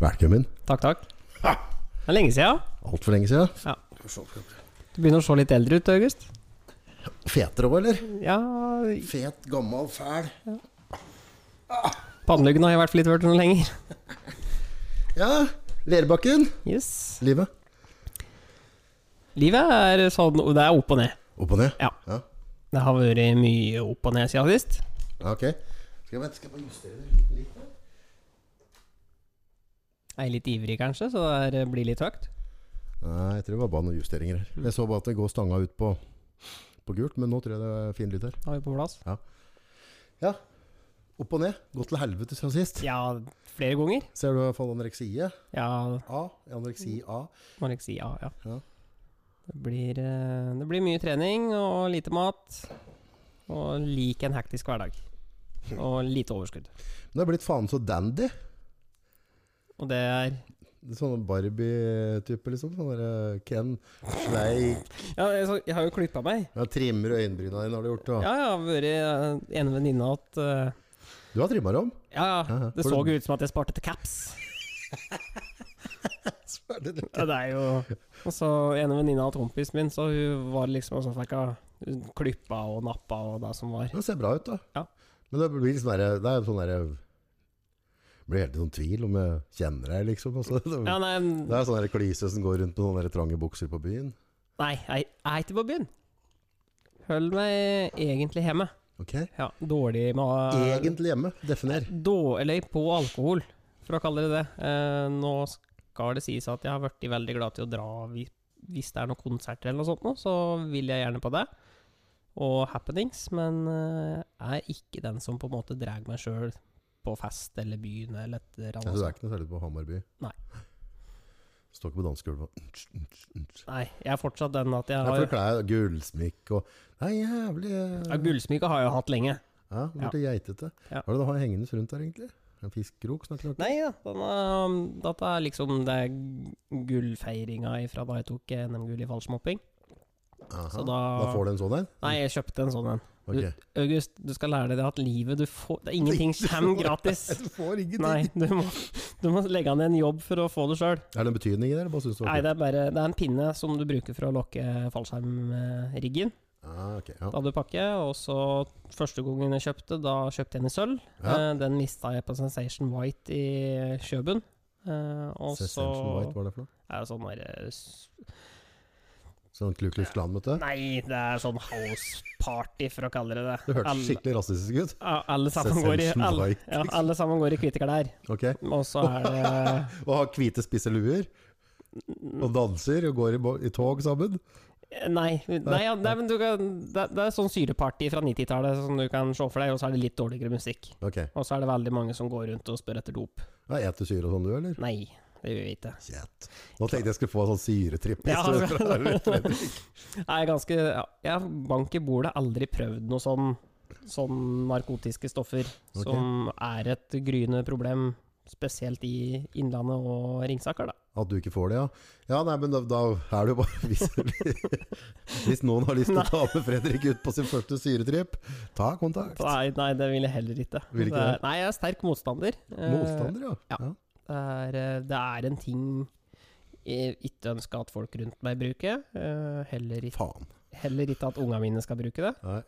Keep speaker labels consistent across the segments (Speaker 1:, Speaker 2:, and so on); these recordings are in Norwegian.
Speaker 1: Velkommen.
Speaker 2: Takk, takk. Det er lenge siden.
Speaker 1: Altfor lenge siden.
Speaker 2: Du begynner å se litt eldre ut, August.
Speaker 1: Fetere òg, eller?
Speaker 2: Ja,
Speaker 1: Fet, gammel, fæl.
Speaker 2: Panneluggen har jeg i hvert fall ikke hørt noe lenger.
Speaker 1: Ja. Lerbakken.
Speaker 2: Yes.
Speaker 1: Livet.
Speaker 2: Livet er sånn Det er opp og ned.
Speaker 1: Opp og ned.
Speaker 2: Ja.
Speaker 1: Ja.
Speaker 2: Det har vært mye opp og ned siden sist.
Speaker 1: Ja, Ok. Skal jeg, vent, skal jeg bare justere det litt? her?
Speaker 2: Jeg er litt ivrig, kanskje, så det er- eh, blir litt høyt.
Speaker 1: Nei, jeg tror det var bare noen justeringer her. Jeg så bare at det går stanga ut på, på gult, men nå tror jeg det er fin lyd her.
Speaker 2: Da er vi på plass.
Speaker 1: Ja. Opp og ned. Gått til helvete siden sist.
Speaker 2: Ja, flere ganger.
Speaker 1: Ser du jeg falt anoreksie?
Speaker 2: Ja,
Speaker 1: A. Anoreksi A.
Speaker 2: må jeg ikke si ja, ja.
Speaker 1: Ja.
Speaker 2: Det blir, eh, det blir mye trening og lite mat. Og lik en hektisk hverdag. Og lite overskudd.
Speaker 1: Men det er blitt faen så dandy.
Speaker 2: Og det er
Speaker 1: Det er Sånn Barbie-type, liksom. Sånn der, eh, Ken, sleik
Speaker 2: Ja, jeg, så, jeg har jo klippa meg.
Speaker 1: ja, Trimmer øyenbryna dine, har du gjort. Og.
Speaker 2: Ja, jeg har vært eh, ene venninna at eh,
Speaker 1: Du har trimma dem.
Speaker 2: Ja,
Speaker 1: Ja, ja.
Speaker 2: ja. Det
Speaker 1: Får
Speaker 2: så
Speaker 1: du-
Speaker 2: jo ut som at jeg sparte til caps.
Speaker 1: Selvfølgelig.
Speaker 2: Ja, det er jo Og så en venninne av kompisen min, så hun var liksom sånn fikk hun klippa og nappa og det som var.
Speaker 1: Det ser bra ut, da.
Speaker 2: Ja.
Speaker 1: Men det blir liksom der, det er sånn der Blir helt i sånn tvil om jeg kjenner deg, liksom. Også.
Speaker 2: Ja, nei,
Speaker 1: Det er sånn der klyse som går rundt med sånne der trange bukser på byen.
Speaker 2: nei jeg jeg er ikke på byen. Hold meg egentlig hjemme.
Speaker 1: Ok?
Speaker 2: Ja, dårlig med
Speaker 1: Egentlig hjemme. Definer.
Speaker 2: Dårlig på alkohol, for å kalle det det. Eh, nå skal det sies at jeg har blitt veldig glad til å dra hvis, hvis det er noen konserter eller noe sånt, nå, så vil jeg gjerne på det. Og happenings, men eh, er ikke den som på en måte drar meg sjøl på fest eller byen eller et
Speaker 1: Ja,
Speaker 2: eller annet.
Speaker 1: så du er
Speaker 2: sånt.
Speaker 1: ikke noe særlig på Hamar by?
Speaker 2: Nei.
Speaker 1: Står ikke på dansegulvet og
Speaker 2: Nei, jeg er fortsatt den at jeg
Speaker 1: Jeg
Speaker 2: har
Speaker 1: får klær, gullsmykk og Det er jævlig eh,
Speaker 2: ja, Gullsmyke har jeg jo hatt lenge.
Speaker 1: Ja, det blir det geitete. Hva
Speaker 2: Ja.
Speaker 1: er det du har hengende rundt der, egentlig? En fiskekrok? Snakker du om?
Speaker 2: Nei da, den er, dette er liksom det er gullfeiringa fra da jeg tok eh, NM-gull i fallsmopping.
Speaker 1: Aha.
Speaker 2: Så
Speaker 1: da...
Speaker 2: da-
Speaker 1: får du en sånn en?
Speaker 2: Nei, jeg kjøpte en sånn en.
Speaker 1: Ok.
Speaker 2: August, du skal lære deg det at livet du får det er Ingenting kommer gratis.
Speaker 1: Du får ingenting.
Speaker 2: Nei, du må, du må legge ned en jobb for å få det sjøl.
Speaker 1: Er det en betydning i det, eller bare syns du
Speaker 2: Nei,
Speaker 1: var kult?
Speaker 2: det er bare Det er en pinne som du bruker for å lokke fallskjermriggen.
Speaker 1: Ah, ok, ja.
Speaker 2: Da hadde du pakke, og så første gangen jeg kjøpte, da kjøpte jeg den i sølv.
Speaker 1: Ja.
Speaker 2: Eh, Den mista jeg på Sensation White i Kjøben. Eh, Og så
Speaker 1: Sensation White, hva er det for noe?
Speaker 2: er det sånn derre s-
Speaker 1: Sånn Klu Klux Klan-møte?
Speaker 2: Nei, det er sånn house-party, for å kalle det det.
Speaker 1: Det hørtes
Speaker 2: Alle-
Speaker 1: skikkelig rasistisk ut.
Speaker 2: ja, alle sammen går i
Speaker 1: Sensation
Speaker 2: alle,
Speaker 1: White,
Speaker 2: ja, alle sammen går i hvite klær.
Speaker 1: Ok,
Speaker 2: Og så er det
Speaker 1: Og har hvite, spisse luer? Og danser og går i, bo- i tog sammen?
Speaker 2: Nei, nei, ja, nei men du kan, det, det er sånn syreparty fra 90-tallet som du kan se for deg, og så er det litt dårligere musikk.
Speaker 1: Ok.
Speaker 2: Og så er det veldig mange som går rundt og spør etter dop.
Speaker 1: Ja, et du syre og sånn, du, eller?
Speaker 2: Nei, det gjør vi ikke.
Speaker 1: Kjett. Nå tenkte jeg skulle få en sånn syretripp. i
Speaker 2: Ja, altså.
Speaker 1: stedet for å være litt redd.
Speaker 2: Jeg er ganske ja, Jeg bank i bordet, aldri prøvd noe sånn sånn narkotiske stoffer,
Speaker 1: Ok.
Speaker 2: som er et gryende problem, spesielt i Innlandet og Ringsaker, da.
Speaker 1: At du ikke får det, ja. Ja, nei, men da, da er det jo bare hvis, hvis noen har lyst til å ta med Fredrik ut på sin første syretripp, ta kontakt.
Speaker 2: Nei, nei, det vil jeg heller ikke.
Speaker 1: Vil ikke
Speaker 2: Det er-
Speaker 1: det?
Speaker 2: Nei, jeg er sterk motstander. Eh,
Speaker 1: Motstander, ja.
Speaker 2: ja. Det er, eh, det er en ting jeg ikke ønsker at folk rundt meg bruker. eh, Heller ikke,
Speaker 1: Faen.
Speaker 2: heller ikke at ungene mine skal bruke det.
Speaker 1: Nei.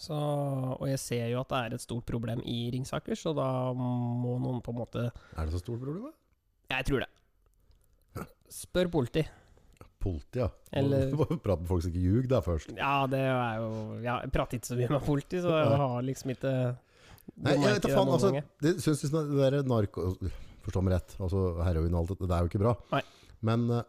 Speaker 2: Så, og jeg ser jo at det er et stort problem i Ringsaker, så da må noen på en måte
Speaker 1: Er det så stort problem, da?
Speaker 2: Jeg tror det. Spør politi.
Speaker 1: Politi, ja.
Speaker 2: Eller-
Speaker 1: Du må prate med folk som ikke ljug der først.
Speaker 2: Ja, det er jo ja, Jeg prater ikke så mye med politi, så jeg har liksom ikke
Speaker 1: Nei, jeg vet da faen, altså.
Speaker 2: ganger.
Speaker 1: Det syns det der narko... Forstå meg rett, altså heroin og alt det, det er jo ikke bra.
Speaker 2: Nei.
Speaker 1: Men eh,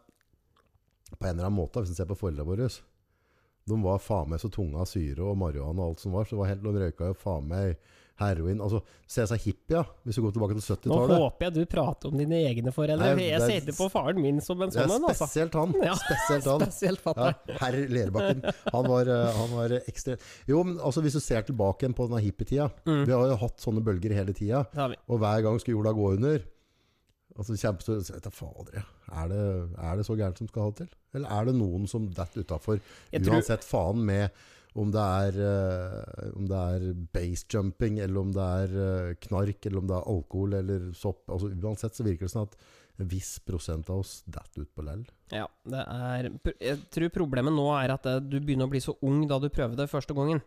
Speaker 1: på en eller annen måte, hvis en ser på foreldrene våre De var faen meg så tunge av syre og marihuana og alt som var, så det var helt, de røyka jo faen meg heroin Altså, se seg hippie, ja, hvis du går tilbake til
Speaker 2: Nå
Speaker 1: 70-tallet.
Speaker 2: håper jeg du prater om dine egne foreldre.
Speaker 1: Nei,
Speaker 2: for Jeg
Speaker 1: det er-
Speaker 2: ser ikke på faren min som en
Speaker 1: Det
Speaker 2: sånn
Speaker 1: er
Speaker 2: en, altså.
Speaker 1: spesielt han.
Speaker 2: Ja,
Speaker 1: Spesielt han.
Speaker 2: Spesielt
Speaker 1: Ja,
Speaker 2: fatter'n.
Speaker 1: herr Lerbakken. Han var, eh, han var ekstremt Jo, men altså, hvis du ser tilbake igjen på denne hippietida
Speaker 2: Mm.
Speaker 1: Vi har jo hatt sånne bølger hele tida.
Speaker 2: Det har vi.
Speaker 1: Og hver gang skulle jorda gå under Altså kjempestor så vet jeg, Fader, ja. er, det, er det så gærent som skal ha det til? Eller er det noen som detter utafor
Speaker 2: Jeg tror-
Speaker 1: uansett faen med Om det er, eh, om det er basejumping, eller om det er eh, knark, eller om det er alkohol eller sopp. Altså Uansett så virker det sånn at en viss prosent av oss detter ut på lell.
Speaker 2: Ja, det er pr- Jeg tror problemet nå er at eh, du begynner å bli så ung da du prøver det første gangen.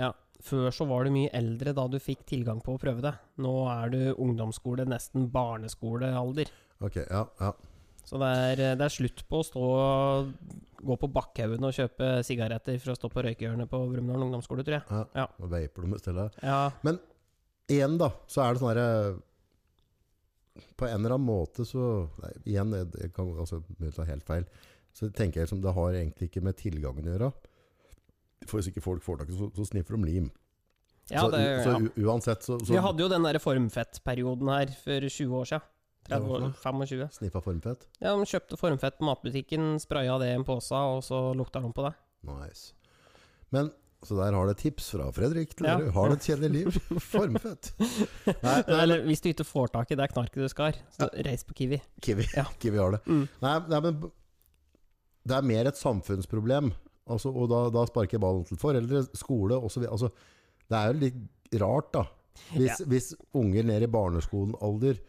Speaker 1: Ja,
Speaker 2: Før så var du mye eldre da du fikk tilgang på å prøve det. Nå er du ungdomsskole, nesten barneskolealder.
Speaker 1: ok, ja, ja.
Speaker 2: Så det er, eh, det er slutt på å stå gå på Bakkhaugen og kjøpe sigaretter for å stå på røykehjørnet på Brumunddal ungdomsskole, tror jeg.
Speaker 1: ja.
Speaker 2: Ja.
Speaker 1: Og vaper de i stedet.
Speaker 2: Ja,
Speaker 1: igjen da, så er det sånn herre På en eller annen måte så nei, Igjen, jeg, jeg kan altså, mulig ta helt feil. Så tenker jeg liksom, det har egentlig ikke med tilgangen å gjøre. For hvis ikke folk får tak i det, så, så sniffer de lim.
Speaker 2: ja
Speaker 1: så
Speaker 2: det
Speaker 1: u- så
Speaker 2: ja.
Speaker 1: u- uansett så,
Speaker 2: Vi
Speaker 1: så
Speaker 2: hadde jo den der formfettperioden her for 20 år siden. 30 år,
Speaker 1: Ja,
Speaker 2: 25.
Speaker 1: sniffa formfett.
Speaker 2: Ja, de kjøpte formfett på matbutikken, spraya det i en pose, og så lukta de på det.
Speaker 1: Nice. Men så der har du et tips fra Fredrik til
Speaker 2: Ja.
Speaker 1: dere. Har du et kjedelig liv? Formfett. Nei, nei,
Speaker 2: Eller hvis du ikke får tak i det knarket du skal, så reis på Kiwi.
Speaker 1: Kiwi,
Speaker 2: Ja.
Speaker 1: Kiwi har det.
Speaker 2: Mm.
Speaker 1: Nei, nei, men b- det er mer et samfunnsproblem. Altså, og da, da sparker jeg ballen til foreldre, skole osv. Altså, det er jo litt rart, da. Hvis, hvis unger ned i barneskolen-alder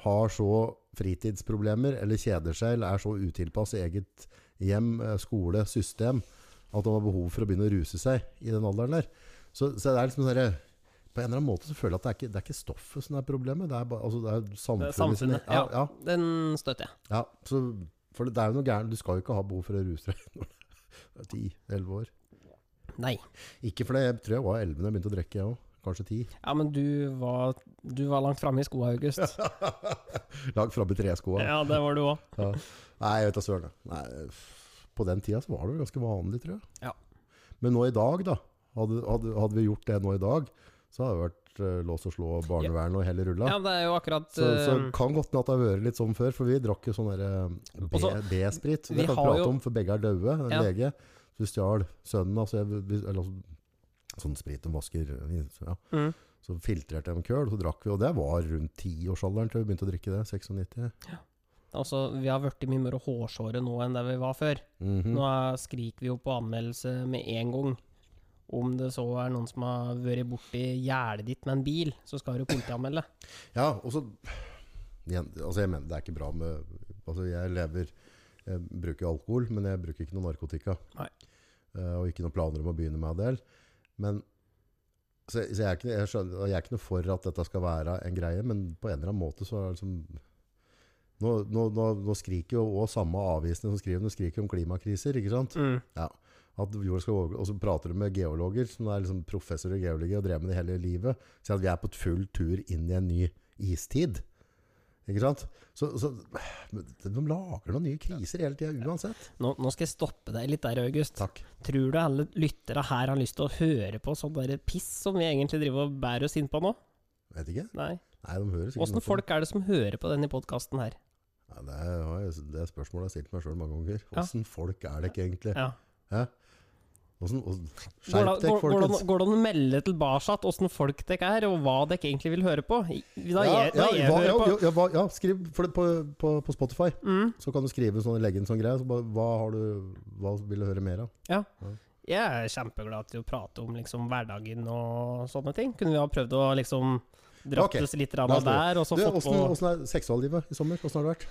Speaker 1: har så fritidsproblemer, eller kjeder seg, eller er så utilpass i eget hjem, eh, skole, system, at de har behov for å begynne å ruse seg i den alderen der. Så, så det er liksom sånn herre- På en eller annen måte så føler jeg at det er ikke, det er ikke stoffet som er problemet, det er, ba, altså, det er samfunnet.
Speaker 2: Samfunnet. Ja,
Speaker 1: ja.
Speaker 2: den støtter jeg.
Speaker 1: Ja, så, for det er jo noe gærent. Du skal jo ikke ha behov for å ruse deg når du er 10-11 år.
Speaker 2: Nei.
Speaker 1: Ikke for det, jeg tror jeg var 11 da jeg begynte å drikke, jeg òg. Kanskje 10.
Speaker 2: Ja, men du var, du var langt framme i skoa, August.
Speaker 1: Langt framme i treskoa.
Speaker 2: Ja, det var du òg.
Speaker 1: Nei, jeg vet da søren. da. Nei, f- På den tida så var det jo ganske vanlig, tror jeg.
Speaker 2: Ja.
Speaker 1: Men nå i dag, da. Hadde, hadde, hadde vi gjort det nå i dag, så hadde det vært eh, lås og slå, barnevern og hele rulla.
Speaker 2: Ja, det er jo akkurat
Speaker 1: Så, så
Speaker 2: eh,
Speaker 1: kan godt hende at det har vært litt sånn før, for vi drakk jo sånn derre
Speaker 2: Også,
Speaker 1: B- B-sprit.
Speaker 2: vi
Speaker 1: Det kan vi
Speaker 2: har
Speaker 1: prate
Speaker 2: jo-
Speaker 1: om, for begge er døde. En
Speaker 2: Ja.
Speaker 1: lege. Så vi stjal sønnen altså, jeg, vi- Eller altså, sånn sprit de vasker ja.
Speaker 2: mm.
Speaker 1: Så filtrerte jeg med køl, og så drakk vi. Og det var rundt tiårsalderen til vi begynte å drikke det. 96.
Speaker 2: Altså, vi har blitt mye mer hårsåre nå enn det vi var før.
Speaker 1: Mhm.
Speaker 2: Nå er- skriker vi jo på anmeldelse med en gang. Om det så er noen som har vært borti gjerdet ditt med en bil, så skal du politianmelde.
Speaker 1: Ja, og så igjen, Altså, jeg mener det er ikke bra med Altså, jeg lever Jeg bruker jo alkohol, men jeg bruker ikke noe narkotika.
Speaker 2: Nei.
Speaker 1: Eh, og ikke noen planer om å begynne med det heller. Men så, så jeg, er ikke, jeg, skjønner, og jeg er ikke noe for at dette skal være en greie, men på en eller annen måte så er det liksom Nå, nå, nå, nå skriker jo også samme avisene som skriver, nå skriker om klimakriser, ikke sant?
Speaker 2: Mm.
Speaker 1: At jorda skal overgå, og så prater du med geologer, som er liksom professor i geologi og drev med det hele livet, sier at vi er på et full tur inn i en ny istid. Ikke sant? Så, så men de lager noen nye kriser hele tida uansett.
Speaker 2: Nå, nå skal jeg stoppe deg litt der, August.
Speaker 1: Takk.
Speaker 2: Tror du alle lyttere her har lyst til å høre på sånn der piss som vi egentlig driver og bærer oss inn på nå?
Speaker 1: Vet ikke.
Speaker 2: Nei.
Speaker 1: Nei, de hører sikkert noe
Speaker 2: Åssen
Speaker 1: på
Speaker 2: folk er det som hører på denne podkasten her?
Speaker 1: det. Nei, det, har jeg, det spørsmålet har jeg stilt meg sjøl mange ganger.
Speaker 2: Ja.
Speaker 1: Åssen folk er det ikke egentlig?
Speaker 2: Ja.
Speaker 1: Åssen- åssen-
Speaker 2: Går det
Speaker 1: Skjerp dere,
Speaker 2: går- går det an-
Speaker 1: folkens.
Speaker 2: går det an å melde tilbake åssen folk dere er, og hva dere egentlig vil høre på? I- Da
Speaker 1: Ja,
Speaker 2: jeg, da
Speaker 1: ja,
Speaker 2: jeg
Speaker 1: hva-
Speaker 2: hører
Speaker 1: ja,
Speaker 2: på
Speaker 1: ja, ja, hva- ja, skriv for det på, på, på Spotify.
Speaker 2: mm,
Speaker 1: Så kan du skrive sånn, legge en sånn greie. Så bare, hva, har du, hva vil du høre mer av?
Speaker 2: Jeg er kjempeglad til å prate om liksom, hverdagen og sånne ting. Kunne vi ha prøvd å liksom dratt
Speaker 1: Ok,
Speaker 2: oss litt rann
Speaker 1: la oss
Speaker 2: der, og så
Speaker 1: Du,
Speaker 2: fått
Speaker 1: Åssen
Speaker 2: på
Speaker 1: åssen er seksuallivet i sommer? Åssen har det vært?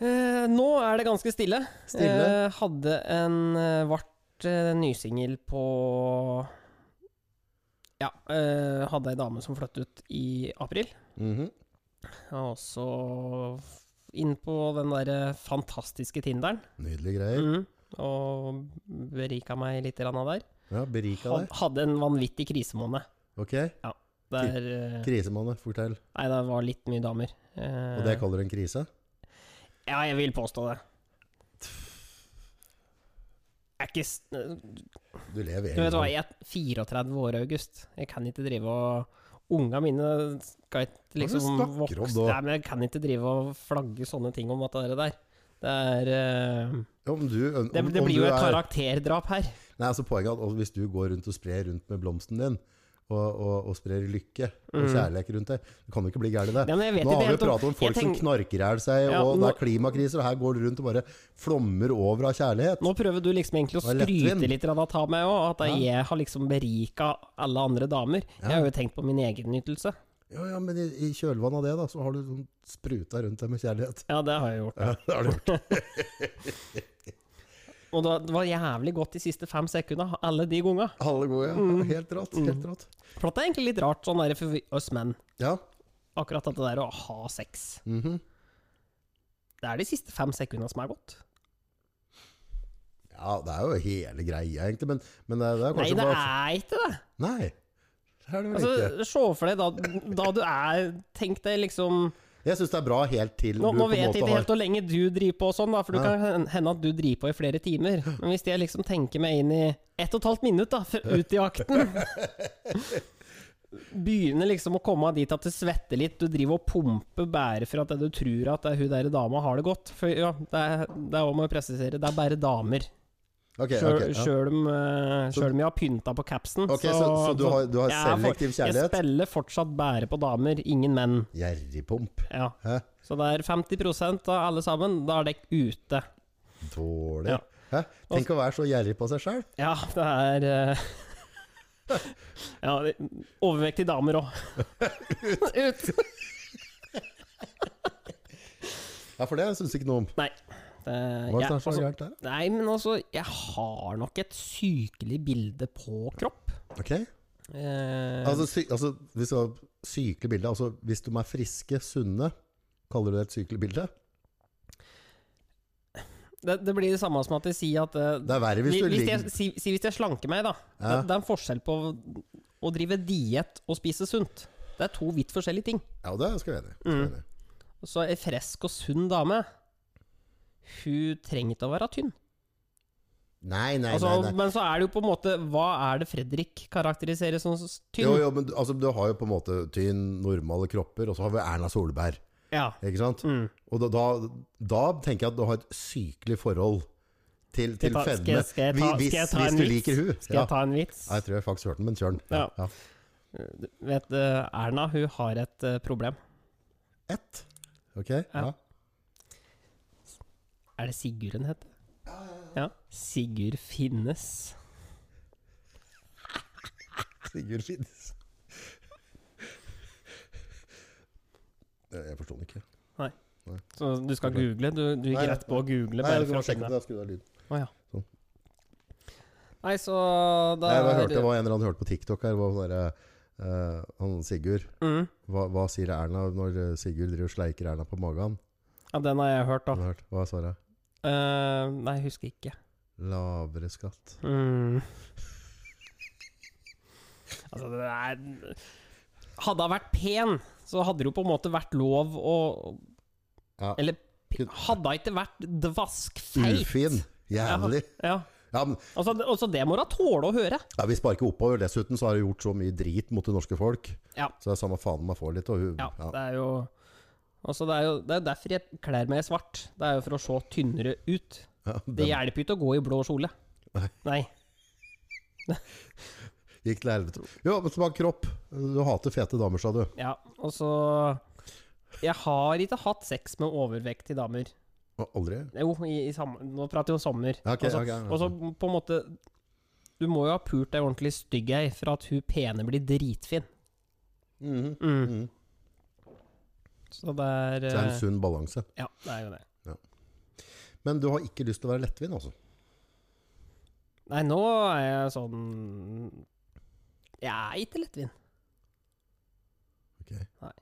Speaker 2: Eh, nå er det ganske stille.
Speaker 1: Stille?
Speaker 2: Eh, hadde en eh, vart eh, nysingel på Ja, eh, hadde ei dame som flyttet ut i april.
Speaker 1: Mhm.
Speaker 2: Og så f- inn på den derre fantastiske Tinderen.
Speaker 1: Nydelige greier.
Speaker 2: Mm, og berika meg litt grann av der.
Speaker 1: Ja, Berika
Speaker 2: Had,
Speaker 1: deg.
Speaker 2: hadde en vanvittig krisemåned.
Speaker 1: Ok.
Speaker 2: Der eh,
Speaker 1: Krisemanne, fortell.
Speaker 2: Nei, det var litt mye damer. Eh,
Speaker 1: Og det kaller du en krise?
Speaker 2: Ja, jeg vil påstå det. Er ikke s- eh,
Speaker 1: Du lever
Speaker 2: Du vet hva,
Speaker 1: egentlig.
Speaker 2: jeg er 34 år, August. Jeg kan ikke drive og Unga mine skal ikke
Speaker 1: er det du
Speaker 2: liksom
Speaker 1: snakker om
Speaker 2: vokse
Speaker 1: da?
Speaker 2: Nei, men Jeg kan ikke drive og flagge sånne ting om at det er det der. Det er eh,
Speaker 1: Om du, om,
Speaker 2: Det, det
Speaker 1: om du
Speaker 2: blir jo et
Speaker 1: er-
Speaker 2: karakterdrap her.
Speaker 1: Nei, altså poenget er at hvis du går rundt og sprer rundt med blomsten din, og, og, og sprer lykke og
Speaker 2: Mm.
Speaker 1: kjærlighet rundt det. Du kan jo ikke bli gæren i det.
Speaker 2: Ja, men jeg vet
Speaker 1: Nå
Speaker 2: ikke
Speaker 1: har vi
Speaker 2: helt
Speaker 1: jo
Speaker 2: om
Speaker 1: pratet om folk
Speaker 2: jeg tenk-
Speaker 1: som knarker i hjel seg,
Speaker 2: Ja,
Speaker 1: og det
Speaker 2: nå-
Speaker 1: er klimakrise, og her går det rundt og bare flommer over av kjærlighet.
Speaker 2: Nå prøver du liksom egentlig å
Speaker 1: Det var lettvint.
Speaker 2: skryte litt av ta meg òg, at
Speaker 1: Ja.
Speaker 2: jeg har liksom berika alle andre damer.
Speaker 1: Ja.
Speaker 2: Jeg har jo tenkt på min egen nytelse.
Speaker 1: Ja, ja, men i, i kjølvannet av det, da, så har du sånn spruta rundt deg med kjærlighet.
Speaker 2: Ja, det har jeg gjort.
Speaker 1: Ja, det har du gjort.
Speaker 2: Og da- det var jævlig godt de siste fem sekundene, alle de gangene.
Speaker 1: Alle gode,
Speaker 2: Mm.
Speaker 1: ja. Helt rått. Helt rått.
Speaker 2: For at det er egentlig litt rart, sånn der for vi- oss menn,
Speaker 1: Ja.
Speaker 2: akkurat at det der å ha sex.
Speaker 1: mhm.
Speaker 2: Det er de siste fem sekundene som er godt.
Speaker 1: ja, det er jo hele greia, egentlig, men, men eh, det, det er
Speaker 2: Nei,
Speaker 1: kanskje
Speaker 2: det
Speaker 1: bare
Speaker 2: er ikke det.
Speaker 1: Nei. Det er det vel ikke.
Speaker 2: Altså, Se for deg da, da du er Tenk deg liksom
Speaker 1: Jeg syns det er bra helt til
Speaker 2: Nå,
Speaker 1: du
Speaker 2: nå
Speaker 1: på en
Speaker 2: vet jeg
Speaker 1: måte
Speaker 2: ikke
Speaker 1: har
Speaker 2: helt hvor lenge du driver på og sånn, da, for det
Speaker 1: Ja.
Speaker 2: kan hende at du driver på i flere timer. Men hvis jeg liksom tenker meg inn i ett og et halvt minutt, da, fra- ut i akten Begynner liksom å komme dit at det svetter litt, du driver og pumper bare for at du tror at det er hun der dama har det godt. For ja, det er det er om å presisere, det er bare damer.
Speaker 1: Ok,
Speaker 2: Sjøl
Speaker 1: ok, ja.
Speaker 2: sjøl om eh, sjøl om jeg har pynta på capsen,
Speaker 1: Ok, så, så du har, du har
Speaker 2: jeg er for-
Speaker 1: selektiv
Speaker 2: Jeg
Speaker 1: kjærlighet?
Speaker 2: spiller fortsatt bare på damer, ingen menn.
Speaker 1: Gjerrigpomp.
Speaker 2: Ja.
Speaker 1: Hæ?
Speaker 2: Så det er 50 av alle sammen, da er dere ute.
Speaker 1: Dårlig.
Speaker 2: Ja. Altså-
Speaker 1: Hæ? Tenk å være så gjerrig på seg sjøl.
Speaker 2: Ja, det er eh, Ja, det- overvektige damer òg. Ut!
Speaker 1: Ja, for det syns ikke noe om.
Speaker 2: Nei. Det,
Speaker 1: Hva er
Speaker 2: jeg,
Speaker 1: det som er så
Speaker 2: altså,
Speaker 1: gærent der?
Speaker 2: nei, men altså, jeg har nok et sykelig bilde på kropp.
Speaker 1: Ok.
Speaker 2: Eh,
Speaker 1: Altså, sy altså, hvis du har sykelig bilde Altså, hvis de er friske, sunne Kaller du det et sykelig bilde?
Speaker 2: det, det blir det samme som at jeg sier at eh,
Speaker 1: Det er verre hvis
Speaker 2: hvis,
Speaker 1: du ligger
Speaker 2: jeg, si, si hvis jeg slanker meg, da. Det,
Speaker 1: Ja.
Speaker 2: det er en forskjell på å, å drive diett og spise sunt. Det er to vidt forskjellige ting.
Speaker 1: Ja, det skal jeg være enig i.
Speaker 2: Mm.
Speaker 1: Skal jeg være enig i.
Speaker 2: Så ei frisk og sunn dame Hun trenger ikke å være tynn.
Speaker 1: Nei, nei,
Speaker 2: altså,
Speaker 1: nei. nei.
Speaker 2: Men så er det jo på en måte Hva er det Fredrik karakteriserer som s- tynn?
Speaker 1: Jo, jo, men du- altså, du har jo på en måte tynn, normale kropper, og så har vi Erna Solberg.
Speaker 2: Ja.
Speaker 1: Ikke sant?
Speaker 2: Mm.
Speaker 1: Og da, da, da tenker jeg at du har et sykelig forhold til, til
Speaker 2: Skal jeg ta- skal
Speaker 1: fedme.
Speaker 2: jeg- skal jeg ta-
Speaker 1: hvis,
Speaker 2: skal jeg ta
Speaker 1: hvis
Speaker 2: en
Speaker 1: du
Speaker 2: vits?
Speaker 1: liker hun.
Speaker 2: Skal jeg ta en vits?
Speaker 1: Ja, jeg tror jeg faktisk hørte den, men kjør den. Ja. Ja.
Speaker 2: Du Vet eh, Erna, hun har et eh, problem.
Speaker 1: Ett. Ok? Ja.
Speaker 2: Ja. Er det Sigurd hun heter? Ja. Sigurd finnes.
Speaker 1: Sigurd Finnes. Eh, Jeg forsto den ikke.
Speaker 2: Så du skal google? Du, du
Speaker 1: Nei,
Speaker 2: gikk
Speaker 1: ja.
Speaker 2: rett på å google?
Speaker 1: Nei,
Speaker 2: Bare
Speaker 1: jeg skal
Speaker 2: for å
Speaker 1: bare sjekke
Speaker 2: finne.
Speaker 1: om det. Jeg skrudde av lyden.
Speaker 2: Å, ja.
Speaker 1: Sånn.
Speaker 2: Nei, så da
Speaker 1: Nei, Jeg hørte det
Speaker 2: er-
Speaker 1: var en eller annen hørte på TikTok her. Var sånn der, eh, han Sigurd
Speaker 2: mm.
Speaker 1: hva, hva sier Erna når eh, Sigurd driver og sleiker Erna på magen?
Speaker 2: Ja, den har jeg hørt, da.
Speaker 1: Har du hørt? Hva er svaret?
Speaker 2: Eh, nei, jeg husker ikke.
Speaker 1: Lavere skatt.
Speaker 2: Mm. Altså, det er Hadde hun vært pen, så hadde det jo på en måte vært lov å
Speaker 1: Ja.
Speaker 2: Eller p-
Speaker 1: Kun-
Speaker 2: hadde hun ikke vært dvaskfeit?
Speaker 1: Ufin. Jævlig.
Speaker 2: Ja.
Speaker 1: Ja, men
Speaker 2: Altså, det- altså, det må hun tåle å høre.
Speaker 1: Ja, Vi sparker oppover. Dessuten så har hun gjort så mye drit mot det norske folk.
Speaker 2: Ja.
Speaker 1: Så det er samme faen om jeg får litt. Og hun,
Speaker 2: Ja,
Speaker 1: ja.
Speaker 2: det er jo Altså, det er jo det er jo derfor jeg kler meg i svart. Det er jo for å se tynnere ut.
Speaker 1: Ja,
Speaker 2: Det
Speaker 1: den
Speaker 2: hjelper jo ikke å gå i blå kjole.
Speaker 1: Nei.
Speaker 2: Nei.
Speaker 1: gikk til helvete. Jo, men tilbake kropp. Du hater fete damer, sa du.
Speaker 2: Ja, og så Jeg har ikke hatt sex med overvektige damer.
Speaker 1: Å, Aldri?
Speaker 2: Jo, i, i sam- nå prater jeg om sommer.
Speaker 1: Ja, ok,
Speaker 2: altså,
Speaker 1: ok, ja.
Speaker 2: Og så på en måte Du må jo ha pult ei ordentlig stygg ei for at hun pene blir dritfin.
Speaker 1: Mhm.
Speaker 2: Mm.
Speaker 1: Mhm.
Speaker 2: Så det er
Speaker 1: Så det er
Speaker 2: eh,
Speaker 1: en sunn balanse.
Speaker 2: Ja, det er jo det.
Speaker 1: Men du har ikke lyst til å være lettvint, altså?
Speaker 2: Nei, nå er jeg sånn Jeg er ikke lettvint.
Speaker 1: Ok. Nei.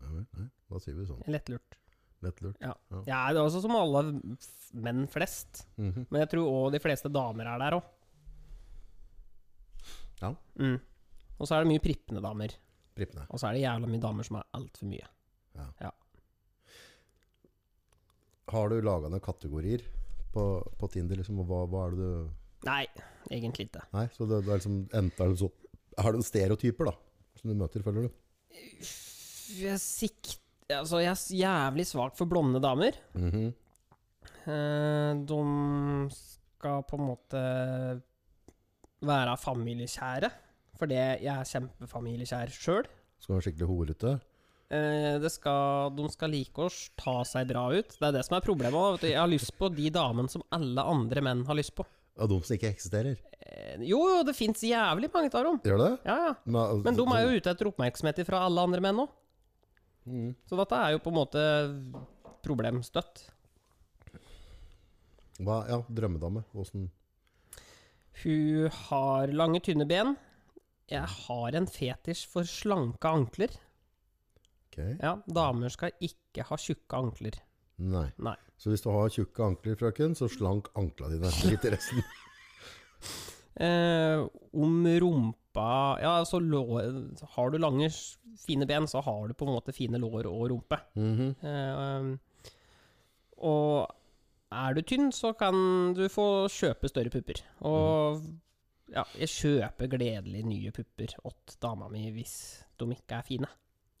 Speaker 2: Nei.
Speaker 1: vel, nei. Da sier vi sånn.
Speaker 2: Jeg er Lettlurt.
Speaker 1: Lettlurt.
Speaker 2: Jeg er det også som alle f- menn flest.
Speaker 1: Mhm.
Speaker 2: Men jeg tror òg de fleste damer er der òg.
Speaker 1: Ja.
Speaker 2: Mm. Og så er det mye prippende damer.
Speaker 1: Prippene.
Speaker 2: Og så er det jævla mye damer som er altfor mye.
Speaker 1: Har du laga noen kategorier på, på Tinder? Liksom, og hva, hva er det du
Speaker 2: Nei, egentlig ikke.
Speaker 1: Nei, så det, det er liksom enten er det så, Har du noen stereotyper, da? Som du møter, føler du?
Speaker 2: Jeg sikt... Altså, jeg er s- jævlig svak for blonde damer.
Speaker 1: Mhm.
Speaker 2: Eh, de skal på en måte være familiekjære. Fordi jeg er kjempefamiliekjær sjøl.
Speaker 1: Skal være skikkelig horete.
Speaker 2: Eh, det skal, de skal like å ta seg dra ut. Det er det som er problemet. da, Vet du. Jeg har lyst på de damene som alle andre menn har lyst på.
Speaker 1: Ja, de som ikke eksisterer.
Speaker 2: Eh, jo, jo, det fins jævlig mange av dem.
Speaker 1: Gjør det?
Speaker 2: Ja, ja.
Speaker 1: Men, altså,
Speaker 2: Men de er jo ute etter oppmerksomhet fra alle andre menn òg.
Speaker 1: Mm.
Speaker 2: Så dette er jo på en måte problemstøtt.
Speaker 1: Hva, ja, drømmedame. Åssen
Speaker 2: Hun har lange, tynne ben. Jeg har en fetisj for slanke ankler.
Speaker 1: Ok.
Speaker 2: Ja, damer skal ikke ha tjukke ankler.
Speaker 1: Nei.
Speaker 2: Nei.
Speaker 1: Så hvis du har tjukke ankler, frøken, så slank ankla dine litt i resten.
Speaker 2: Eh, om rumpa Ja, altså lår Har du lange, s- fine ben, så har du på en måte fine lår og rumpe.
Speaker 1: Mhm.
Speaker 2: Eh, og er du tynn, så kan du få kjøpe større pupper. Og ja, jeg kjøper gledelig nye pupper åt dama mi hvis de ikke er fine.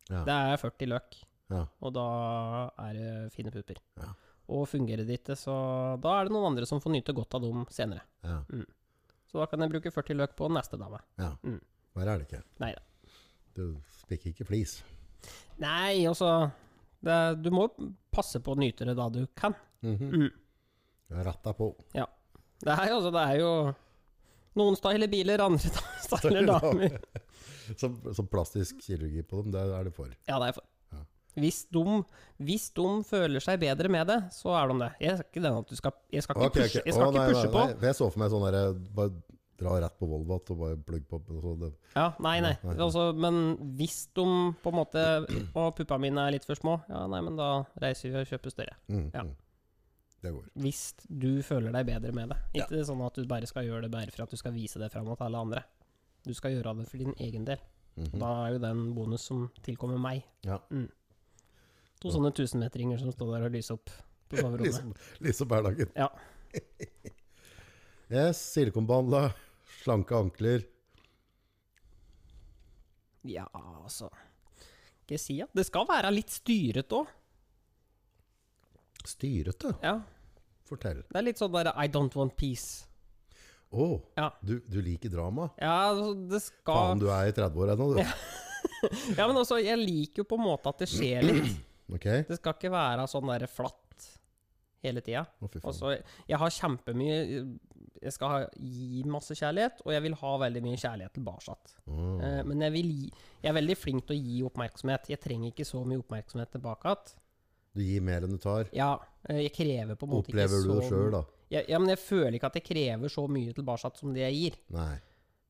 Speaker 1: Ja.
Speaker 2: Det er 40 løk,
Speaker 1: Ja.
Speaker 2: og da er det fine pupper.
Speaker 1: Ja.
Speaker 2: Og fungerer det ikke, så da er det noen andre som får nyte godt av dem senere.
Speaker 1: Ja.
Speaker 2: Så da kan jeg bruke 40 løk på neste dame.
Speaker 1: ja.
Speaker 2: Mm.
Speaker 1: Verre er det ikke.
Speaker 2: Neida.
Speaker 1: Du spikker ikke flis.
Speaker 2: Nei, altså det, er- Du må passe på å nyte det da du kan.
Speaker 1: Mhm.
Speaker 2: Mm.
Speaker 1: Ratta på.
Speaker 2: Det er jo, altså, det er jo Noen styler biler, andre styler damer.
Speaker 1: Så, så plastisk kirurgi på dem, det er det for.
Speaker 2: Ja, det er for.
Speaker 1: Ja.
Speaker 2: Hvis de, hvis de føler seg bedre med det, så er de det. Jeg skal ikke, den at du skal, jeg skal ikke
Speaker 1: Ok, ok.
Speaker 2: pushe, jeg skal
Speaker 1: Å,
Speaker 2: ikke
Speaker 1: nei,
Speaker 2: pushe
Speaker 1: nei,
Speaker 2: på.
Speaker 1: nei, for Jeg så for meg sånn derre Bare dra rett på Volvat og bare plugge på. og Så det,
Speaker 2: Ja, nei, nei.
Speaker 1: Nei, nei.
Speaker 2: Altså, men hvis de på en måte Og puppa mine er litt for små, ja, nei, men da reiser vi og kjøper større.
Speaker 1: mm,
Speaker 2: Ja.
Speaker 1: mm. det går.
Speaker 2: Hvis du føler deg bedre med det. Ikke sånn at du bare skal gjøre det bare for at du skal vise det fram til alle andre. Du skal gjøre det for din egen del.
Speaker 1: Mhm.
Speaker 2: Og Da er jo det en bonus som tilkommer meg.
Speaker 1: Ja.
Speaker 2: Mm. To
Speaker 1: Ja.
Speaker 2: sånne tusenmetringer som står der og lyser opp på soverommet.
Speaker 1: Liksom, liksom hverdagen.
Speaker 2: Ja.
Speaker 1: yes, silikonbehandla, slanke ankler.
Speaker 2: Ja, altså Skal jeg si at det skal være litt styret òg.
Speaker 1: Styrete,
Speaker 2: Ja.
Speaker 1: fortell.
Speaker 2: Det er litt sånn derre I don't want peace.
Speaker 1: Å,
Speaker 2: Ja.
Speaker 1: du, du liker drama?
Speaker 2: Ja, altså, det skal
Speaker 1: Faen, du er i 30-åra ennå, du.
Speaker 2: Ja, men altså, jeg liker jo på en måte at det skjer litt.
Speaker 1: Ok?
Speaker 2: Det skal ikke være sånn derre flatt hele tida.
Speaker 1: Å, fy faen.
Speaker 2: Altså, jeg har kjempemye Jeg skal ha, gi masse kjærlighet, og jeg vil ha veldig mye kjærlighet tilbake.
Speaker 1: Å,
Speaker 2: Eh, Men jeg, vil gi, jeg er veldig flink til å gi oppmerksomhet. Jeg trenger ikke så mye oppmerksomhet tilbake. at-
Speaker 1: Du gir mer enn du tar.
Speaker 2: Ja, eh, jeg krever på en måte
Speaker 1: Opplever
Speaker 2: ikke
Speaker 1: du
Speaker 2: så
Speaker 1: det sjøl, da?
Speaker 2: Ja, ja, men jeg føler ikke at jeg krever så mye tilbake som det jeg gir.
Speaker 1: Nei.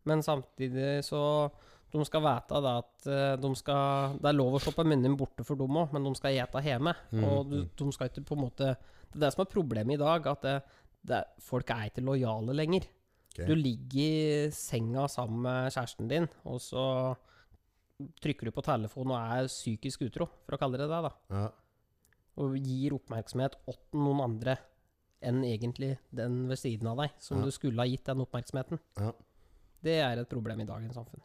Speaker 2: Men samtidig så De skal vite det at eh, de skal, det er lov å shoppe munnen borte for dem òg, men de skal ete hjemme.
Speaker 1: Mm,
Speaker 2: Og du, de skal ikke på en måte Det er det som er problemet i dag, at det, det, er- folk er ikke lojale lenger.
Speaker 1: Ok.
Speaker 2: Du ligger i senga sammen med kjæresten din, og så trykker du på telefonen og er psykisk utro, for å kalle det det, da.
Speaker 1: Ja.
Speaker 2: Og gir oppmerksomhet åt noen andre enn egentlig den ved siden av deg, som
Speaker 1: Ja.
Speaker 2: du skulle ha gitt den oppmerksomheten.
Speaker 1: Ja.
Speaker 2: Det er et problem i dagens samfunn.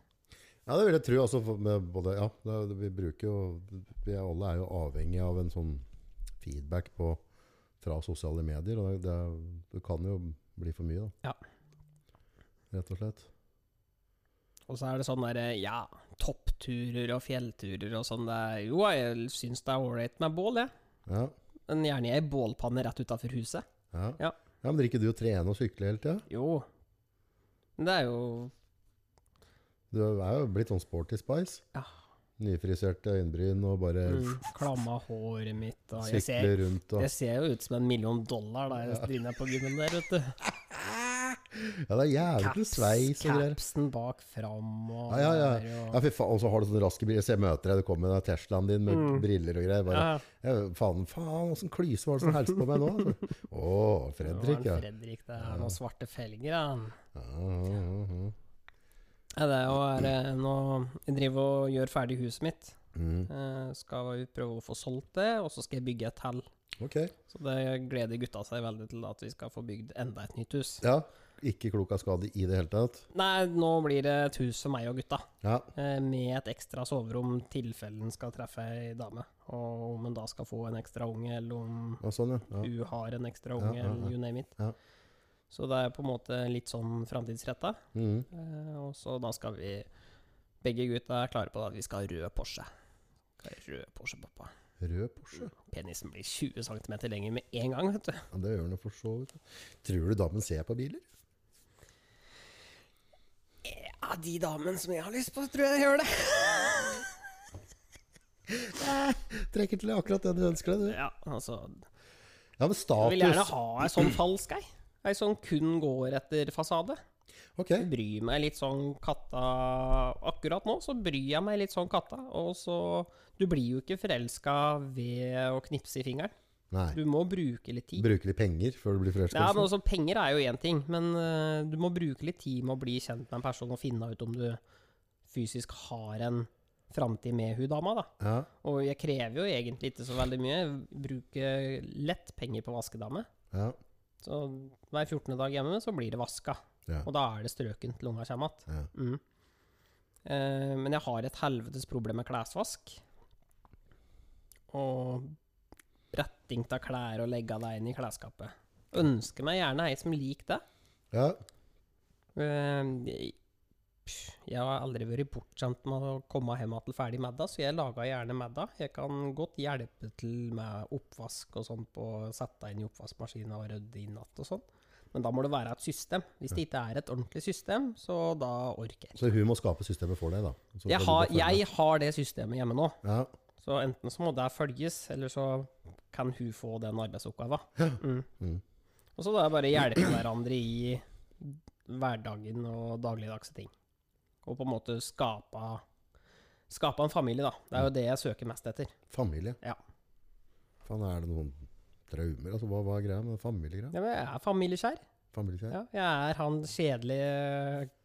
Speaker 1: Ja, det vil jeg tro. Altså, for- med både, ja, det, det- vi bruker jo Vi er alle er jo avhengig av en sånn feedback på, fra sosiale medier. Og det, det, er- det kan jo bli for mye, da.
Speaker 2: Ja.
Speaker 1: Rett og slett.
Speaker 2: Og så er det sånn derre ja, toppturer og fjellturer og sånn. Det er, jo, jeg syns det er ålreit med bål, jeg.
Speaker 1: Ja.
Speaker 2: Men gjerne i ei bålpanne rett utafor huset.
Speaker 1: Ja.
Speaker 2: Ja.
Speaker 1: ja, Men drikker du og trener og sykler hele tida?
Speaker 2: Jo. Men det er jo
Speaker 1: Du er jo blitt sånn sporty spice.
Speaker 2: Ja.
Speaker 1: Nyfriserte øyenbryn og bare
Speaker 2: mm, klamma håret mitt og
Speaker 1: Eh,
Speaker 2: jeg ser,
Speaker 1: sykler rundt og
Speaker 2: jeg ser jo ut som en million dollar da jeg driver på gymmen der, vet du.
Speaker 1: Ja, det er jævlig til sveis og greier.
Speaker 2: capsen bak fram og
Speaker 1: Ja, ja, ja.
Speaker 2: der
Speaker 1: Ja, fy faen, Og så har du sånne raske briller. Så jeg møter deg, du kommer med den Teslaen din med
Speaker 2: Mm.
Speaker 1: briller og greier.
Speaker 2: Og,
Speaker 1: Bare,
Speaker 2: ja,
Speaker 1: Ja, faen, faen, åssen klyse var det som helst på meg nå? altså? Å, Fredrik, ja.
Speaker 2: ja. Fredrik, det er noen svarte felger, han.
Speaker 1: Ja, ja, ja, ja.
Speaker 2: Ja, det er jo er, eh, nå Jeg driver og gjør ferdig huset mitt.
Speaker 1: Mm,
Speaker 2: Eh, skal vi prøve å få solgt det, og så skal jeg bygge et til.
Speaker 1: ok.
Speaker 2: Så det gleder gutta seg veldig til, at vi skal få bygd enda et nytt hus.
Speaker 1: Ja, ikke klok av skade i det hele tatt.
Speaker 2: Nei, nå blir det et hus for meg og gutta,
Speaker 1: Ja,
Speaker 2: eh, med et ekstra soverom tilfellen skal treffe ei dame. Og om hun da skal få en ekstra unge, eller om
Speaker 1: og sånn, ja. ja.
Speaker 2: hun har en ekstra unge,
Speaker 1: Ja, ja, ja.
Speaker 2: eller you name it.
Speaker 1: Ja.
Speaker 2: Så det er på en måte litt sånn framtidsretta.
Speaker 1: Mm,
Speaker 2: Eh, og så da skal vi Begge gutta er klare på at vi skal ha rød Porsche. Skal ha Rød Porsche, pappa.
Speaker 1: Rød Porsche.
Speaker 2: Penisen blir 20 cm lenger med en gang, vet du.
Speaker 1: Ja, det gjør den jo for så vidt. Tror du damen ser på biler?
Speaker 2: Ja, de damene som jeg har lyst på, tror jeg gjør det.
Speaker 1: Trekker til deg akkurat den du ønsker deg, du.
Speaker 2: Ja, altså
Speaker 1: Ja, men
Speaker 2: Jeg vil gjerne
Speaker 1: status
Speaker 2: ha ei sånn falsk ei. Ei som kun går etter fasade.
Speaker 1: Ok.
Speaker 2: Jeg bryr meg litt sånn katta Akkurat nå så bryr jeg meg litt sånn katta. Og så Du blir jo ikke forelska ved å knipse i fingeren.
Speaker 1: Nei.
Speaker 2: Du må bruke litt tid.
Speaker 1: Bruke litt penger før du blir forelsket.
Speaker 2: Ja, men også Penger er jo én ting, men eh, du må bruke litt tid med å bli kjent med en person og finne ut om du fysisk har en framtid med hun dama. da.
Speaker 1: ja.
Speaker 2: Og jeg krever jo egentlig ikke så veldig mye. Bruker lett penger på vaskedame.
Speaker 1: Ja.
Speaker 2: Så hver 14. dag hjemme så blir det vaska.
Speaker 1: Ja.
Speaker 2: Og da er det strøken til unga kommer att.
Speaker 1: Ja.
Speaker 2: Mm. Eh, men jeg har et helvetes problem med klesvask. Og bretting av klær og legge deg inn i klesskapet. Ønsker meg gjerne ei som liker det.
Speaker 1: ja.
Speaker 2: Eh, jeg- pff, jeg har aldri vært bortskjemt med å komme hjem til ferdig middag, så jeg lager gjerne middag. Jeg kan godt hjelpe til med oppvask og sånn, på å sette inn i oppvaskmaskinen og rydde inn igjen og sånn. Men da må det være et system. Hvis det ikke er et ordentlig system, så da orker jeg. ikke.
Speaker 1: Så hun må skape systemet for deg, da. Så
Speaker 2: Jeg
Speaker 1: skal du
Speaker 2: har,
Speaker 1: bare følge med.
Speaker 2: jeg har det systemet hjemme nå,
Speaker 1: ja.
Speaker 2: så enten så må det følges, eller så kan hun få den arbeidsoppgaven. Mm.
Speaker 1: Mm.
Speaker 2: Og så da er det bare hjelpe hverandre i hverdagen og dagligdagse ting. Og på en måte skape, skape en familie, da. Det er jo det jeg søker mest etter.
Speaker 1: Familie.
Speaker 2: Ja.
Speaker 1: Faen, er det noen traumer? Altså, hva, hva er greia med familiegreia?
Speaker 2: Ja, men jeg er familieskjær.
Speaker 1: Familiekjær?
Speaker 2: Ja, jeg er han kjedelige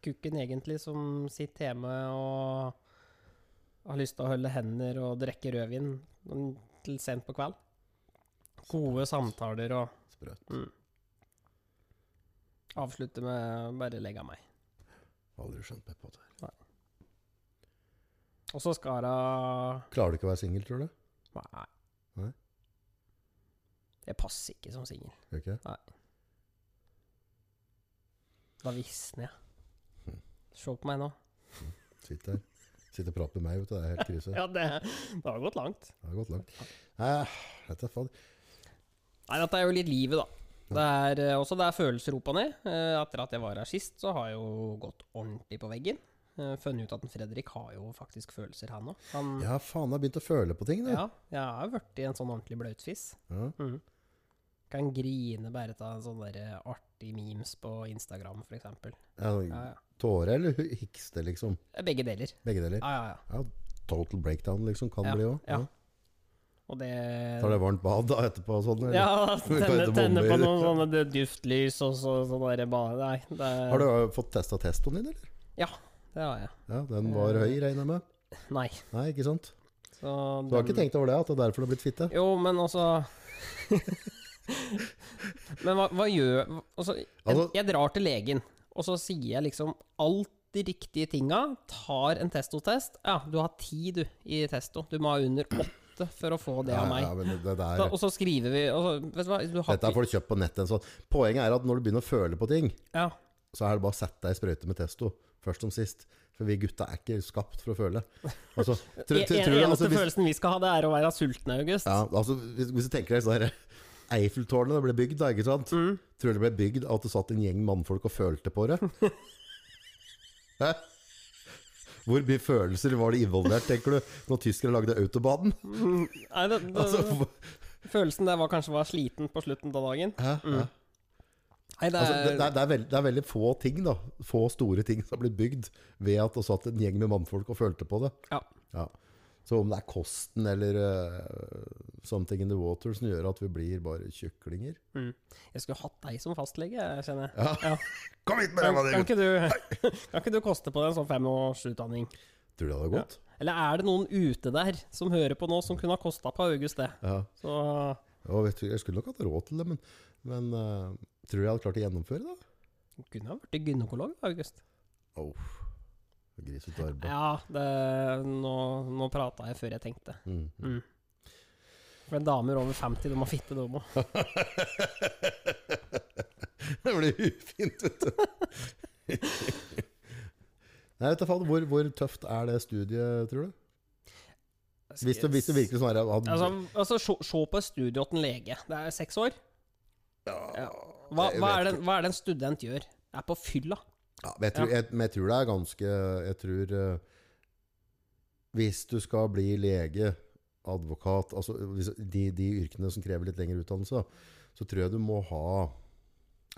Speaker 2: kukken egentlig som sitter hjemme og har lyst til å holde hender og drikke rødvin til sent på kveld. Gode samtaler og
Speaker 1: Sprøtt.
Speaker 2: avslutte med bare legge av meg.
Speaker 1: Aldri skjønt meg på det.
Speaker 2: Og så skal hun
Speaker 1: Klarer du ikke å være singel, tror du?
Speaker 2: Nei.
Speaker 1: Nei?
Speaker 2: Jeg passer ikke som singel.
Speaker 1: Gjør ikke? det?
Speaker 2: Da visner jeg.
Speaker 1: Mhm.
Speaker 2: Se på meg nå.
Speaker 1: Sitter her. Sitter og prater med meg, vet du. Det er helt krise.
Speaker 2: Ja, det, det har gått langt.
Speaker 1: Det har gått langt. Eh, dette er faen.
Speaker 2: Nei, dette er jo litt livet, da. Det er eh, også det er følelser opp og ned. Eh, Etter at jeg var her sist, så har jeg jo gått ordentlig på veggen. Eh, Funnet ut at en Fredrik har jo faktisk følelser, han òg. Han
Speaker 1: Ja, faen, jeg har begynt å føle på ting, du.
Speaker 2: Ja, jeg har vært i en sånn ordentlig bløtfis.
Speaker 1: Ja.
Speaker 2: Mm. Kan grine bare av en sånn der artig memes på Instagram, for eksempel. Ja,
Speaker 1: Ja,
Speaker 2: ja. Eh,
Speaker 1: Tåre eller hu- hikste, liksom?
Speaker 2: Begge deler.
Speaker 1: Begge deler.
Speaker 2: Ja, ja, ja.
Speaker 1: Ja, total breakdown, liksom, kan
Speaker 2: Ja,
Speaker 1: bli òg.
Speaker 2: ja. Og det
Speaker 1: Tar det varmt bad da etterpå og sånn? eller?
Speaker 2: Ja,
Speaker 1: Vi kan
Speaker 2: tenne,
Speaker 1: ikke bombe
Speaker 2: tenne på
Speaker 1: i det.
Speaker 2: noen sånne d- duftlys og så, sånn derre bare Nei, det,
Speaker 1: Har du eh, fått testa testoen din, eller?
Speaker 2: det har jeg.
Speaker 1: Ja, den var
Speaker 2: Eh.
Speaker 1: høy, regner jeg med.
Speaker 2: Nei.
Speaker 1: Nei, ikke sant?
Speaker 2: Så
Speaker 1: Du har ikke tenkt over det, at det er derfor du har blitt fitte?
Speaker 2: Jo, men altså Men hva, hva gjør altså, jeg,
Speaker 1: Altså-
Speaker 2: jeg drar til legen, og så sier jeg liksom alt de riktige tinga. Tar en testotest. Ja, du har ti, du, i testo. Du må ha under åtte for å få det av meg.
Speaker 1: Ja, men det, det
Speaker 2: Så,
Speaker 1: er,
Speaker 2: og så skriver vi og så, Vet du hva, du har
Speaker 1: dette er
Speaker 2: ikke
Speaker 1: folk kjøpt på nettet. Så poenget er at når du begynner å føle på ting,
Speaker 2: ja,
Speaker 1: så er det bare å sette deg i sprøyte med testo, først som sist. For vi gutta er ikke skapt for å føle. Altså, tr tr
Speaker 2: E- En-
Speaker 1: tror du,
Speaker 2: Eneste
Speaker 1: altså, hvis,
Speaker 2: følelsen vi skal ha, det er å være sulten i august.
Speaker 1: ja, altså, hvis, hvis du tenker deg sånn her, Eiffeltårnet det ble bygd, da, ikke sant?
Speaker 2: Mm.
Speaker 1: Tror du det ble bygd av at det satt en gjeng mannfolk og følte på det? Hæ? Hvor mye følelser var det involvert, tenker du, når tyskere lagde autobanen?
Speaker 2: Nei, det, det,
Speaker 1: Altså,
Speaker 2: Følelsen der var kanskje var sliten på slutten av dagen.
Speaker 1: hæ? Hæ?
Speaker 2: Nei, det er,
Speaker 1: Altså, det, det, er, det, er veld, det er veldig få ting, da. Få store ting som blir bygd ved at det satt en gjeng med mannfolk og følte på det.
Speaker 2: Ja.
Speaker 1: Ja. Så om det er kosten eller eh, something in the water som gjør at vi blir bare kjøklinger
Speaker 2: Jeg skulle hatt deg som fastlege, jeg kjenner jeg.
Speaker 1: Ja.
Speaker 2: Ja.
Speaker 1: Kom hit
Speaker 2: Kan,
Speaker 1: ræva di,
Speaker 2: kan,
Speaker 1: gutt!
Speaker 2: ikke du, kan ikke du koste på deg en sånn femårsutdanning?
Speaker 1: Tror du det hadde gått?
Speaker 2: Eller er det noen ute der som hører på nå, som kunne ha kosta på August det?
Speaker 1: Ja.
Speaker 2: Så
Speaker 1: Ja, vet du, jeg skulle nok hatt råd til det, men, men eh, tror du jeg hadde klart å gjennomføre det?
Speaker 2: du kunne ha blitt gynekolog, August.
Speaker 1: Oh, Grisete arbeid.
Speaker 2: Ja, det, nå, nå prata jeg før jeg tenkte.
Speaker 1: Mm.
Speaker 2: Mm. For damer over 50, de har fitte, de òg.
Speaker 1: det blir ufint, vet du. Nei, vet du, faen, hvor, hvor tøft er det studiet, tror du? Hvis du, hvis du virkelig sånn her hadde,
Speaker 2: Altså, altså se, se på et studio til en lege. Det er seks år.
Speaker 1: ja,
Speaker 2: Hva,
Speaker 1: jeg
Speaker 2: hva,
Speaker 1: vet
Speaker 2: er det,
Speaker 1: ikke.
Speaker 2: hva er det en student gjør? Er på fylla.
Speaker 1: Ja, men jeg tror, jeg, men jeg tror det er ganske Jeg tror eh, Hvis du skal bli lege, advokat altså hvis, de, de yrkene som krever litt lengre utdannelse, da, så tror jeg du må ha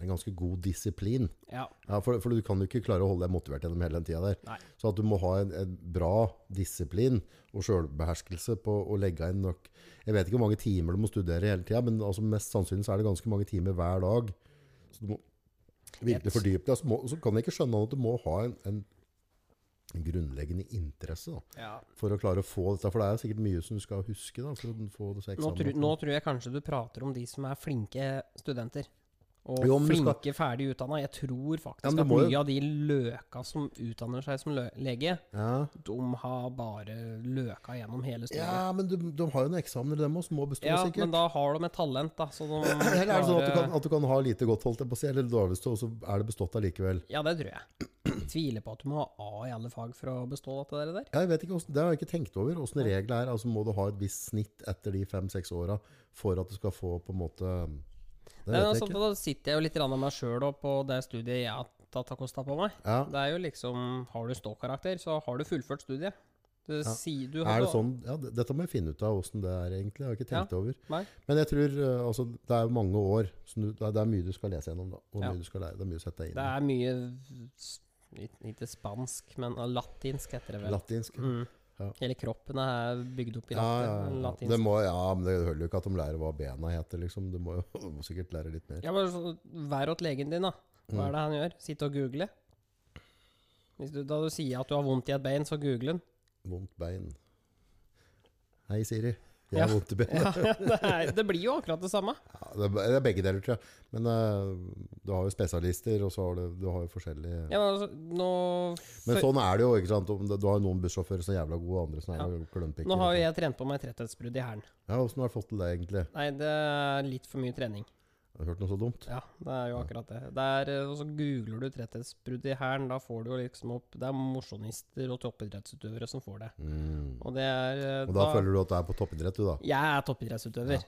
Speaker 1: en ganske god disiplin.
Speaker 2: Ja.
Speaker 1: Ja, for, for du kan jo ikke klare å holde deg motivert gjennom hele den tida der.
Speaker 2: Nei.
Speaker 1: Så at du må ha en, en bra disiplin og sjølbeherskelse på å legge inn nok Jeg vet ikke hvor mange timer du må studere hele tida, men altså mest sannsynlig så er det ganske mange timer hver dag. Så du må virkelig
Speaker 2: Jeg-
Speaker 1: fordype deg. Så, må, så kan jeg ikke skjønne at du må ha en, en, en grunnleggende interesse da,
Speaker 2: ja.
Speaker 1: for å klare å få dette. For det er sikkert mye som du skal huske da, for å få disse
Speaker 2: Nå, tru,
Speaker 1: eksamen.
Speaker 2: nå tror jeg kanskje du prater om de som er flinke studenter. Og
Speaker 1: Jo, men du skal-
Speaker 2: flinke, ferdig utdanna. Jeg tror faktisk
Speaker 1: Ja, men du
Speaker 2: at
Speaker 1: må jo-
Speaker 2: mye av de løka som utdanner seg som lø lege,
Speaker 1: Ja.
Speaker 2: de har bare løka gjennom hele
Speaker 1: ja,
Speaker 2: studiet.
Speaker 1: men du, de har jo noen eksamener, dem også, må bestå
Speaker 2: Ja,
Speaker 1: sikkert.
Speaker 2: men da har de et talent, da. Så de
Speaker 1: Eller er det sånn at du
Speaker 2: klarer-
Speaker 1: kan, at du kan ha lite godt, holdt jeg på å si, eller dårlig stå, og så er det bestått allikevel?
Speaker 2: Ja, det tror jeg. Jeg tviler på at du må ha A i alle fag for å bestå dette der. der.
Speaker 1: Ja, Jeg vet ikke, hvordan- det har jeg ikke tenkt over, åssen reglene er. Altså Må du ha et visst snitt etter de fem-seks åra for at du skal få på en måte mm, Det
Speaker 2: Men,
Speaker 1: vet jeg
Speaker 2: altså,
Speaker 1: ikke.
Speaker 2: da sitter jeg jo litt grann av meg sjøl på det studiet jeg har tatt av kosta på meg.
Speaker 1: Ja,
Speaker 2: Det er jo liksom Har du ståkarakter, så har du fullført studiet. Du, sier- du har
Speaker 1: er det
Speaker 2: da-
Speaker 1: sånn? Ja, det- dette må jeg finne ut av åssen det er, egentlig. Jeg har ikke tenkt over.
Speaker 2: Nei.
Speaker 1: Men jeg tror eh, altså, det er jo mange år. Så du, det er- det er mye du skal lese gjennom, da. Og
Speaker 2: Ja.
Speaker 1: mye du skal lære, det er mye å sette deg inn
Speaker 2: Det
Speaker 1: i.
Speaker 2: er mye s- ik- Ikke spansk, men latinsk heter det vel.
Speaker 1: Latinsk.
Speaker 2: Mm.
Speaker 1: Ja.
Speaker 2: Hele kroppen er bygd opp i
Speaker 1: Ja,
Speaker 2: latin.
Speaker 1: ja, ja.
Speaker 2: latinsk.
Speaker 1: Det må, ja, men det holder jo ikke at de lærer hva bena heter, liksom. Du må jo du må Mm. sikkert lære litt mer.
Speaker 2: Ja, men så, Vær åt legen din, da. Hva er det han gjør? Sitte og google? Hvis du, da du sier at du har vondt i et bein, så google den.
Speaker 1: Vondt bein. Hei, Siri. Jeg
Speaker 2: Ja.
Speaker 1: har vondt i beinet.
Speaker 2: Ja, det, er, det blir jo akkurat det samme.
Speaker 1: Ja, det, er- det er begge deler, tror jeg. Men eh, du har jo spesialister, og så har du, du har jo forskjellige
Speaker 2: Ja, men altså, nå,
Speaker 1: Men
Speaker 2: for-
Speaker 1: sånn er det jo. ikke sant? Om det- Du har jo noen bussjåfører som er jævla gode, og andre som er
Speaker 2: Ja.
Speaker 1: jævla klønpikker.
Speaker 2: nå har jo jeg trent på meg tretthetsbrudd i hælen.
Speaker 1: Ja, Åssen har du fått til det, egentlig?
Speaker 2: Nei, det er litt for mye trening.
Speaker 1: Har du hørt noe så dumt?
Speaker 2: Ja, det er jo akkurat det. det er, eh, og så googler du tretthetsbrudd i hæren, da får du jo liksom opp Det er mosjonister og toppidrettsutøvere som får det.
Speaker 1: Mm.
Speaker 2: Og det er eh,
Speaker 1: Og da føler du at du er på toppidrett, du, da?
Speaker 2: Jeg er toppidrettsutøver.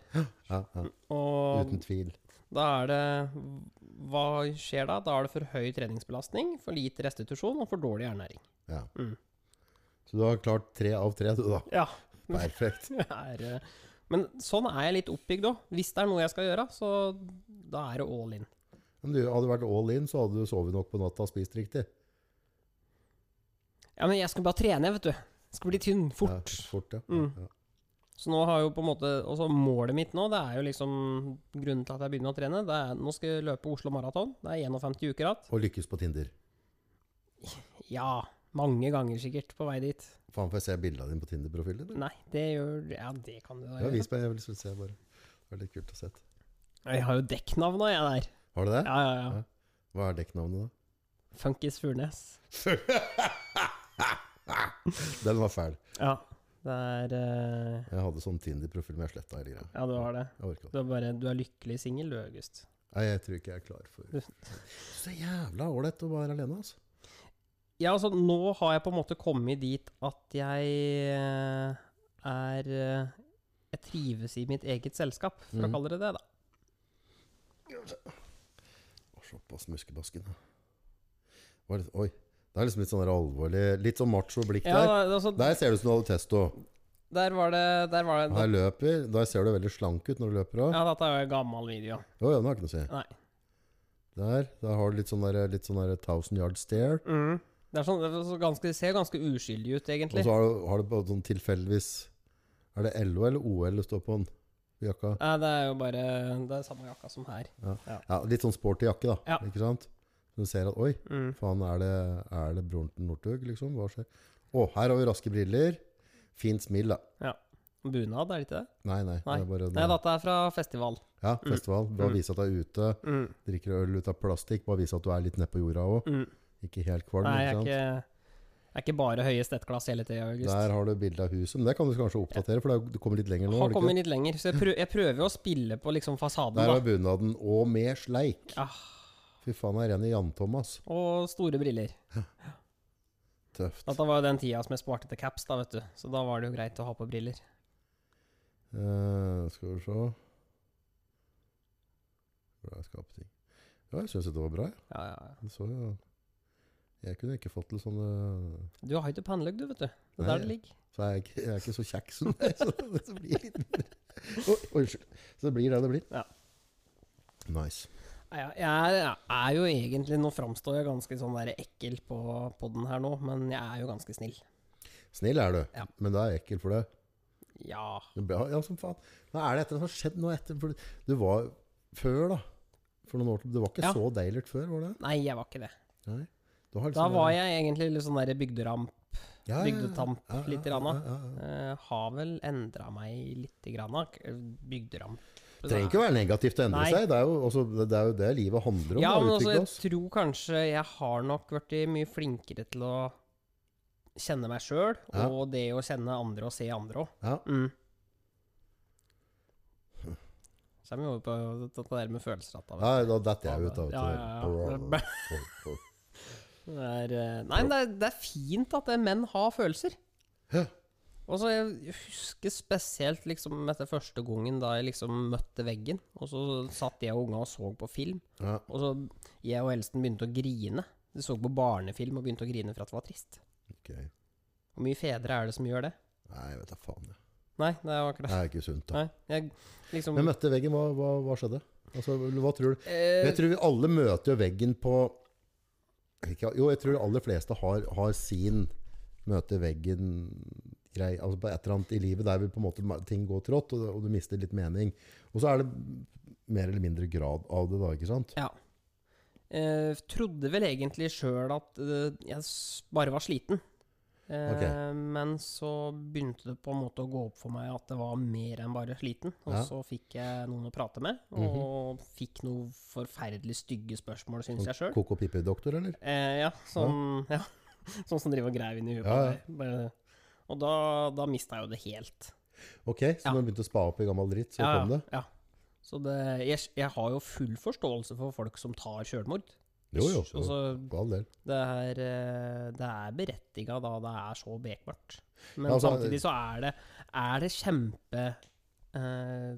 Speaker 1: Ja, ja.
Speaker 2: Og
Speaker 1: Uten tvil.
Speaker 2: da er det Hva skjer da? Da er det for høy treningsbelastning, for lite restitusjon og for dårlig ernæring.
Speaker 1: Ja.
Speaker 2: Mm.
Speaker 1: Så du har klart tre av tre, du, da.
Speaker 2: Ja.
Speaker 1: Perfekt.
Speaker 2: det er, eh, men sånn er jeg litt oppbygd òg. Hvis det er noe jeg skal gjøre, så da er det all in.
Speaker 1: Men du, hadde du vært all in, så hadde du sovet nok på natta og spist riktig.
Speaker 2: Ja, men jeg skal bare trene, vet du. Jeg skal bli tynn fort.
Speaker 1: Ja, fort ja.
Speaker 2: Mm.
Speaker 1: ja.
Speaker 2: Så nå har jo på en måte Og så målet mitt nå, det er jo liksom Grunnen til at jeg begynner å trene, det er nå skal jeg løpe Oslo Maraton. Det er 51 uker igjen.
Speaker 1: Og lykkes på Tinder.
Speaker 2: Ja, mange ganger sikkert på vei dit.
Speaker 1: Faen, får jeg se bildene dine på Tinder-profilen? din, eller?
Speaker 2: Nei, det gjør Ja, det kan du da
Speaker 1: Ja,
Speaker 2: gjøre.
Speaker 1: vis meg, jeg vil se bare. Det var litt kult å se.
Speaker 2: Jeg har jo dekknavna, jeg der.
Speaker 1: Har du det?
Speaker 2: Ja, ja, ja.
Speaker 1: Hva er dekknavnet da?
Speaker 2: Funkis Furnes.
Speaker 1: Den var fæl.
Speaker 2: Ja. Det er eh,
Speaker 1: Jeg hadde sånn Tinder-profil, men jeg sletta hele greia.
Speaker 2: Ja, du har det.
Speaker 1: Jeg orka det.
Speaker 2: Du er bare Du er lykkelig singel, du, August.
Speaker 1: Nei, jeg tror ikke jeg er klar for Så jævla ålreit å være alene, altså.
Speaker 2: Ja, altså, nå har jeg på en måte kommet dit at jeg eh, er eh, Jeg trives i mitt eget selskap, for å
Speaker 1: Mhm.
Speaker 2: kalle det det, da.
Speaker 1: Å, Såpass muskebasken. da. Hva er det? Oi. Det er liksom litt sånn der alvorlig Litt sånn macho blikk
Speaker 2: Ja,
Speaker 1: der.
Speaker 2: da- altså, der.
Speaker 1: Der ser du ut som du hadde testo.
Speaker 2: var det, der var det
Speaker 1: Her løper. Der ser du veldig slank ut når du løper òg.
Speaker 2: Ja, dette er jo en gammel video.
Speaker 1: Jo, ja, det har ikke noe å si.
Speaker 2: Nei.
Speaker 1: Der, der har du litt sånn der, litt sånn der thousand yard stare.
Speaker 2: Det, er sånn, det, er så ganske, det ser ganske uskyldig ut,
Speaker 1: Og
Speaker 2: egentlig.
Speaker 1: så har du, har du bare sånn tilfeldigvis Er det LO eller OL det står på den jakka?
Speaker 2: Nei, det er jo bare Det er samme jakka som her.
Speaker 1: Ja, litt sånn sporty jakke, da.
Speaker 2: Ja.
Speaker 1: Ikke sant? Så du ser at Oi,
Speaker 2: Mm.
Speaker 1: faen, er det, er det broren til Northug, liksom? Hva skjer? Å, her har vi raske briller. Fint smil, da.
Speaker 2: Bunad, er det ikke det?
Speaker 1: Nei, nei.
Speaker 2: Nei.
Speaker 1: Det er bare en,
Speaker 2: Nei, dette er fra festival.
Speaker 1: Ja, festival. Bare
Speaker 2: Mm.
Speaker 1: vise at du er ute.
Speaker 2: Mm.
Speaker 1: Drikker øl ut av plastikk. Bare vise at du er litt nedpå jorda òg.
Speaker 2: Mm.
Speaker 1: Ikke helt kvalm.
Speaker 2: Nei, jeg
Speaker 1: ikke
Speaker 2: er
Speaker 1: sant?
Speaker 2: ikke, jeg er ikke bare høye stettglass hele tida, August.
Speaker 1: Der har du bilde av huset. Men det kan du kanskje oppdatere, for det er- du kommer litt lenger nå. har
Speaker 2: har
Speaker 1: du
Speaker 2: kommet
Speaker 1: ikke det?
Speaker 2: litt lenger, så jeg, prøv, jeg prøver jo å spille på liksom fasaden,
Speaker 1: Der var
Speaker 2: da.
Speaker 1: bunaden. Og med sleik.
Speaker 2: Ah.
Speaker 1: Fy faen, jeg er ren i Jan Thomas.
Speaker 2: Og store briller.
Speaker 1: Tøft.
Speaker 2: Dette var jo den tida som jeg sparte til caps, da, vet du. Så da var det jo greit å ha på briller.
Speaker 1: Eh, skal vi se Hvor er skapting? Ja, jeg syns dette var bra. jeg.
Speaker 2: Ja, ja, ja.
Speaker 1: Jeg, så, ja. jeg kunne ikke fått til sånne
Speaker 2: Du har ikke pannelugg, du, vet du. Det er
Speaker 1: Nei.
Speaker 2: der det ligger.
Speaker 1: Så er jeg, ikke- jeg er ikke så kjekk som deg, så det blir litt Oi, Unnskyld. Så det blir det det blir.
Speaker 2: Ja.
Speaker 1: Nice.
Speaker 2: Nei, ja, Jeg er, er jo egentlig Nå framstår jeg ganske sånn der ekkel på podden her nå, men jeg er jo ganske snill.
Speaker 1: Snill er du,
Speaker 2: Ja.
Speaker 1: men det er ekkel for deg.
Speaker 2: Ja.
Speaker 1: Ja, ja, som faen. Hva er det etter det som har skjedd nå etter? For du var før, da. For noen år til. Det var ikke
Speaker 2: Ja.
Speaker 1: så deilert før, var det?
Speaker 2: Nei, jeg var ikke det.
Speaker 1: Nei. Du har
Speaker 2: Da
Speaker 1: liksom-
Speaker 2: var jeg egentlig litt sånn der bygderamp.
Speaker 1: Ja, ja, ja.
Speaker 2: bygdetamp
Speaker 1: Ja, ja,
Speaker 2: litt
Speaker 1: ja,
Speaker 2: grann, da.
Speaker 1: ja, ja, ja.
Speaker 2: Eh, har vel endra meg lite grann. da. Bygderamp
Speaker 1: Det trenger ikke være negativt å endre
Speaker 2: Nei.
Speaker 1: seg. Det er, jo, altså, det det er jo det livet handler om.
Speaker 2: Ja,
Speaker 1: da,
Speaker 2: men
Speaker 1: å
Speaker 2: altså,
Speaker 1: utvikle
Speaker 2: jeg
Speaker 1: oss.
Speaker 2: tror kanskje jeg har nok blitt mye flinkere til å kjenne meg sjøl,
Speaker 1: Ja.
Speaker 2: og det å kjenne andre og se andre òg.
Speaker 1: Ja. Hm.
Speaker 2: Mm. Så er vi over på dette der med følelser. at da, vet
Speaker 1: Ja, da detter jeg ut, da.
Speaker 2: Ja, ja, ja.
Speaker 1: vet du.
Speaker 2: du. Det er, eh, nei, men det er, det er fint at eh, menn har følelser.
Speaker 1: Ja.
Speaker 2: Og så Jeg husker spesielt liksom etter første gangen da jeg liksom møtte veggen. Og så satt jeg og unga og så på film.
Speaker 1: Ja.
Speaker 2: Og så jeg og Elsten begynte å grine. De så på barnefilm og begynte å grine for at det var trist.
Speaker 1: ok.
Speaker 2: Hvor mye fedre er det som gjør det?
Speaker 1: Nei, jeg vet da faen. jeg.
Speaker 2: Nei, det var akkurat
Speaker 1: Det er ikke sunt, da.
Speaker 2: Nei, jeg liksom
Speaker 1: Men møtte veggen, hva, hva, hva skjedde? Altså, hva tror du?
Speaker 2: eh,
Speaker 1: Jeg tror vi alle møter jo veggen på ikke, Jo, jeg tror de aller fleste har, har sin møte veggen grei, altså på et eller annet i livet der vi på en måte ting går trått, og, og du mister litt mening. Og så er det mer eller mindre grad av det, da, ikke sant?
Speaker 2: Ja. Eh, trodde vel egentlig sjøl at eh, jeg s- bare var sliten. Eh,
Speaker 1: Ok.
Speaker 2: Men så begynte det på en måte å gå opp for meg at det var mer enn bare sliten. Og
Speaker 1: Ja. Mhm.
Speaker 2: så fikk jeg noen å prate med, og fikk noen forferdelig stygge spørsmål, syns jeg sjøl.
Speaker 1: Koko Pippi-doktor, eller?
Speaker 2: Eh, ja, sånn, ja. sånn som driver og graver inn i huet
Speaker 1: Ja, ja.
Speaker 2: på deg. Bare- Og da, da mista jeg jo det helt.
Speaker 1: Ok, så
Speaker 2: Ja.
Speaker 1: når du begynte å spa opp i gammel dritt, så
Speaker 2: Ja,
Speaker 1: kom det?
Speaker 2: Ja. Så det, jeg, jeg har jo full forståelse for folk som tar sjølmord.
Speaker 1: Jo, jo. jo.
Speaker 2: Altså,
Speaker 1: For all del.
Speaker 2: Det er, eh, det er berettiga da det er så bekmørkt. Men
Speaker 1: Ja, altså,
Speaker 2: samtidig så er det, er det kjempe eh,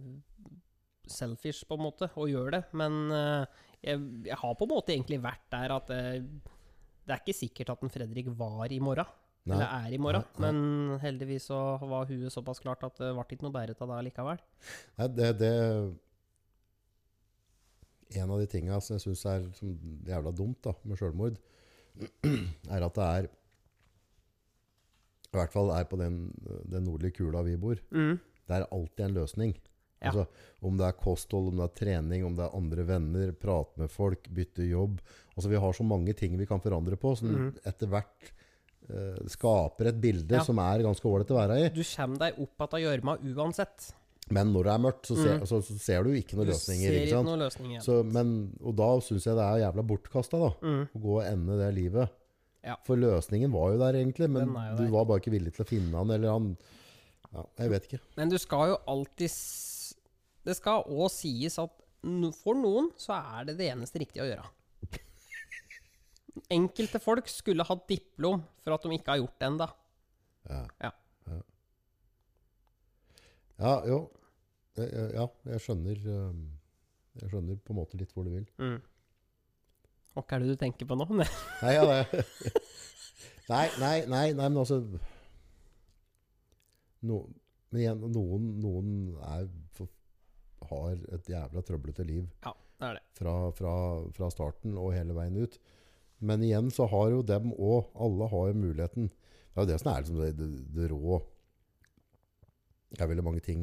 Speaker 2: selfish, på en måte, å gjøre det. Men eh, jeg, jeg har på en måte egentlig vært der at eh, det er ikke sikkert at en Fredrik var i morgen.
Speaker 1: Nei.
Speaker 2: Eller er i morgen.
Speaker 1: Nei,
Speaker 2: Men heldigvis så var huet såpass klart at det ble ikke noe bedre av det likevel.
Speaker 1: Nei, det, det En av de tinga som jeg syns er som jævla dumt da, med sjølmord, er at det er I hvert fall er på den, den nordlige kula vi bor.
Speaker 2: Mm.
Speaker 1: Det er alltid en løsning.
Speaker 2: Ja.
Speaker 1: Altså, om det er kosthold, om det er trening, om det er andre venner, prate med folk, bytte jobb Altså, Vi har så mange ting vi kan forandre på, som
Speaker 2: Mhm.
Speaker 1: etter hvert eh, skaper et bilde
Speaker 2: Ja.
Speaker 1: som er ganske ålreit å være i.
Speaker 2: Du kommer deg opp igjen av gjørma uansett.
Speaker 1: Men når det er mørkt, så ser,
Speaker 2: Mhm.
Speaker 1: så, så ser du ikke
Speaker 2: Du
Speaker 1: noen løsninger.
Speaker 2: ser
Speaker 1: ikke sant?
Speaker 2: ikke noen løsninger.
Speaker 1: Så, men, og da syns jeg det er jævla bortkasta, da.
Speaker 2: Mm.
Speaker 1: Å gå og ende det livet.
Speaker 2: Ja.
Speaker 1: For løsningen var jo der, egentlig, men
Speaker 2: Den er jo
Speaker 1: du
Speaker 2: der.
Speaker 1: var bare ikke villig til å finne han, eller han ja, Jeg vet ikke.
Speaker 2: Men du skal jo alltid s- Det skal òg sies at no- for noen så er det det eneste riktige å gjøre. Enkelte folk skulle hatt diplom for at de ikke har gjort det ennå.
Speaker 1: Ja.
Speaker 2: Ja.
Speaker 1: ja. Ja, jo. Jeg- jeg- Ja, jeg skjønner um, Jeg skjønner på en måte litt hvor du vil.
Speaker 2: Mm. Hva er det du tenker på nå? Nei.
Speaker 1: Nei, ja, det. nei, nei, nei, nei, men altså no, Men igjen, noen, noen er, har et jævla trøblete liv.
Speaker 2: Ja, det er det.
Speaker 1: fra, fra, fra starten og hele veien ut. Men igjen så har jo dem òg Alle har jo muligheten. Det er jo det som er liksom det, det, det rå Det er veldig mange ting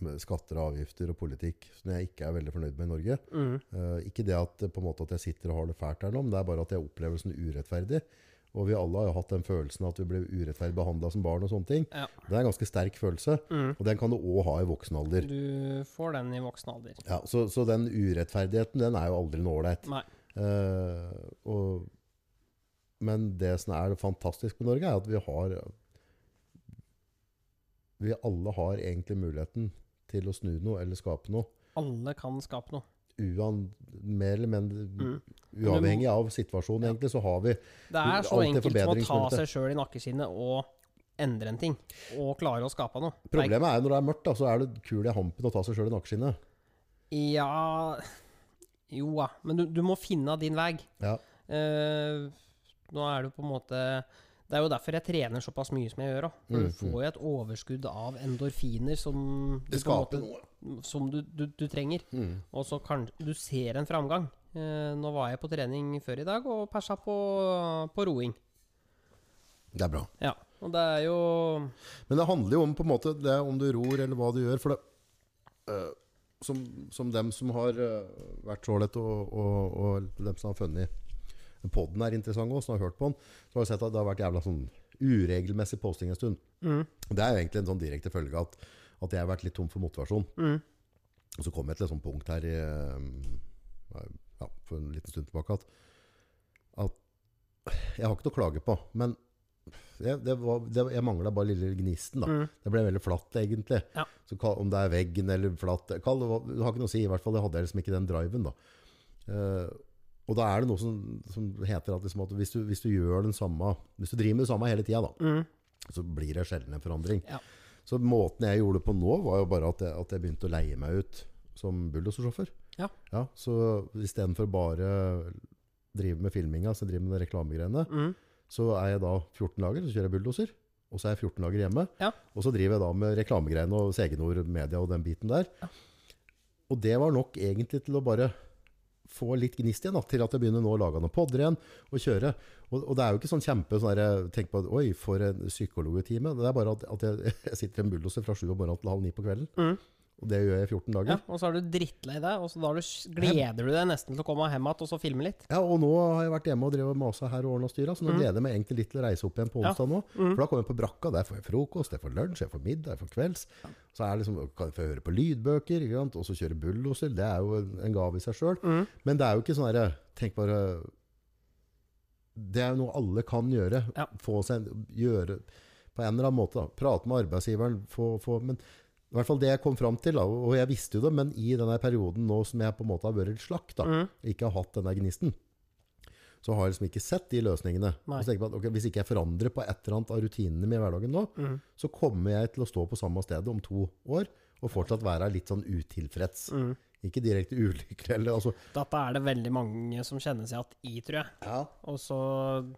Speaker 1: med skatter og avgifter og politikk som jeg ikke er veldig fornøyd med i Norge.
Speaker 2: Mm.
Speaker 1: Eh, ikke det at, eh, på en måte at jeg sitter og har det fælt her nå, men det er bare at jeg opplever det som urettferdig. Og vi alle har jo hatt den følelsen at vi ble urettferdig behandla som barn. og sånne ting.
Speaker 2: Ja.
Speaker 1: Det er en ganske sterk følelse,
Speaker 2: Mm.
Speaker 1: og den kan du òg ha i voksen alder.
Speaker 2: Du får den i voksen alder.
Speaker 1: Ja, så, så den urettferdigheten, den er jo aldri noe ålreit.
Speaker 2: Nei.
Speaker 1: Eh, og- men det som er fantastisk med Norge, er at vi har Vi alle har egentlig muligheten til å snu noe eller skape noe.
Speaker 2: Alle kan skape noe.
Speaker 1: uan, mer eller mindre
Speaker 2: Mm.
Speaker 1: uavhengig av situasjonen, egentlig, så har vi
Speaker 2: Det er så
Speaker 1: Alt er
Speaker 2: enkelt som å ta
Speaker 1: forbedringsmuligheter.
Speaker 2: seg sjøl i nakkeskinnet og endre en ting. Og klare å skape noe. Det er
Speaker 1: Problemet er jo når det er mørkt, da, så er det kul i hampen å ta seg sjøl i nakkeskinnet.
Speaker 2: Ja Jo da, men du, du må finne din vei.
Speaker 1: Ja.
Speaker 2: Eh, nå er det jo på en måte Det er jo derfor jeg trener såpass mye som jeg gjør. Da. For
Speaker 1: Mm,
Speaker 2: Du får jo et overskudd av endorfiner som du,
Speaker 1: Det
Speaker 2: på en
Speaker 1: skaper
Speaker 2: måte,
Speaker 1: noe.
Speaker 2: som du, du, du trenger.
Speaker 1: Mm.
Speaker 2: Og så kan du ser en framgang. Eh, nå var jeg på trening før i dag og persa på, på roing.
Speaker 1: Det er bra.
Speaker 2: Ja, og det er jo
Speaker 1: Men det handler jo om på en måte det om du ror eller hva du gjør. For det, øh, som, som dem som har øh, vært så lett, og, og, og dem som har funnet podden er interessant også, som har hørt på den, så har vi sett at det har vært jævla sånn uregelmessig posting en stund.
Speaker 2: mm,
Speaker 1: Og Det er jo egentlig en sånn direkte følge av at, at jeg har vært litt tom for motivasjon.
Speaker 2: mm,
Speaker 1: Og så kom jeg til et sånt punkt her i, eh, ja, for en liten stund tilbake at, at jeg har ikke noe å klage på, men jeg, det var, det, jeg manglet bare lille gnisten da.
Speaker 2: Mm.
Speaker 1: Det ble veldig flatt egentlig.
Speaker 2: Ja.
Speaker 1: Så kall, om det er veggen eller flatt, kall det, hva- det har ikke noe å si. I hvert fall jeg hadde liksom ikke den driven da. Eh, og da er det noe som, som heter at, liksom, at hvis, du, hvis du gjør den samme, hvis du driver med det samme hele tiden da,
Speaker 2: mm.
Speaker 1: så blir det sjelden en forandring.
Speaker 2: Ja.
Speaker 1: Så måten jeg gjorde det på nå, var jo bare at jeg, at jeg begynte å leie meg ut som bulldosersjåfør.
Speaker 2: Ja.
Speaker 1: Ja, så istedenfor bare drive med filminga, så driver jeg med de reklamegreiene,
Speaker 2: Mm.
Speaker 1: så er jeg da 14 dager, så kjører jeg bulldoser. Og så er jeg 14 dager hjemme.
Speaker 2: Ja.
Speaker 1: Og så driver jeg da med reklamegreiene og Segenord Media og den biten der. Og det var nok egentlig til å bare få litt gnist igjen, da, til at jeg begynner nå å lage noen podder igjen og kjøre. Og, og det er jo ikke sånn kjempe sånn der, Tenk på at oi, for en psykologtime. Det er bare at, at jeg, jeg sitter i en bulldoser fra sju om morgenen til halv ni på kvelden.
Speaker 2: Mhm.
Speaker 1: Og det gjør jeg i 14
Speaker 2: Ja,
Speaker 1: dager. Ja.
Speaker 2: og så er du drittlei deg, og så da er du, gleder du deg nesten til å komme hjem igjen og så filme litt.
Speaker 1: og nå har jeg vært hjemme og drevet og masa her og ordna styra, så nå gleder jeg meg egentlig litt til å reise opp igjen på
Speaker 2: Mm. Ja. Mm.
Speaker 1: onsdag nå. For da kommer jeg på brakka, der får jeg frokost, jeg får lunsj, jeg får middag, jeg får kvelds. Så er det liksom, kan jeg få høre på lydbøker, ikke sant? og så kjøre bulldoser. Det er jo en- en gave i seg sjøl.
Speaker 2: Mhm.
Speaker 1: Men det er jo ikke sånn herre Tenk bare Det er jo noe alle kan gjøre.
Speaker 2: Ja.
Speaker 1: Få seg en- Gjøre på en eller annen måte. Da. Prate med arbeidsgiveren. Få, få, men i hvert fall det jeg kom fram til, da, og jeg visste jo det, men i denne perioden nå som jeg på en måte har vært litt slakk, da,
Speaker 2: Mm.
Speaker 1: ikke har hatt den der gnisten, så har jeg liksom ikke sett de løsningene.
Speaker 2: Nei.
Speaker 1: Og så tenker jeg på at ok, Hvis ikke jeg forandrer på et eller annet av rutinene mine i hverdagen nå,
Speaker 2: Mm.
Speaker 1: så kommer jeg til å stå på samme sted om to år og fortsatt være litt sånn utilfreds.
Speaker 2: Mm.
Speaker 1: Ikke direkte ulykkelig. Eller, altså,
Speaker 2: Dette er det veldig mange som kjenner seg igjen i, tror jeg. Og så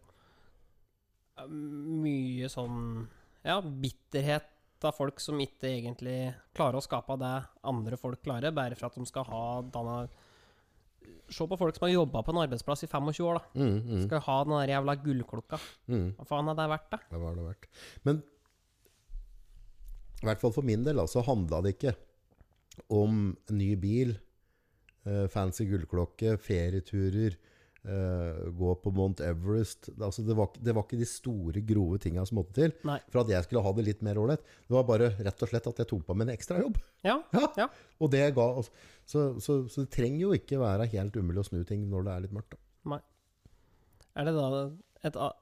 Speaker 2: eh, mye sånn ja, bitterhet av folk som ikke egentlig klarer å skape det andre folk klarer, bare for at de skal ha denne Se på folk som har jobba på en arbeidsplass i 25 år, da.
Speaker 1: Mm, mm,
Speaker 2: Skal ha den der jævla gullklokka.
Speaker 1: mm.
Speaker 2: Hva faen er det verdt, da?
Speaker 1: Ja, hva har det vært? Men i hvert fall for min del da, så handla det ikke om ny bil, eh, fancy gullklokke, ferieturer, eh, gå på Mount Everest. Det- Altså, det, var, ikke- det var ikke de store, grove tinga som måtte til
Speaker 2: Nei.
Speaker 1: for at jeg skulle ha det litt mer ålreit. Det var bare rett og slett at jeg tok på meg en ekstrajobb.
Speaker 2: Ja,
Speaker 1: Ja.
Speaker 2: ja.
Speaker 1: Og det ga, altså, så, så, så det trenger jo ikke være helt umulig å snu ting når det er litt mørkt. Da.
Speaker 2: Er det da et, a-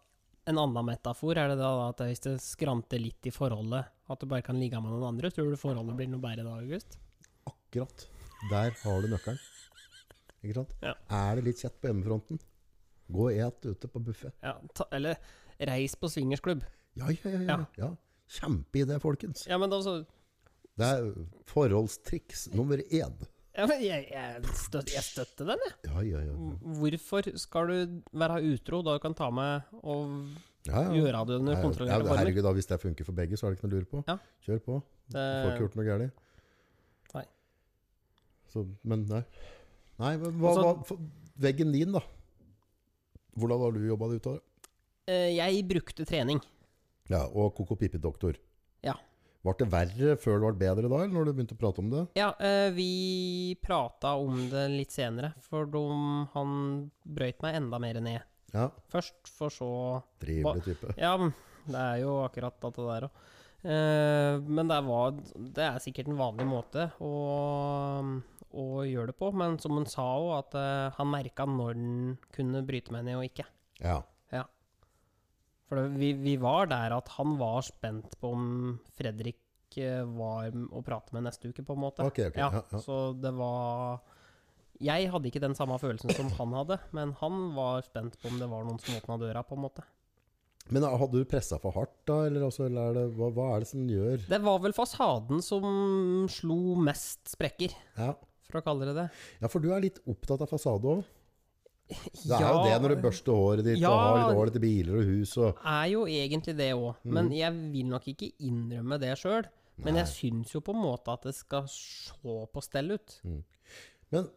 Speaker 2: en annen metafor? Er det da at hvis det skranter litt i forholdet, at du bare kan ligge med noen andre? Tror du forholdet blir noe bedre da, August?
Speaker 1: Akkurat. Der har du nøkkelen. Ikke sant?
Speaker 2: Ja.
Speaker 1: Er det litt kjett på hjemmefronten? Gå og et ute på buffé.
Speaker 2: Ja, ta, eller reis på swingersklubb.
Speaker 1: Ja, ja, ja. ja.
Speaker 2: Ja.
Speaker 1: ja. Kjempeidé, folkens.
Speaker 2: Ja, men altså
Speaker 1: Det er forholdstriks nummer én.
Speaker 2: ja, men jeg, jeg, støt, jeg støtter den, jeg.
Speaker 1: Ja, ja, ja.
Speaker 2: Mm. Hvorfor skal du være utro da du kan ta med og
Speaker 1: ja, ja.
Speaker 2: gjøre det under
Speaker 1: Nei,
Speaker 2: kontrollerte
Speaker 1: ja,
Speaker 2: former?
Speaker 1: herregud, da, hvis det funker for begge, så er det ikke noe å lure på.
Speaker 2: Ja.
Speaker 1: Kjør på. Du får ikke
Speaker 2: Det,
Speaker 1: gjort noe galt.
Speaker 2: Nei.
Speaker 1: Så, men nei. Nei, men hva, hva,
Speaker 2: Altså-
Speaker 1: for, veggen din, da? Hvordan har du jobba det ut av det?
Speaker 2: eh, jeg brukte trening.
Speaker 1: Ja, og Koko Pippi-doktor.
Speaker 2: Ja.
Speaker 1: Var det verre før det var bedre da, eller når du begynte å prate om det?
Speaker 2: Ja, eh, vi prata om det litt senere, for de, han brøyt meg enda mer ned
Speaker 1: Ja,
Speaker 2: først, for så
Speaker 1: trivelig type.
Speaker 2: Ja, men det er jo akkurat at det der òg. Eh, men det, var, det er sikkert en vanlig måte å, å gjøre det på. Men som han sa òg, at eh, han merka når han kunne bryte meg ned og ikke.
Speaker 1: Ja.
Speaker 2: For det, vi, vi var der at han var spent på om Fredrik eh, var å prate med neste uke, på en måte.
Speaker 1: Ok, ok. Ja, ja.
Speaker 2: Så det var Jeg hadde ikke den samme følelsen som han hadde, men han var spent på om det var noen som åpna døra, på en måte.
Speaker 1: Men eh, hadde du pressa for hardt, da? Eller, altså, eller er det, hva, hva er det som gjør
Speaker 2: Det var vel fasaden som slo mest sprekker,
Speaker 1: ja.
Speaker 2: for å kalle det det.
Speaker 1: ja, for du er litt opptatt av fasade òg. Det er jo det når du børster håret ditt og
Speaker 2: Ja.
Speaker 1: har litt hår til biler og hus og
Speaker 2: er jo egentlig det òg,
Speaker 1: Mhm.
Speaker 2: men jeg vil nok ikke innrømme det sjøl. Men jeg syns jo på en måte at det skal se på stell ut.
Speaker 1: Men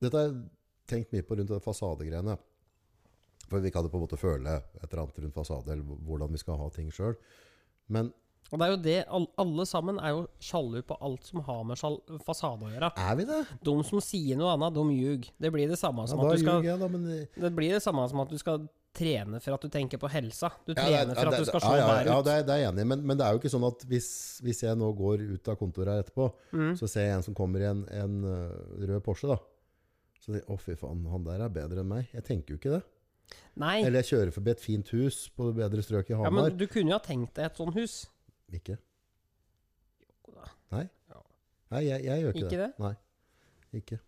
Speaker 1: dette har jeg tenkt mye på rundt det fasadegreiene. For vi kan jo på en måte føle et eller annet rundt fasade, eller hvordan vi skal ha ting sjøl. Men
Speaker 2: Og det er jo det, all- alle sammen er jo sjalu på alt som har med sjal- fasade å gjøre.
Speaker 1: er vi det?
Speaker 2: De som sier noe annet, de ljug. Det blir det samme
Speaker 1: Ja,
Speaker 2: som
Speaker 1: da
Speaker 2: at du skal
Speaker 1: ljuger jeg, da. Men
Speaker 2: Det blir det samme som at du skal trene for at du tenker på helsa. Du
Speaker 1: Ja, det-
Speaker 2: trener for
Speaker 1: ja,
Speaker 2: at
Speaker 1: det-
Speaker 2: du
Speaker 1: ja,
Speaker 2: skal se
Speaker 1: ja,
Speaker 2: der
Speaker 1: Ja,
Speaker 2: ut.
Speaker 1: det er, det er jeg enig i. Men, men det er jo ikke sånn at hvis, hvis jeg nå går ut av kontoret her etterpå,
Speaker 2: Mm.
Speaker 1: så ser jeg en som kommer i en, en øh, rød Porsche, da. Så tenker jeg, å fy faen, han der er bedre enn meg. Jeg tenker jo ikke det.
Speaker 2: Nei,
Speaker 1: Eller jeg kjører forbi et fint hus på det bedre strøket i
Speaker 2: ja,
Speaker 1: Hamar.
Speaker 2: men du kunne jo ha tenkt deg et sånt hus.
Speaker 1: Ikke.
Speaker 2: da.
Speaker 1: Nei.
Speaker 2: Ja.
Speaker 1: Nei, jeg, jeg gjør ikke,
Speaker 2: Ikke det?
Speaker 1: Nei. Ikke.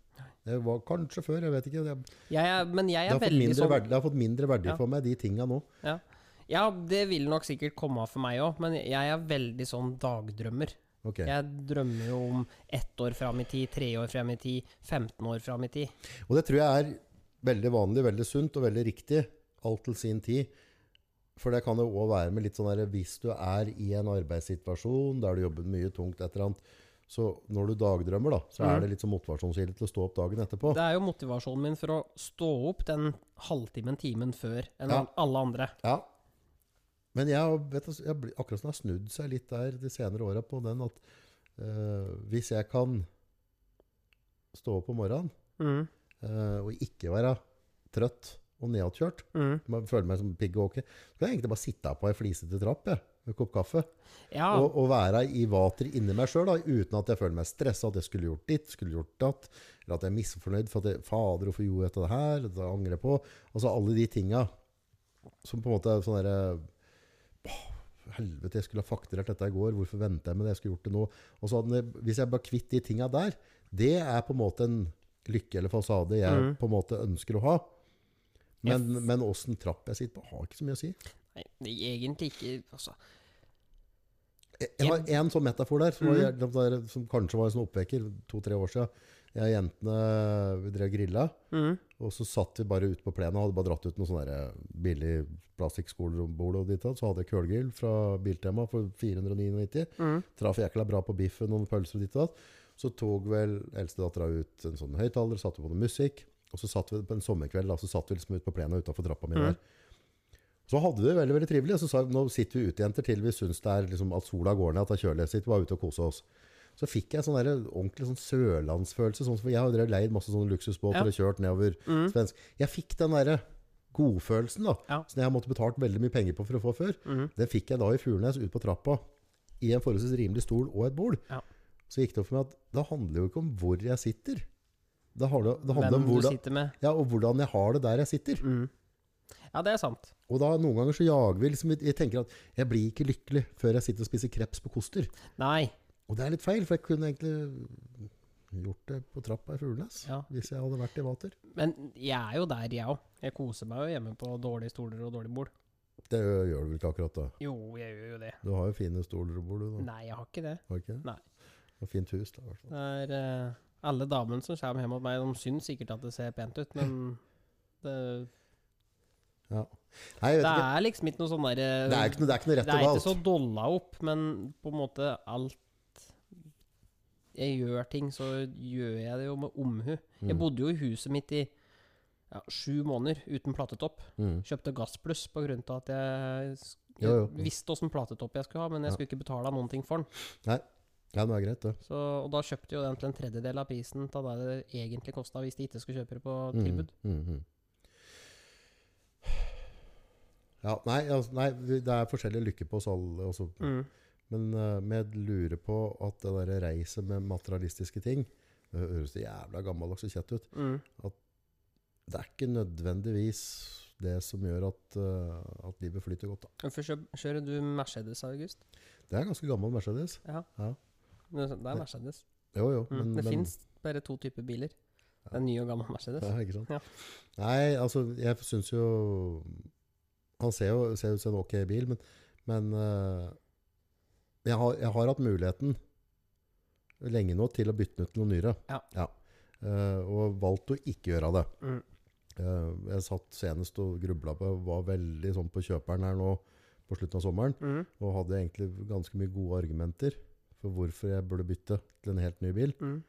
Speaker 1: Det var kanskje før, jeg vet ikke. Det,
Speaker 2: Jeg er, men
Speaker 1: det,
Speaker 2: jeg er
Speaker 1: har, fått
Speaker 2: veldig
Speaker 1: mindre
Speaker 2: sånn
Speaker 1: verdi, det har fått mindre verdi
Speaker 2: Ja.
Speaker 1: for meg, de tinga nå.
Speaker 2: ja. ja, det vil nok sikkert komme av for meg òg, men jeg er veldig sånn dagdrømmer.
Speaker 1: Ok.
Speaker 2: Jeg drømmer jo om ett år fram i tid, tre år fram i tid, 15 år fram i tid.
Speaker 1: Og det tror jeg er veldig vanlig, veldig sunt og veldig riktig. Alt til sin tid. For det kan jo òg være med litt sånn der, Hvis du er i en arbeidssituasjon der du jobber mye tungt, et eller annet, så når du dagdrømmer, da, så er det litt sånn motivasjonskilde til å stå opp dagen etterpå.
Speaker 2: Det er jo motivasjonen min for å stå opp den halvtimen, timen før enn
Speaker 1: Ja.
Speaker 2: alle andre.
Speaker 1: Ja. Men jeg, har- vet, du, jeg blir- akkurat som det har snudd seg litt der de senere åra på den at eh, hvis jeg kan stå opp om morgenen
Speaker 2: Mm,
Speaker 1: eh, og ikke være trøtt og nedkjørt,
Speaker 2: mm.
Speaker 1: man føler meg som pigg og åke, så kan jeg egentlig bare sitte her på ei flisete trapp jeg, med en kopp kaffe
Speaker 2: Ja,
Speaker 1: og, og være i vater inni meg sjøl uten at jeg føler meg stressa, at jeg skulle gjort ditt, skulle gjort datt, eller at jeg er misfornøyd for at jeg, fader, hvorfor gjorde jeg dette her, dette angrer jeg på. Altså alle de tinga som på en måte er sånn derre «Åh, Helvete, jeg skulle ha fakturert dette i går, hvorfor venter jeg med det, jeg skulle gjort det nå. Og så hadde jeg- Hvis jeg bare kvitt de tinga der, det er på en måte en lykke eller fasade jeg på en måte ønsker å ha. Men, men åssen trapp jeg sitter på, har ikke så mye å si.
Speaker 2: nei, det er egentlig ikke altså.
Speaker 1: Jeg jeg har en sånn metafor der, som, var, jævlig- den der, som kanskje var en sånn oppvekker to-tre år siden. Jeg og jentene vi drev og grilla,
Speaker 2: Mm.
Speaker 1: og så satt vi bare ute på plenen og hadde bare dratt ut noen sånne der billige plastikkskolerombord og ditt og datt. Så hadde jeg kølgrill fra Biltema for 499.
Speaker 2: mm.
Speaker 1: Traff jækla bra på biffen og noen pølser og ditt og datt. Så tok vel eldstedattera ut en sånn høyttaler, satte på noe musikk. Og så satt vi på en sommerkveld da, så satt vi liksom ut på plenen utafor trappa mi
Speaker 2: Mm.
Speaker 1: der. Så hadde vi det veldig veldig trivelig. Og så sa vi nå sitter vi ute, jenter, til vi syns det er liksom, at sola går ned, at det er kjølig. Sitter bare ute og koser oss. Så fikk jeg sånn der, ordentlig sånn sørlandsfølelse. Sånn, for jeg har jo drevet leid masse sånne luksusbåter
Speaker 2: Ja. Mm.
Speaker 1: og kjørt nedover svensk. Jeg fikk den derre godfølelsen da,
Speaker 2: Ja.
Speaker 1: som jeg har måttet betalt veldig mye penger på for å få før.
Speaker 2: Mhm.
Speaker 1: Den fikk jeg da i Furnes ut på trappa i en forholdsvis rimelig stol og et bord.
Speaker 2: Ja.
Speaker 1: Så gikk det opp for meg at det handler jo ikke om hvor jeg sitter. Det handler, det handler om
Speaker 2: Hvem du
Speaker 1: hvordan,
Speaker 2: sitter med. Mhm.
Speaker 1: ja, og hvordan jeg har det der jeg sitter.
Speaker 2: Ja, det er sant.
Speaker 1: Og da noen ganger så jager vi liksom, vi tenker at jeg blir ikke lykkelig før jeg sitter og spiser kreps på koster.
Speaker 2: Nei.
Speaker 1: Og det er litt feil, for jeg kunne egentlig gjort det på trappa i Fuglenes.
Speaker 2: Ja.
Speaker 1: Hvis jeg hadde vært i vater.
Speaker 2: Men jeg er jo der, jeg òg. Jeg koser meg jo hjemme på dårlige stoler og dårlig bord.
Speaker 1: Det gjør du vel ikke akkurat da?
Speaker 2: Jo, jeg gjør jo det.
Speaker 1: Du har jo fine stoler og bord, du. da.
Speaker 2: Nei, jeg har ikke det.
Speaker 1: Har du ikke det?
Speaker 2: Nei.
Speaker 1: Og fint hus, da. i hvert fall.
Speaker 2: Det er eh, Alle damene som kommer hjem hos meg, de syns sikkert at det ser pent ut, men det,
Speaker 1: Ja. Nei, jeg
Speaker 2: det
Speaker 1: vet ikke.
Speaker 2: er liksom ikke noe sånn derre
Speaker 1: Det er ikke noe, det er ikke noe
Speaker 2: Det
Speaker 1: rett
Speaker 2: er
Speaker 1: og
Speaker 2: ikke så
Speaker 1: galt.
Speaker 2: dolla opp, men på en måte alt Jeg gjør ting, så gjør jeg det jo med omhu. sånn. Jeg
Speaker 1: Mm.
Speaker 2: bodde jo i huset mitt i ja, sju måneder uten platetopp.
Speaker 1: Mm.
Speaker 2: Kjøpte Gassbluss på grunn av at jeg, s- jeg
Speaker 1: Jo, jo.
Speaker 2: visste åssen platetopp jeg skulle ha, men
Speaker 1: Ja.
Speaker 2: jeg skulle ikke betale noen ting for den.
Speaker 1: Ja, det er greit, det.
Speaker 2: Så, og da kjøpte jo den til en tredjedel av prisen av det det egentlig kosta hvis de ikke skulle kjøpe det på
Speaker 1: Mm,
Speaker 2: tilbud.
Speaker 1: mm, mm. Ja, nei, altså, nei, vi- det er forskjellig lykke på oss alle. Også.
Speaker 2: Mm.
Speaker 1: Men eh, men jeg lurer på at det der reiset med materialistiske ting Det høres det jævla gammeldags og kjett ut.
Speaker 2: Mm.
Speaker 1: det er ikke nødvendigvis det som gjør at, eh, at livet flyter godt. Da.
Speaker 2: Hvorfor kjø- kjører du Mercedes, August?
Speaker 1: Det er en ganske gammel Mercedes.
Speaker 2: Ja.
Speaker 1: Ja.
Speaker 2: Det er Mercedes.
Speaker 1: Jo, jo.
Speaker 2: Mm.
Speaker 1: men-
Speaker 2: det
Speaker 1: men-
Speaker 2: fins bare to typer biler. Det er ny og gammel Mercedes.
Speaker 1: Ja, ikke sant?
Speaker 2: Ja.
Speaker 1: Nei, altså, jeg syns jo Han ser jo ser ut som en ok bil, men, men eh, jeg, har, jeg har hatt muligheten lenge nå til å bytte den ut til noe nyere.
Speaker 2: Ja.
Speaker 1: Eh, og valgt å ikke gjøre det.
Speaker 2: Mm.
Speaker 1: Eh, jeg satt senest og grubla på Var veldig sånn på kjøperen her nå på slutten av sommeren.
Speaker 2: Mm.
Speaker 1: Og hadde egentlig ganske mye gode argumenter for hvorfor jeg burde bytte til en helt ny bil.
Speaker 2: Mm.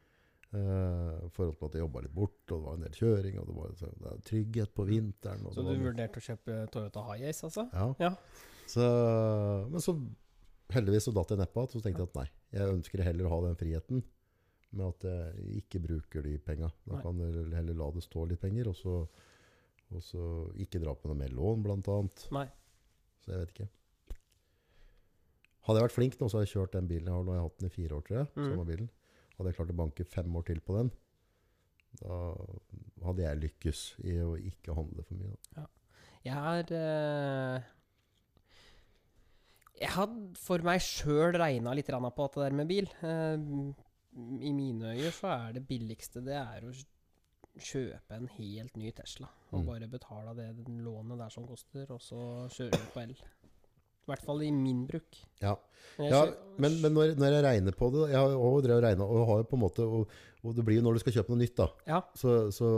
Speaker 1: Eh, I forhold til at jeg jobba litt bort, og det var en del kjøring, og det var så, det er trygghet på vinteren. Og
Speaker 2: Så
Speaker 1: det
Speaker 2: du
Speaker 1: var,
Speaker 2: vurderte å kjøpe Toyota Hiace, altså?
Speaker 1: ja.
Speaker 2: Ja.
Speaker 1: Så, men så heldigvis så datt jeg nedpå igjen, så tenkte jeg at nei, jeg ønsker heller å ha den friheten med at jeg ikke bruker de penga. Da
Speaker 2: Nei.
Speaker 1: kan jeg heller la det stå litt penger, og så, og så ikke dra på noe mer lån, blant annet.
Speaker 2: Nei.
Speaker 1: Så jeg vet ikke. Hadde jeg vært flink nå, så hadde jeg kjørt den bilen jeg har nå. Jeg har hatt den i fire år, tror jeg.
Speaker 2: Mhm.
Speaker 1: Samme bilen. Hadde jeg klart å banke fem år til på den, da hadde jeg lykkes i å ikke handle for mye. Da.
Speaker 2: Jeg har eh, Jeg har for meg sjøl regna litt grann på at det der med bil eh, I mine øyne så er det billigste det er å kjøpe en helt ny Tesla. Og
Speaker 1: Mm.
Speaker 2: bare betale det lånet der som koster, og så kjøre på el. I hvert fall i min bruk.
Speaker 1: Ja.
Speaker 2: Men jeg
Speaker 1: Ja,
Speaker 2: kjø-
Speaker 1: men, men når, når jeg regner på det Jeg har også drevet og regnet, og har jo på en måte og, og det blir jo når du skal kjøpe noe nytt, da,
Speaker 2: ja,
Speaker 1: så, så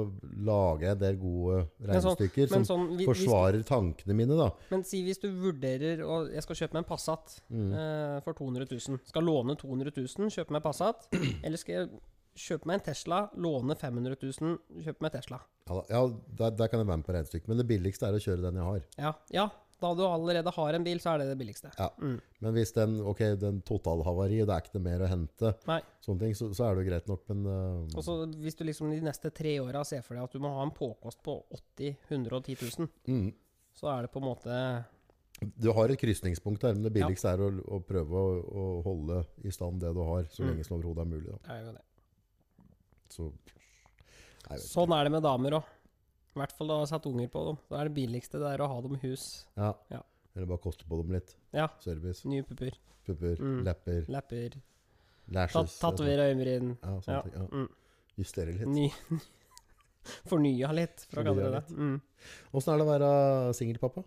Speaker 1: lager jeg en del gode
Speaker 2: sånn-
Speaker 1: regnestykker
Speaker 2: men
Speaker 1: som
Speaker 2: sånn hvis- hvis-
Speaker 1: forsvarer tankene mine, da.
Speaker 2: Men si hvis du vurderer å Jeg skal kjøpe meg en Passat
Speaker 1: Mm.
Speaker 2: eh, for 200 000. Skal låne 200 000, kjøpe meg Passat. Eller skal jeg kjøpe meg en Tesla, låne 500 000, kjøpe meg Tesla.
Speaker 1: Ja, da. ja der, der kan jeg være med på regnestykket. Men det billigste er å kjøre den jeg har.
Speaker 2: Ja, ja. Da du allerede har en bil, så er det det billigste.
Speaker 1: Ja.
Speaker 2: Mm.
Speaker 1: Men hvis den, ok, den totalhavari, det er ikke noe mer å hente,
Speaker 2: Nei.
Speaker 1: sånne ting, så, så er det jo greit nok, men eh,
Speaker 2: Og så hvis du liksom de neste tre åra ser for deg at du må ha en påkost på 80 110 000,
Speaker 1: mm,
Speaker 2: så er det på en måte
Speaker 1: du har et krysningspunkt der, men det billigste er å, å prøve å, å holde i stand det du har, så
Speaker 2: Mm.
Speaker 1: lenge som overhodet er mulig. Da.
Speaker 2: det er jo det.
Speaker 1: Så, Nei, vet
Speaker 2: Sånn er det med damer òg. I hvert fall da jeg har satt unger på dem. Da er det billigste det er å ha dem i hus.
Speaker 1: ja.
Speaker 2: Ja.
Speaker 1: Eller bare koste på dem litt.
Speaker 2: Ja.
Speaker 1: Service,
Speaker 2: Nye pupper,
Speaker 1: pupper,
Speaker 2: Mm.
Speaker 1: lepper,
Speaker 2: lepper,
Speaker 1: lashes.
Speaker 2: tat- tatovere øyebryn.
Speaker 1: Ja, sånne
Speaker 2: Ja.
Speaker 1: ting. Ja.
Speaker 2: Mm.
Speaker 1: Justere litt.
Speaker 2: Ny, fornya litt, for å kalle
Speaker 1: Fornya
Speaker 2: det
Speaker 1: litt.
Speaker 2: det. Mm.
Speaker 1: Åssen er det å være singelpappa?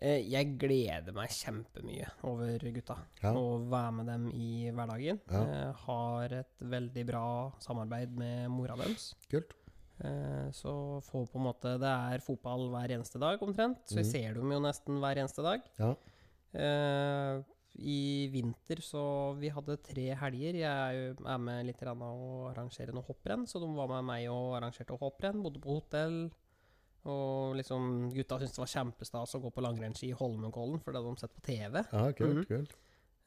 Speaker 2: Eh, Jeg gleder meg kjempemye over gutta.
Speaker 1: Ja.
Speaker 2: Og være med dem i hverdagen.
Speaker 1: Ja.
Speaker 2: Eh, Har et veldig bra samarbeid med mora deres.
Speaker 1: Kult.
Speaker 2: Eh, Så får på en måte Det er fotball hver eneste dag, omtrent. Så jeg
Speaker 1: Mhm.
Speaker 2: ser dem jo nesten hver eneste dag.
Speaker 1: Ja.
Speaker 2: Eh, I vinter så Vi hadde tre helger. Jeg er, jo, er med litt grann og arrangerer noe hopprenn, så de var med meg og arrangerte hopprenn. Bodde på hotell. Og liksom gutta syntes det var kjempestas å gå på langrennsski i Holmenkollen, for det hadde de sett på TV.
Speaker 1: Ja, kult,
Speaker 2: Mhm.
Speaker 1: kult.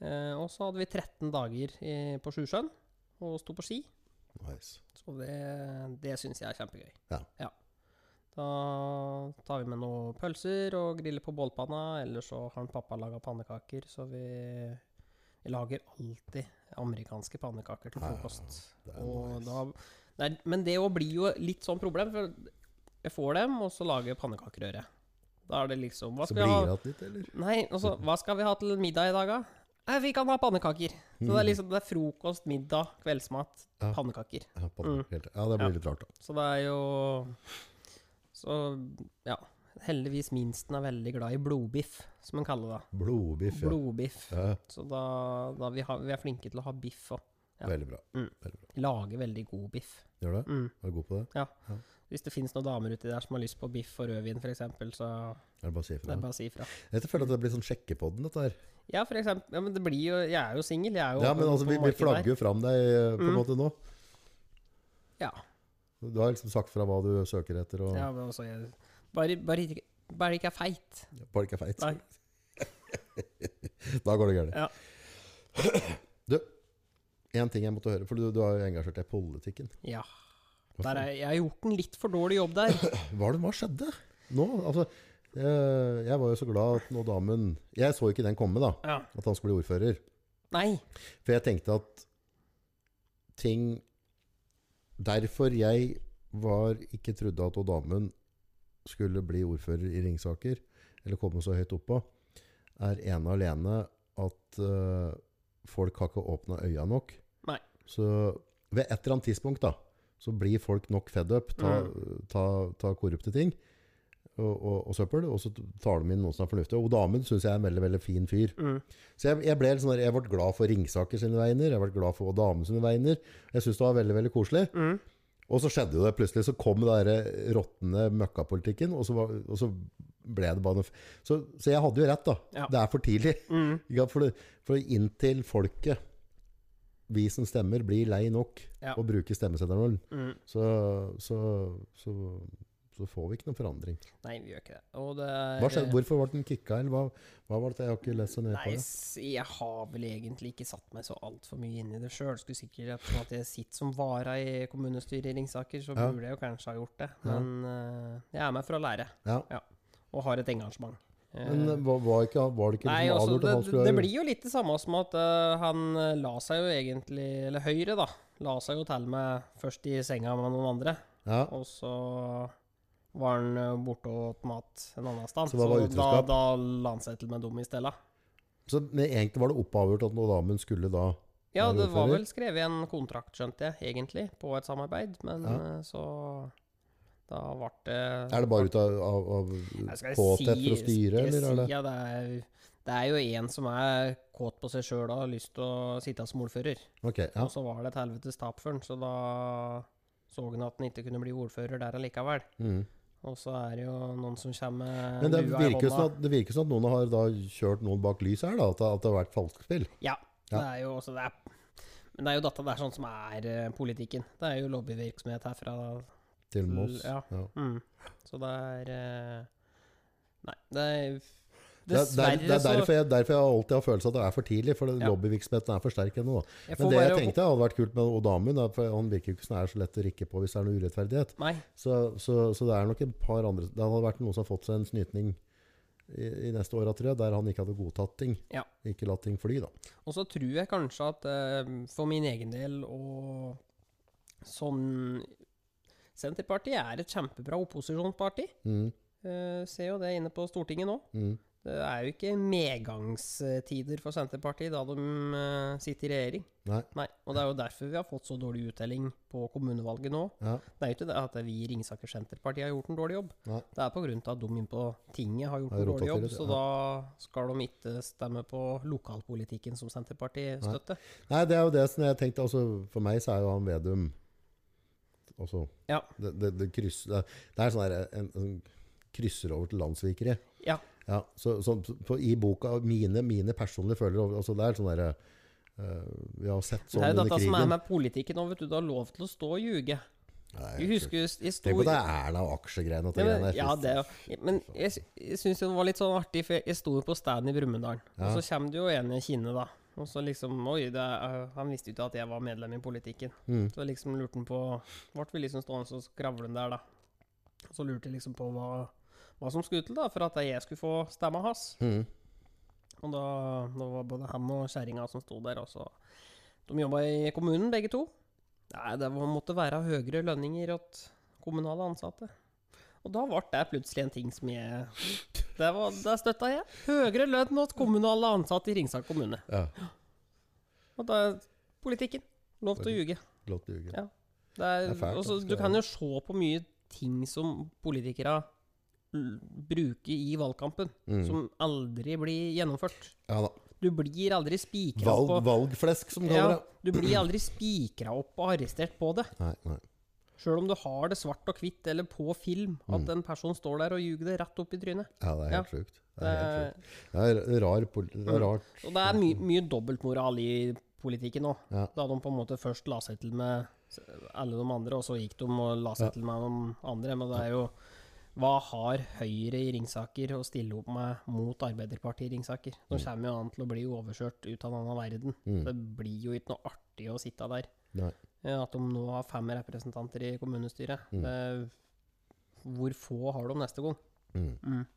Speaker 2: Eh, og så hadde vi 13 dager i, på Sjusjøen og sto på ski.
Speaker 1: Nice.
Speaker 2: Så det, det syns jeg er kjempegøy.
Speaker 1: Ja.
Speaker 2: Da tar vi med noen pølser og griller på bålpanna, eller så har en pappa laga pannekaker, så vi, vi lager alltid amerikanske pannekaker til
Speaker 1: Ja, ja, ja.
Speaker 2: frokost.
Speaker 1: Det er
Speaker 2: Og
Speaker 1: nice.
Speaker 2: da, nei, men det òg blir jo litt sånn problem, for jeg får dem, og så lager jeg pannekakerøre. Da er det liksom Hva
Speaker 1: så
Speaker 2: skal vi ha?
Speaker 1: blir det igjen litt, eller?
Speaker 2: Nei, altså, hva skal vi ha til middag i dag, da? Nei, vi kan ha pannekaker. Så det er liksom det er frokost, middag, kveldsmat,
Speaker 1: Mm. Ja.
Speaker 2: pannekaker.
Speaker 1: Ja, padda,
Speaker 2: Mm.
Speaker 1: helt. ja, det blir
Speaker 2: Ja.
Speaker 1: litt rart, da.
Speaker 2: Så det er jo Så, ja. Heldigvis minsten er veldig glad i blodbiff, som en kaller det.
Speaker 1: Blodbiff, ja.
Speaker 2: Blodbiff.
Speaker 1: ja.
Speaker 2: Så da, da vi, har, vi er flinke til å ha biff og Ja.
Speaker 1: Veldig bra.
Speaker 2: lage veldig god biff.
Speaker 1: Gjør det?
Speaker 2: Mm.
Speaker 1: Er du god på det?
Speaker 2: Hvis det finnes noen damer uti der som har lyst på biff og rødvin, f.eks., så
Speaker 1: Er det bare å si
Speaker 2: det
Speaker 1: ifra?
Speaker 2: er bare å si ifra.
Speaker 1: Jeg føler at det blir sånn sjekkepodden, dette her.
Speaker 2: Ja, for eksempel. Ja, men det blir jo Jeg er jo singel. Jeg er jo
Speaker 1: Ja, men
Speaker 2: på-
Speaker 1: altså,
Speaker 2: på
Speaker 1: vi, vi
Speaker 2: markedet der.
Speaker 1: flagger jo fram deg eh, på en
Speaker 2: Mm.
Speaker 1: måte nå.
Speaker 2: Ja.
Speaker 1: Du har liksom sagt fra hva du søker etter, og
Speaker 2: Ja, men altså, jeg, bare, bare, ikke- bare ikke er feit.
Speaker 1: bare ikke er feit.
Speaker 2: Nei.
Speaker 1: Da går det gærent.
Speaker 2: Ja.
Speaker 1: Du, én ting jeg måtte høre, for du, du har jo engasjert deg i politikken.
Speaker 2: Ja.
Speaker 1: Hva,
Speaker 2: Der er, jeg har gjort en litt for dårlig jobb der.
Speaker 1: faen- hva, er det- hva skjedde nå? Altså, eh, jeg var jo så glad at nå damen Jeg så ikke den komme, da.
Speaker 2: Ja.
Speaker 1: At han skulle bli ordfører.
Speaker 2: Nei.
Speaker 1: For jeg tenkte at ting Derfor jeg var ikke trodde at Odamen skulle bli ordfører i Ringsaker, eller komme så høyt oppå, er ene og alene at eh, folk har ikke åpna øya nok.
Speaker 2: Nei.
Speaker 1: Så ved et eller annet tidspunkt da, så blir folk nok fed up, ta, ta, ta korrupte ting og, og, og søppel, og så tar de inn noen som er fornuftig. Og Damen syns jeg er en veldig, veldig fin fyr.
Speaker 2: Mm.
Speaker 1: Så jeg, jeg, ble litt sånn der, jeg ble glad for Ringsaker sine veiner, jeg ble glad for Damen sine veiner. Jeg syns det var veldig, veldig koselig.
Speaker 2: Mm.
Speaker 1: Og så skjedde jo det plutselig. Så kom den der råtne møkkapolitikken, og så, var, og så ble det bare noe f- så, så jeg hadde jo rett, da.
Speaker 2: Ja.
Speaker 1: Det er for tidlig.
Speaker 2: Mm.
Speaker 1: Ikke sant? For, det, for inntil folket, vi som stemmer, blir lei nok
Speaker 2: Ja.
Speaker 1: og bruker stemmeseddelen,
Speaker 2: Mm.
Speaker 1: så, så, så, så får vi ikke noen forandring.
Speaker 2: Nei, vi gjør ikke det. Og det er
Speaker 1: Hva skjedde, hvorfor ble den kicka, eller hva, hva var det? Jeg har ikke lest så nøye
Speaker 2: Nei,
Speaker 1: på det.
Speaker 2: s- jeg har vel egentlig ikke satt meg så altfor mye inn i det sjøl. Skulle sikkert ettersom at jeg sitter som vara i kommunestyret i Ringsaker, så
Speaker 1: Ja.
Speaker 2: burde jeg jo kanskje ha gjort det.
Speaker 1: Ja.
Speaker 2: Men eh, jeg er med for å lære,
Speaker 1: Ja.
Speaker 2: og har et engasjement. Eh,
Speaker 1: Men eh, var, var, ikke, var det ikke
Speaker 2: Nei,
Speaker 1: liksom
Speaker 2: altså,
Speaker 1: avgjort
Speaker 2: det,
Speaker 1: at han skulle
Speaker 2: det
Speaker 1: ha-
Speaker 2: blir jo litt det samme som at eh, han eh, la seg jo egentlig Eller Høyre, da. La seg jo til med først i senga med noen andre,
Speaker 1: ja.
Speaker 2: og så var han eh, borte og åt mat en annen sted.
Speaker 1: Så hva var
Speaker 2: da,
Speaker 1: utroskap?
Speaker 2: da la han seg til med dem i stedet.
Speaker 1: Så men egentlig var det oppavgjort at damen skulle da
Speaker 2: Ja,
Speaker 1: Er det
Speaker 2: det var
Speaker 1: ordfører?
Speaker 2: vel skrevet en kontrakt, skjønte jeg, egentlig, på et samarbeid, men
Speaker 1: Ja.
Speaker 2: eh, så Da ble det
Speaker 1: Er det bare ut av, av, av
Speaker 2: Nei, skal
Speaker 1: kåthet
Speaker 2: jeg
Speaker 1: for å
Speaker 2: si-
Speaker 1: styre,
Speaker 2: skal jeg
Speaker 1: eller er det
Speaker 2: Si, ja, det, er, det er jo en som er kåt på seg sjøl og har lyst til å sitte som ordfører.
Speaker 1: Ok, ja.
Speaker 2: Og så var det et helvetes tap for han, så da så han at han ikke kunne bli ordfører der allikevel.
Speaker 1: Mm.
Speaker 2: Og så er det jo noen som kommer med
Speaker 1: Men det
Speaker 2: lua i
Speaker 1: virker, jo
Speaker 2: hånda.
Speaker 1: som at, det virker som at noen har da kjørt noen bak lys her, da. At det, at det har vært falskspill.
Speaker 2: Ja.
Speaker 1: Ja.
Speaker 2: Det er jo også det er, Men det er jo dette der sånn som er eh, politikken. Det er jo lobbyvirksomhet herfra.
Speaker 1: Til Moss.
Speaker 2: Ja.
Speaker 1: Ja.
Speaker 2: Mm. Så det er eh, Nei, det er
Speaker 1: Det, er- det,
Speaker 2: Dessverre,
Speaker 1: er, det er
Speaker 2: så
Speaker 1: derfor jeg, derfor jeg alltid har følelsen at det er for tidlig, for
Speaker 2: Ja.
Speaker 1: lobbyvirksomheten er for sterk ennå. da.
Speaker 2: jeg
Speaker 1: Men
Speaker 2: får
Speaker 1: det jeg
Speaker 2: bare håpe-
Speaker 1: tenkte hadde vært kult med Odamun, er for han virker jo ikke som det er så lett å rikke på hvis det er noe urettferdighet.
Speaker 2: Nei.
Speaker 1: Så, så, så det er nok et par andre Det hadde vært noen som har fått seg en snytning i, i neste år, tror jeg, der han ikke hadde godtatt ting.
Speaker 2: Ja.
Speaker 1: Ikke latt ting fly, da.
Speaker 2: Og så tror jeg kanskje at eh, for min egen del og sånn Senterpartiet er et kjempebra opposisjonsparti.
Speaker 1: Mm,
Speaker 2: Eh, ser jo det inne på Stortinget nå.
Speaker 1: mm.
Speaker 2: Det er jo ikke medgangstider for Senterpartiet da de eh, sitter i regjering.
Speaker 1: Nei.
Speaker 2: Og det er jo derfor vi har fått så dårlig uttelling på kommunevalget nå.
Speaker 1: Ja.
Speaker 2: Det er jo ikke det at vi i Ringsaker Senterparti har gjort en dårlig jobb.
Speaker 1: Nei.
Speaker 2: Det er på grunn av at de inne på tinget har gjort
Speaker 1: Har
Speaker 2: en
Speaker 1: rotet
Speaker 2: dårlig jobb,
Speaker 1: til det,
Speaker 2: så
Speaker 1: ja.
Speaker 2: da skal de ikke stemme på lokalpolitikken som Senterpartiet
Speaker 1: Nei.
Speaker 2: støtter.
Speaker 1: Nei, det er jo det som jeg tenkte altså, For meg så er jo han Vedum altså,
Speaker 2: Ja.
Speaker 1: det, det, det, kryss, det, det er sånn der, en, en krysser over til landsvikere.
Speaker 2: Ja.
Speaker 1: Ja, så, så, på, I boka mine, mine personlige følelser over- altså, Det er sånn derre Vi har sett sånn
Speaker 2: det er jo
Speaker 1: under
Speaker 2: dette
Speaker 1: krigen.
Speaker 2: som er med politikken nå, vet du. Du har lov til å stå og ljuge.
Speaker 1: Nei,
Speaker 2: Du husker jo i stor
Speaker 1: Tenk på det Erna og aksjegreiene. at
Speaker 2: Nei,
Speaker 1: greiene
Speaker 2: men,
Speaker 1: er
Speaker 2: ja,
Speaker 1: fy-
Speaker 2: det, er jo- men jeg, sy- jeg syns jo det var litt sånn artig, for jeg- jeg sto jo på stand i Brumunddal.
Speaker 1: Ja.
Speaker 2: Og så kommer det jo en i kinnet, da. Og så liksom Oi, det er, han visste jo ikke at jeg var medlem i politikken.
Speaker 1: Mm.
Speaker 2: Så liksom lurte han på Ble vi liksom stående og skravle der, da. Og så lurte jeg liksom på hva, hva som skulle til da, for at jeg skulle få stemma hans.
Speaker 1: Mm.
Speaker 2: Og da, da var både han og kjerringa som sto der, og så De jobba i kommunen, begge to. Nei, det var, måtte være høyere lønninger åt kommunale ansatte. Og da ble det plutselig en ting som jeg Det, var, det støtta jeg. Høyere lønn åt kommunale ansatte i Ringsak kommune.
Speaker 1: Ja,
Speaker 2: Og da er politikken. Lov til å ljuge.
Speaker 1: låt duge.
Speaker 2: Ja. Det er,
Speaker 1: Det er fælt,
Speaker 2: også,
Speaker 1: altså.
Speaker 2: du kan jo se på mye ting som politikere l- bruker i valgkampen,
Speaker 1: Mm.
Speaker 2: som aldri blir gjennomført.
Speaker 1: ja da.
Speaker 2: Du blir aldri spikra
Speaker 1: Valg,
Speaker 2: opp, og-
Speaker 1: valgflesk, som de kaller
Speaker 2: ja,
Speaker 1: det.
Speaker 2: du blir aldri spikra opp og arrestert på det.
Speaker 1: Nei, nei.
Speaker 2: Sjøl om du har det svart og hvitt eller på film
Speaker 1: Mm.
Speaker 2: at en person står der og ljuger det rett opp i trynet.
Speaker 1: Ja, det er
Speaker 2: Ja.
Speaker 1: helt sjukt. Det
Speaker 2: Det
Speaker 1: er, helt
Speaker 2: er,
Speaker 1: sjukt. Det er, rar, poli- det
Speaker 2: Mm.
Speaker 1: er rart.
Speaker 2: og det er my, mye dobbeltmoral i politikken nå.
Speaker 1: Ja.
Speaker 2: Da de på en måte først la seg til med s- alle de andre, og så gikk de og la seg
Speaker 1: Ja.
Speaker 2: til med de andre. Men det er jo Hva har Høyre i Ringsaker å stille opp med mot Arbeiderpartiet i Ringsaker? De kommer jo an til å bli overkjørt ut av en annen verden.
Speaker 1: Mm.
Speaker 2: Det blir jo ikke noe artig å sitte der.
Speaker 1: Nei.
Speaker 2: Eh, At de nå har fem representanter i kommunestyret.
Speaker 1: Mm.
Speaker 2: Eh, hvor få har de neste gang?
Speaker 1: Mm.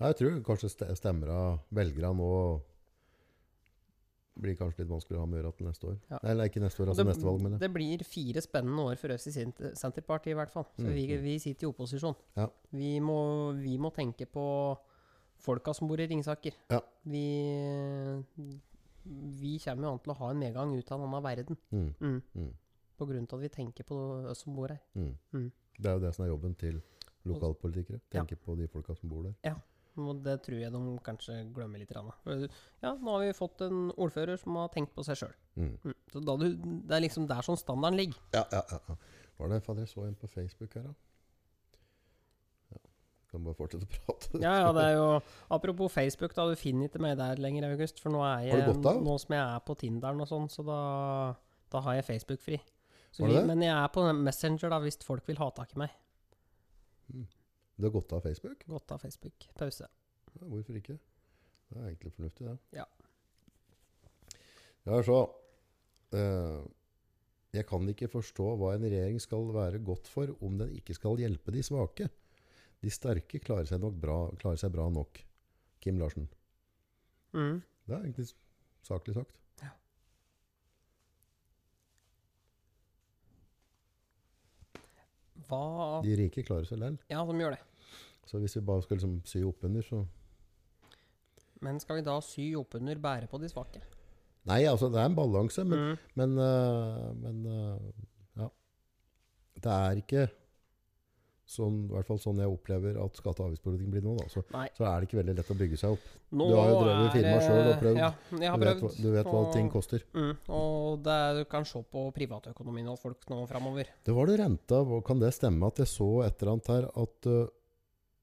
Speaker 1: Ja, jeg tror kanskje ste- stemmer av velgere nå blir kanskje litt vanskelig å ha med å gjøre til neste år.
Speaker 2: Ja.
Speaker 1: Nei, Eller ikke neste år, altså neste valg, men
Speaker 2: det blir fire spennende år for oss i Sent- Senterpartiet, i hvert fall. Så
Speaker 1: Mm.
Speaker 2: vi, vi sitter i opposisjon.
Speaker 1: Ja.
Speaker 2: Vi, må, vi må tenke på folka som bor i Ringsaker.
Speaker 1: Ja.
Speaker 2: Vi, vi kommer jo an til å ha en medgang ut av en annen verden.
Speaker 1: Mm.
Speaker 2: Mm.
Speaker 1: Mm.
Speaker 2: På grunn av at vi tenker på oss som bor her.
Speaker 1: Mm.
Speaker 2: Mm.
Speaker 1: Det er jo det som er jobben til lokalpolitikere. Tenke på de folka som bor der.
Speaker 2: Og det tror jeg de kanskje glemmer litt. grann, da. For, Ja, nå har vi fått en ordfører som har tenkt på seg sjøl.
Speaker 1: Mm.
Speaker 2: Mm. Så da du- Det er liksom der sånn standarden ligger.
Speaker 1: Ja, ja, ja, ja. Var det for at jeg så en på Facebook her, da? Ja. Kan bare fortsette å prate.
Speaker 2: Ja, ja, det er jo Apropos Facebook, da. Du finner ikke meg der lenger, August. For nå er jeg
Speaker 1: Har du gått av?
Speaker 2: Nå som jeg er på Tinderen og sånn, så da, da har jeg Facebook fri. Så
Speaker 1: Har
Speaker 2: vi,
Speaker 1: du det?
Speaker 2: men jeg er på Messenger, da, hvis folk vil ha tak i meg.
Speaker 1: Du har gått av Facebook?
Speaker 2: Godt av Facebook. Pause.
Speaker 1: Ja, hvorfor ikke? Det er egentlig fornuftig, det.
Speaker 2: Ja.
Speaker 1: Ja, så eh, Jeg kan ikke forstå hva en regjering skal være godt for om den ikke skal hjelpe de svake. De sterke klarer seg, nok bra, klarer seg bra nok. Kim Larsen.
Speaker 2: Mm.
Speaker 1: Det er egentlig s- saklig sagt.
Speaker 2: Ja. Hva
Speaker 1: De rike klarer seg likevel.
Speaker 2: Ja, de gjør det.
Speaker 1: Så hvis vi bare skal liksom sy oppunder, så
Speaker 2: Men skal vi da sy oppunder bære på de svake?
Speaker 1: Nei, altså, det er en balanse, men,
Speaker 2: Mm.
Speaker 1: men, øh, men øh, ja. Det er ikke sånn, i hvert fall sånn jeg opplever at skatte- og avgiftspolitikken blir nå. Da. Så,
Speaker 2: Nei.
Speaker 1: så er det ikke veldig lett å bygge seg opp.
Speaker 2: Nå
Speaker 1: Du har jo drevet
Speaker 2: er
Speaker 1: firma
Speaker 2: det-
Speaker 1: selv og prøvd.
Speaker 2: Ja, jeg har
Speaker 1: Du vet,
Speaker 2: prøvd.
Speaker 1: hva- du vet hva
Speaker 2: og-
Speaker 1: ting koster.
Speaker 2: Mm, og det er, du kan se på privatøkonomien og folk nå framover.
Speaker 1: Det var det renta. hvor- Kan det stemme at jeg så et eller annet her at øh,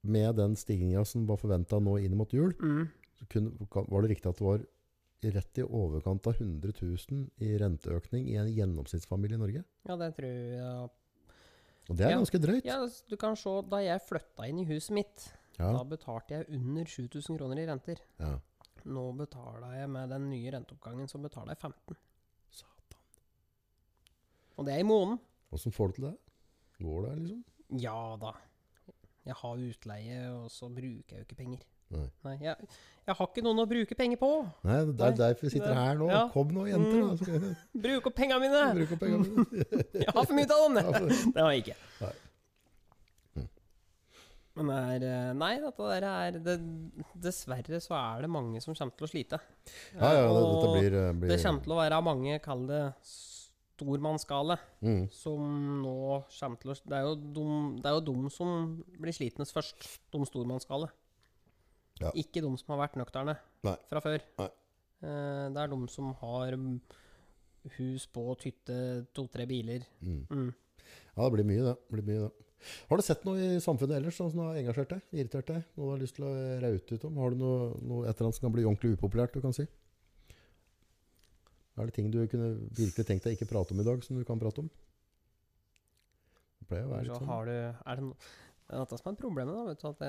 Speaker 1: med den stigninga som var forventa nå inn mot jul,
Speaker 2: Mm.
Speaker 1: så kunne, kan- var det riktig at det var rett i overkant av 100 000 i renteøkning i en gjennomsnittsfamilie i Norge?
Speaker 2: Ja, det tror jeg.
Speaker 1: Og det er
Speaker 2: Ja.
Speaker 1: ganske drøyt.
Speaker 2: Ja, du kan se, da jeg flytta inn i huset mitt,
Speaker 1: Ja,
Speaker 2: da betalte jeg under 7000 kroner i renter.
Speaker 1: ja.
Speaker 2: Nå betaler jeg med den nye renteoppgangen, så betaler jeg 15
Speaker 1: Satan.
Speaker 2: Og det er i måneden.
Speaker 1: Åssen får du til det? Går det, liksom?
Speaker 2: Ja da. Jeg har utleie, og så bruker jeg jo ikke penger.
Speaker 1: Nei.
Speaker 2: jeg, jeg har ikke noen å bruke penger på.
Speaker 1: Nei, det er
Speaker 2: Nei,
Speaker 1: derfor vi sitter
Speaker 2: det-
Speaker 1: her nå.
Speaker 2: ja. Mm.
Speaker 1: Kom nå, jenter. Da. Skal vi
Speaker 2: Bruk opp penga mine!
Speaker 1: bruke opp pengene mine?
Speaker 2: Jeg har for mye av dem!
Speaker 1: Ja, for det.
Speaker 2: Det har jeg ikke.
Speaker 1: Nei. Mm.
Speaker 2: Men det er, eh, nei, dette der er det, Dessverre så er det mange som kommer til å slite.
Speaker 1: ja, ja, det, dette
Speaker 2: Og
Speaker 1: blir, eh, blir
Speaker 2: det kommer til å være mange, kall det stormannsgale,
Speaker 1: mm.
Speaker 2: som nå kommer til å Det er jo dum- det er jo de som blir slitnes først. De stormannsgale.
Speaker 1: Ja.
Speaker 2: Ikke de som har vært nøkterne
Speaker 1: Nei.
Speaker 2: fra før.
Speaker 1: Nei.
Speaker 2: Eh, Det er de som har mm, hus, båt, hytte, to-tre biler.
Speaker 1: Mm.
Speaker 2: Mm.
Speaker 1: Ja, det blir mye, det. det. Blir mye, det. Har du sett noe i samfunnet ellers sånn som har engasjert deg, irritert deg? Noe du har lyst til å raute ut om? Har du noe, noe et eller annet som kan bli ordentlig upopulært, du kan si? Er det ting du kunne virkelig tenkt deg ikke prate om i dag, som du kan prate om? Det pleier å være
Speaker 2: Så
Speaker 1: litt sånn.
Speaker 2: har du Er det no det er dette som er problemet, da. Vet du, at det,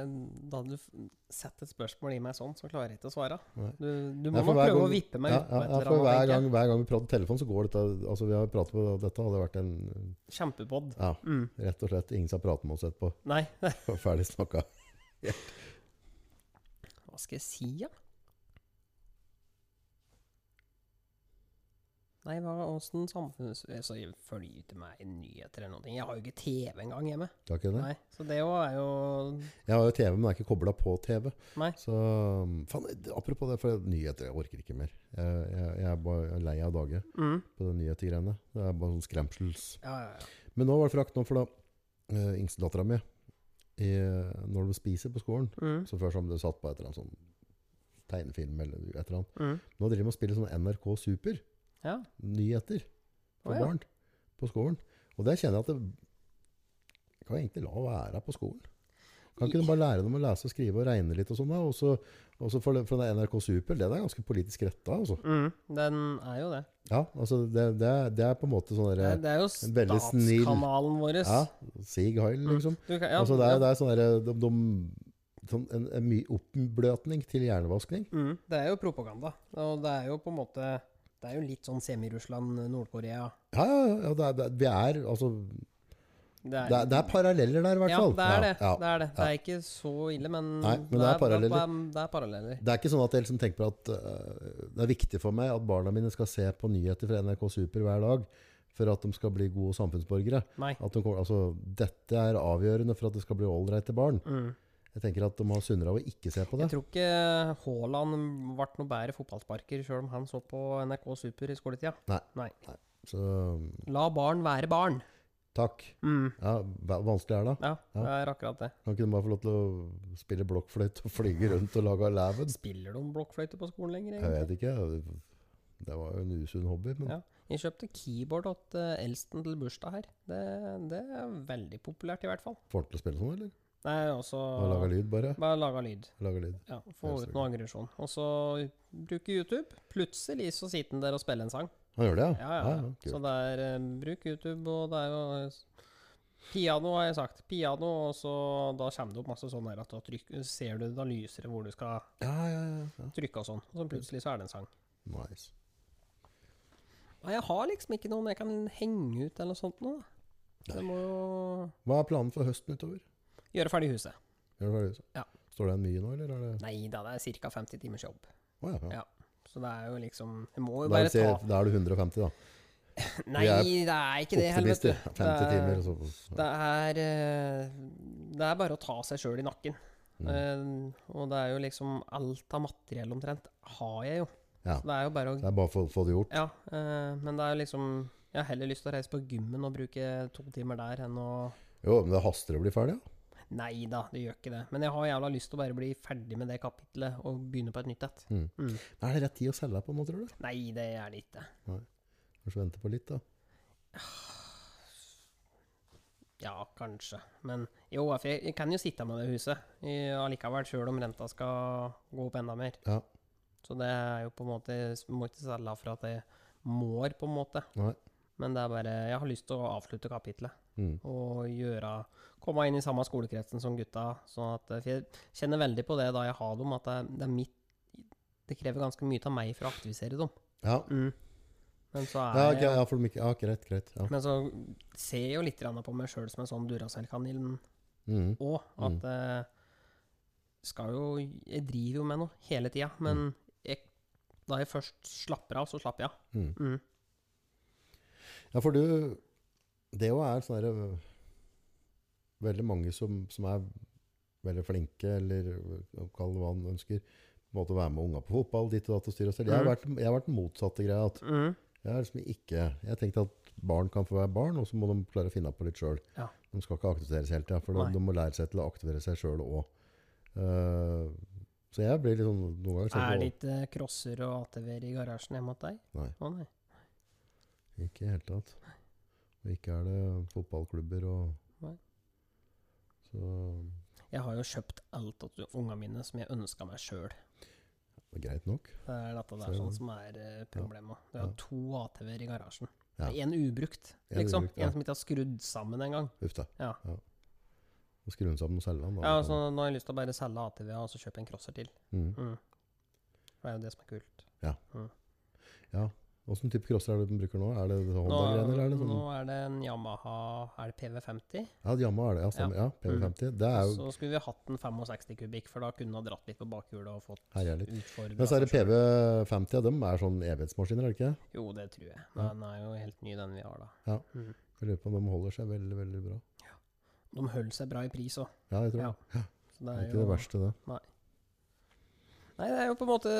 Speaker 2: da du f- setter et spørsmål i meg sånn, så klarer jeg ikke å svare.
Speaker 1: Nei.
Speaker 2: Du, du
Speaker 1: Ja,
Speaker 2: må
Speaker 1: for
Speaker 2: nok
Speaker 1: hver
Speaker 2: prøve å
Speaker 1: gang-
Speaker 2: vippe meg
Speaker 1: Ja,
Speaker 2: ut på
Speaker 1: ja, ja,
Speaker 2: et
Speaker 1: for
Speaker 2: eller annet.
Speaker 1: hver
Speaker 2: tenker jeg.
Speaker 1: gang, hver gang vi prater telefon, så går dette Altså, vi har pratet på dette, hadde vært en
Speaker 2: Kjempepod.
Speaker 1: Ja,
Speaker 2: Mm.
Speaker 1: rett og slett ingen som prater med oss etterpå.
Speaker 2: Nei,
Speaker 1: Ferdig snakka.
Speaker 2: hva skal jeg si, da? Nei, hva åssen samfunns... eh, Så jeg følger ikke meg i nyheter eller noen ting. Jeg har jo ikke TV engang hjemme.
Speaker 1: Takk for det.
Speaker 2: Nei, Så det jo er jo
Speaker 1: Jeg har jo TV, men jeg er ikke kobla på TV.
Speaker 2: Nei.
Speaker 1: Så um, faen, apropos det, for nyheter Jeg orker ikke mer. Jeg, jeg, jeg er bare lei av dage
Speaker 2: mm.
Speaker 1: på de nyhetergreiene. Det er bare sånn skremsels.
Speaker 2: Ja, ja, ja.
Speaker 1: Men nå var det frakt nå, for da uh, yngstedattera mi Når de spiser på skolen
Speaker 2: Mm.
Speaker 1: Så før så har de satt på et eller annet sånn tegnefilm eller et eller annet.
Speaker 2: Mm.
Speaker 1: Nå driver de og spiller sånn NRK Super.
Speaker 2: Ja.
Speaker 1: Nyheter for
Speaker 2: Å, ja.
Speaker 1: barn på skolen. Og der kjenner jeg at det kan jeg egentlig la være på skolen. Kan ikke de bare lære dem å lese og skrive og regne litt og sånn? da? Og så og så for, det- for det NRK Super, det er ganske politisk retta, altså.
Speaker 2: Mm. Den er jo det.
Speaker 1: Ja, altså det, det, er- det er på en måte sånn
Speaker 2: Det,
Speaker 1: derre
Speaker 2: det er jo
Speaker 1: en veldig snill-
Speaker 2: statskanalen vår.
Speaker 1: Ja, Sig Heil, liksom.
Speaker 2: Du kan, Mm. ja,
Speaker 1: altså det er,
Speaker 2: ja.
Speaker 1: det er sånn derre de, de, sånn en, en mye oppbløtning til hjernevaskning.
Speaker 2: Mm, det er jo propaganda. Og det er jo på en måte Det er jo litt sånn semi-Russland, Nord-Korea.
Speaker 1: Ja, ja, ja. ja, Det er, det, er- vi er altså Det er, det er paralleller der, i hvert
Speaker 2: ja,
Speaker 1: fall.
Speaker 2: det er det.
Speaker 1: Ja, ja.
Speaker 2: Det er det. Det er ikke så ille, men,
Speaker 1: Nei, men det er paralleller.
Speaker 2: Det er, det er paralleller.
Speaker 1: Det er ikke sånn at jeg liksom tenker på at øh, det er viktig for meg at barna mine skal se på nyheter fra NRK Super hver dag for at de skal bli gode samfunnsborgere.
Speaker 2: Nei.
Speaker 1: At de kommer, altså, dette er avgjørende for at det skal bli ålreite barn.
Speaker 2: Mm.
Speaker 1: Jeg tenker at de har sunnere av å ikke se på det.
Speaker 2: Jeg tror ikke Haaland ble noe bedre fotballsparker sjøl om han så på NRK Super i skoletida.
Speaker 1: Nei.
Speaker 2: Nei.
Speaker 1: Så
Speaker 2: La barn være barn.
Speaker 1: takk.
Speaker 2: Mm.
Speaker 1: Ja, va- vanskelig er det.
Speaker 2: Ja,
Speaker 1: Ja.
Speaker 2: det er akkurat det.
Speaker 1: Kan ikke de bare få lov til å spille blokkfløyte og flyge rundt og lage alaven?
Speaker 2: Spiller de blokkfløyte på skolen lenger?
Speaker 1: Jeg
Speaker 2: egentlig?
Speaker 1: vet ikke. Det var jo en usunn hobby, men
Speaker 2: Ja. Jeg kjøpte keyboard til eh, eldsten til bursdag her. Det, det er veldig populært, i hvert fall.
Speaker 1: får han til å spille sånn, eller?
Speaker 2: Det er også
Speaker 1: Bare lage lyd, bare?
Speaker 2: Bare laga lyd.
Speaker 1: Lage lyd.
Speaker 2: Ja, Få
Speaker 1: Helt
Speaker 2: ut noe aggresjon. Og så bruke YouTube. Plutselig så sitter han der og spiller en sang.
Speaker 1: Han gjør det, ja?
Speaker 2: Ja, ja.
Speaker 1: Ah, ja, kult.
Speaker 2: så det er eh, bruk YouTube, og det er jo eh, Piano, har jeg sagt. Piano, og så da kommer det opp masse sånn her at da tryk, ser du da lyser det hvor du skal
Speaker 1: ja, ja, ja, ja.
Speaker 2: trykke og sånn. Og så plutselig så er det en sang.
Speaker 1: Nice.
Speaker 2: Nei, jeg har liksom ikke noen jeg kan henge ut eller noe sånt nå. da. Så jeg må jo
Speaker 1: Hva er planen for høsten utover?
Speaker 2: gjøre ferdig huset.
Speaker 1: Gjør du ferdig?
Speaker 2: Ja.
Speaker 1: Står det en mye nå, eller er det
Speaker 2: Nei da, det er ca. 50 timers jobb.
Speaker 1: Å ja. ja.
Speaker 2: Ja. Så det er jo liksom Jeg må jo
Speaker 1: Da, er
Speaker 2: bare
Speaker 1: det,
Speaker 2: ta
Speaker 1: da er det 150, da.
Speaker 2: Nei,
Speaker 1: er
Speaker 2: det er ikke det, helvete.
Speaker 1: Optimister.
Speaker 2: Det
Speaker 1: 50
Speaker 2: er-
Speaker 1: timer, og så
Speaker 2: Det er, eh, det er bare å ta seg sjøl i nakken.
Speaker 1: Mm.
Speaker 2: Eh, og det er jo liksom Alt av materiell omtrent har jeg jo.
Speaker 1: Ja.
Speaker 2: Så det er jo bare å
Speaker 1: Det er bare for å få det gjort.
Speaker 2: Ja. eh, men det er jo liksom Jeg har heller lyst til å reise på gymmen og bruke to timer der enn å
Speaker 1: Jo, men det haster å bli ferdig, ja.
Speaker 2: Nei da, det gjør ikke det. Men jeg har jævla lyst til å bare bli ferdig med det kapitlet og begynne på et nytt et.
Speaker 1: Mm.
Speaker 2: Mm.
Speaker 1: Er det rett tid å selge på nå, tror du?
Speaker 2: Nei, det er det ikke.
Speaker 1: Kanskje vente på litt, da.
Speaker 2: Ja, kanskje. Men jo, for jeg, jeg kan jo sitte med det huset i, allikevel, sjøl om renta skal gå opp enda mer.
Speaker 1: Ja.
Speaker 2: Så det er jo på en måte Må ikke selge for at jeg mår, på en måte.
Speaker 1: Nei.
Speaker 2: Men det er bare Jeg har lyst til å avslutte kapitlet
Speaker 1: Mm.
Speaker 2: og gjøre Komme inn i samme skolekretsen som gutta. Sånn at For jeg kjenner veldig på det da jeg har dem, at det, er- det er mitt Det krever ganske mye av meg for å aktivisere dem.
Speaker 1: Ja.
Speaker 2: Mm. Men så er
Speaker 1: Ja, ok,
Speaker 2: jeg
Speaker 1: ja, for de ikke, ja, greit, greit. Ja.
Speaker 2: Men så ser jeg jo litt grann på meg sjøl som en sånn Duracell-kanin
Speaker 1: Mm.
Speaker 2: òg. At eh, skal jo Jeg driver jo med noe hele tida, men jeg, da jeg først slapper av, så slapper jeg av.
Speaker 1: Mm.
Speaker 2: Mm.
Speaker 1: Ja, for du Det jo er sånn derre Veldig mange som, som er veldig flinke, eller kall det hva han ønsker, på en måte å være med unga på fotball, ditt og datt og styr og stell. Jeg har
Speaker 2: Mhm.
Speaker 1: vært, jeg har vært den motsatte greia. At
Speaker 2: Mm.
Speaker 1: jeg har liksom ikke Jeg tenkte at barn kan få være barn, og så må de klare å finne på litt sjøl.
Speaker 2: Ja.
Speaker 1: De skal ikke aktiveres hele tida, for de,
Speaker 2: Nei.
Speaker 1: de må lære seg til å aktivere seg sjøl òg. så jeg blir litt sånn noen ganger så
Speaker 2: Er det ikke crosser og ATV-er i garasjen hjemme hos deg?
Speaker 1: Nei.
Speaker 2: Å nei.
Speaker 1: Ikke i det hele tatt. Og ikke er det fotballklubber og
Speaker 2: Nei.
Speaker 1: Så det
Speaker 2: Jeg har jo kjøpt alt til ungene mine som jeg ønska meg sjøl.
Speaker 1: er greit nok.
Speaker 2: Det er dette der
Speaker 1: Så-
Speaker 2: sånn som er eh, problemet. Det er
Speaker 1: Ja.
Speaker 2: to ATV-er i garasjen.
Speaker 1: Ja.
Speaker 2: En ubrukt,
Speaker 1: En
Speaker 2: liksom.
Speaker 1: ubrukt, ja.
Speaker 2: En som ikke er skrudd sammen engang.
Speaker 1: Uff da.
Speaker 2: Ja.
Speaker 1: Og skru den sammen og selge den. da.
Speaker 2: Ja, altså, nå har jeg lyst til å bare selge ATV og så kjøpe en crosser til.
Speaker 1: Mm.
Speaker 2: Mm. Det er jo det som er kult.
Speaker 1: Åssen type crosser er det den bruker nå? Er det
Speaker 2: Nå,
Speaker 1: Honda-grener? eller er det
Speaker 2: nå
Speaker 1: sånn?
Speaker 2: er det en Yamaha Er det PV50?
Speaker 1: Ja, Jamma er det. Ja, stemmer. Ja, PV50. Det er jo
Speaker 2: Så skulle vi hatt en 65 kubikk, for da kunne du ha dratt litt på bakhjulet og fått
Speaker 1: herjer litt.
Speaker 2: utfordra
Speaker 1: Men så er det PV50, ja, dem er sånn evighetsmaskiner, er det ikke?
Speaker 2: Jo, det tror jeg.
Speaker 1: Ja.
Speaker 2: Den er jo helt ny, den vi har, da.
Speaker 1: Jeg lurer på om de holder seg veldig, veldig bra.
Speaker 2: De holder seg bra i pris òg.
Speaker 1: Ja, jeg tror
Speaker 2: Ja,
Speaker 1: det.
Speaker 2: Så det
Speaker 1: Det er
Speaker 2: er
Speaker 1: ikke
Speaker 2: jo
Speaker 1: det verste, det.
Speaker 2: Nei, det er jo på en måte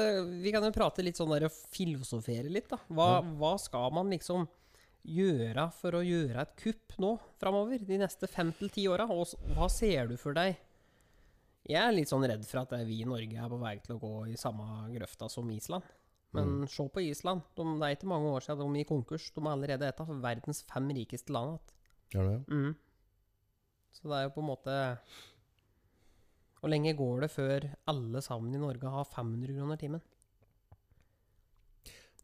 Speaker 2: Vi kan jo prate litt sånn der og filosofere litt, da. Hva, hva skal man liksom gjøre for å gjøre et kupp nå framover? De neste fem til ti åra? Og s- hva ser du for deg? Jeg er litt sånn redd for at det er vi i Norge er på vei til å gå i samme grøfta som Island. Men se på Island. De, det er ikke mange år siden de gikk konkurs. De er allerede et av verdens fem rikeste land igjen.
Speaker 1: Gjør det, ja.
Speaker 2: Mm. Så det er jo på en måte Hvor lenge går det før alle sammen i Norge har 500 kroner timen?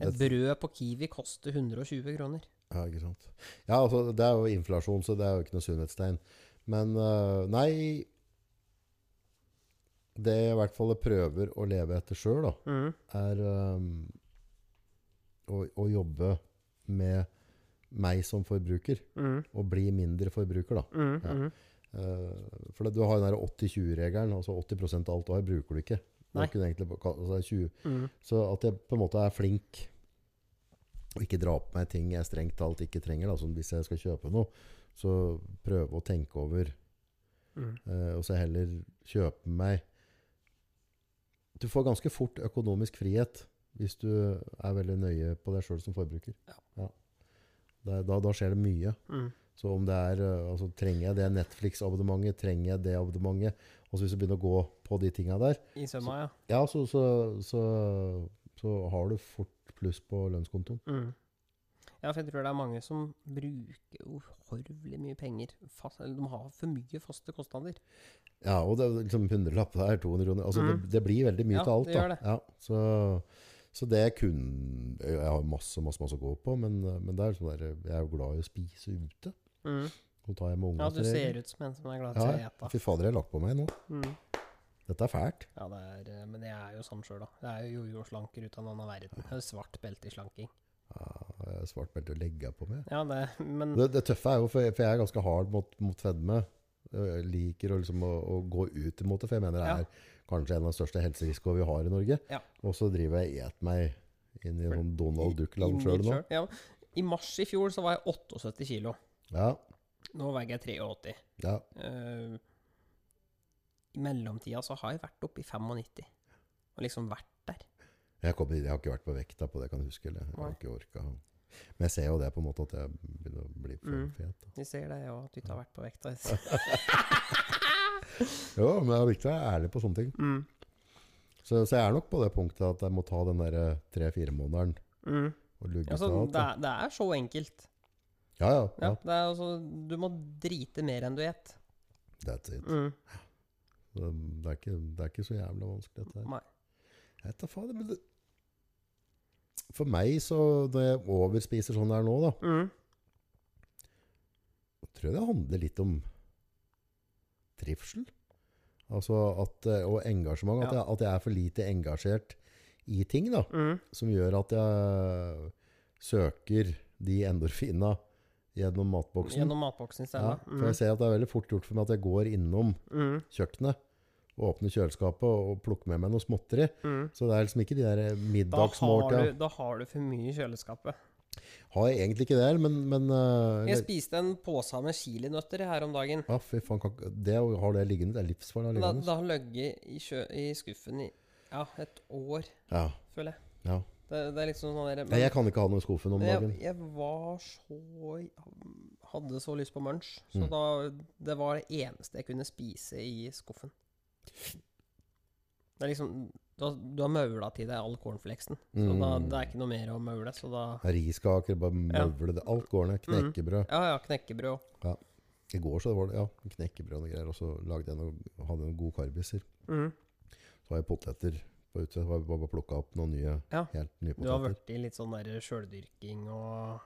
Speaker 2: Et
Speaker 1: Det-
Speaker 2: brød på Kiwi koster 120 kroner.
Speaker 1: Ja, ikke sant. Ja, altså, det er jo inflasjon, så det er jo ikke noe sunnhetstegn. Men øh, nei Det jeg i hvert fall prøver å leve etter sjøl, da,
Speaker 2: Mm,
Speaker 1: er øhm, å, å jobbe med meg som forbruker.
Speaker 2: mm,
Speaker 1: Og bli mindre forbruker, da. Ja. Eh, for det, du har den der 80-20-regelen. Altså 80 av alt du har, bruker du ikke.
Speaker 2: Nei.
Speaker 1: Det kunne egentlig bare kalt- altså, det er 20
Speaker 2: mm,
Speaker 1: så at jeg på en måte er flink og ikke drar på meg ting jeg strengt talt ikke trenger, da, som hvis jeg skal kjøpe noe, så prøve å tenke over,
Speaker 2: mm,
Speaker 1: eh, og så heller kjøpe meg Du får ganske fort økonomisk frihet hvis du er veldig nøye på deg sjøl som forbruker.
Speaker 2: Ja.
Speaker 1: Det er, da, da skjer det mye.
Speaker 2: Mm.
Speaker 1: Så om det er, eh, altså, trenger jeg det Netflix-abonnementet, trenger jeg det abonnementet, og så hvis du begynner å gå på de tinga der,
Speaker 2: I sømma, ja.
Speaker 1: ja, så, så, så, så har du fort pluss på lønnskontoen.
Speaker 2: Mm. Ja, for jeg tror det er mange som bruker uhorvelig mye penger. Fast, eller de har for mye faste kostnader.
Speaker 1: Ja, og det er liksom 100-lapp der, 200 kroner. Altså, det, det blir veldig mye
Speaker 2: Mm. Ja,
Speaker 1: til alt.
Speaker 2: det
Speaker 1: Da.
Speaker 2: gjør det.
Speaker 1: Ja, så, så det kunne Jeg har masse, masse, masse å gå på, men, men det er sånn der, jeg er jo glad i å spise ute.
Speaker 2: Mm.
Speaker 1: Nå tar jeg med
Speaker 2: Ja,
Speaker 1: ungene
Speaker 2: du ser ut som en som er glad til å
Speaker 1: Ja,
Speaker 2: ete.
Speaker 1: fy fader, jeg har lagt på meg nå.
Speaker 2: Mm.
Speaker 1: Dette er fælt.
Speaker 2: Ja, det er, eh, men jeg er jo sånn sjøl, da. Jeg er jo jojo-slanker ut av en annen verden. Jeg har svart belte i slanking.
Speaker 1: Ja, jeg har svart belte å legge på meg.
Speaker 2: Ja, det, men
Speaker 1: Det, det tøffe er jo, for jeg, for jeg er ganske hard mot, mot fedme. Jeg liker å, liksom, å, å gå ut imot det, for jeg mener det
Speaker 2: Ja.
Speaker 1: er kanskje en av de største helserisikoene vi har i Norge.
Speaker 2: Ja.
Speaker 1: Og så driver jeg og et meg inn i en sånn Donald
Speaker 2: i
Speaker 1: Duck-land
Speaker 2: mitt
Speaker 1: sjøl nå.
Speaker 2: selv- Ja, I mars i fjor så var jeg 78 kilo.
Speaker 1: Ja,
Speaker 2: Nå veier jeg 83.
Speaker 1: ja.
Speaker 2: Eh, I mellomtida så har jeg vært oppe i 95. Og liksom vært der.
Speaker 1: Jeg, kommer, jeg har ikke vært på vekta på det, kan jeg huske. Eller. Jeg
Speaker 2: Nei.
Speaker 1: har ikke orka. Men jeg ser jo det på en måte at jeg begynner å bli for
Speaker 2: Mm.
Speaker 1: fet.
Speaker 2: Vi ser det, og at du ikke har vært på vekta.
Speaker 1: Jo, men det er viktig å være ærlig på sånne ting.
Speaker 2: Mm.
Speaker 1: Så, så jeg er nok på det punktet at jeg må ta den der tre-fire månederen
Speaker 2: Mm.
Speaker 1: og lugge
Speaker 2: Altså,
Speaker 1: fra alt,
Speaker 2: det,
Speaker 1: da.
Speaker 2: er, det er så enkelt.
Speaker 1: Ja, ja,
Speaker 2: Ja,
Speaker 1: ja.
Speaker 2: det er altså, du må drite mer enn du et.
Speaker 1: That's it.
Speaker 2: Mm.
Speaker 1: Det, det, er ikke, det er ikke så jævla vanskelig, dette her.
Speaker 2: Nei.
Speaker 1: Jeg vet da fader, men det, For meg, så når jeg overspiser sånn her nå, da,
Speaker 2: Mm.
Speaker 1: tror jeg det handler litt om trivsel. Altså at, eh, og engasjement. At, jeg,
Speaker 2: Ja.
Speaker 1: at jeg er for lite engasjert i ting, da.
Speaker 2: Mm.
Speaker 1: Som gjør at jeg søker de endorfina gjennom matboksen.
Speaker 2: Gjennom Mm. matboksen i
Speaker 1: ja,
Speaker 2: stedet.
Speaker 1: for jeg ser at det er veldig fort gjort for meg at jeg går innom
Speaker 2: Mm.
Speaker 1: kjøkkenet og åpner kjøleskapet og plukker med meg noe småtteri.
Speaker 2: Mm. Mm.
Speaker 1: Så det er liksom ikke de der
Speaker 2: Da, har
Speaker 1: middagsmåltida.
Speaker 2: du, da har du for mye i kjøleskapet.
Speaker 1: Har jeg egentlig ikke det, men, men eh,
Speaker 2: Jeg spiste en pose med chilinøtter her om dagen.
Speaker 1: ja, fy faen, kan, ikke- det å- har det liggende, det er livsfarlig å ha
Speaker 2: Da,
Speaker 1: liggende.
Speaker 2: da har den ligget i, kjø- i skuffen i ja, et år,
Speaker 1: Ja,
Speaker 2: føler jeg.
Speaker 1: ja.
Speaker 2: Det, det er liksom sånn der,
Speaker 1: Nei, jeg kan ikke ha noe i skuffen om
Speaker 2: Men
Speaker 1: dagen.
Speaker 2: Jeg, jeg var så Hadde så lyst på munch, så
Speaker 1: Mm.
Speaker 2: da Det var det eneste jeg kunne spise i skuffen. Det er liksom Du har, du har maula til deg all cornflakesen, så da,
Speaker 1: Mm.
Speaker 2: det er ikke noe mer å maule, så da
Speaker 1: Riskaker, bare
Speaker 2: Ja. Mm.
Speaker 1: møvle det. Alt går ned. Knekkebrød.
Speaker 2: Ja, ja, knekkebrød òg.
Speaker 1: I går så var det ja, knekkebrød og greier, og så lagde jeg noe, hadde jeg noen gode karbiser. Så har jeg poteter på ute. Så har jeg bare plukka opp noen nye,
Speaker 2: Ja.
Speaker 1: helt nye
Speaker 2: Du har
Speaker 1: poteter.
Speaker 2: blitt litt sånn der sjøldyrking og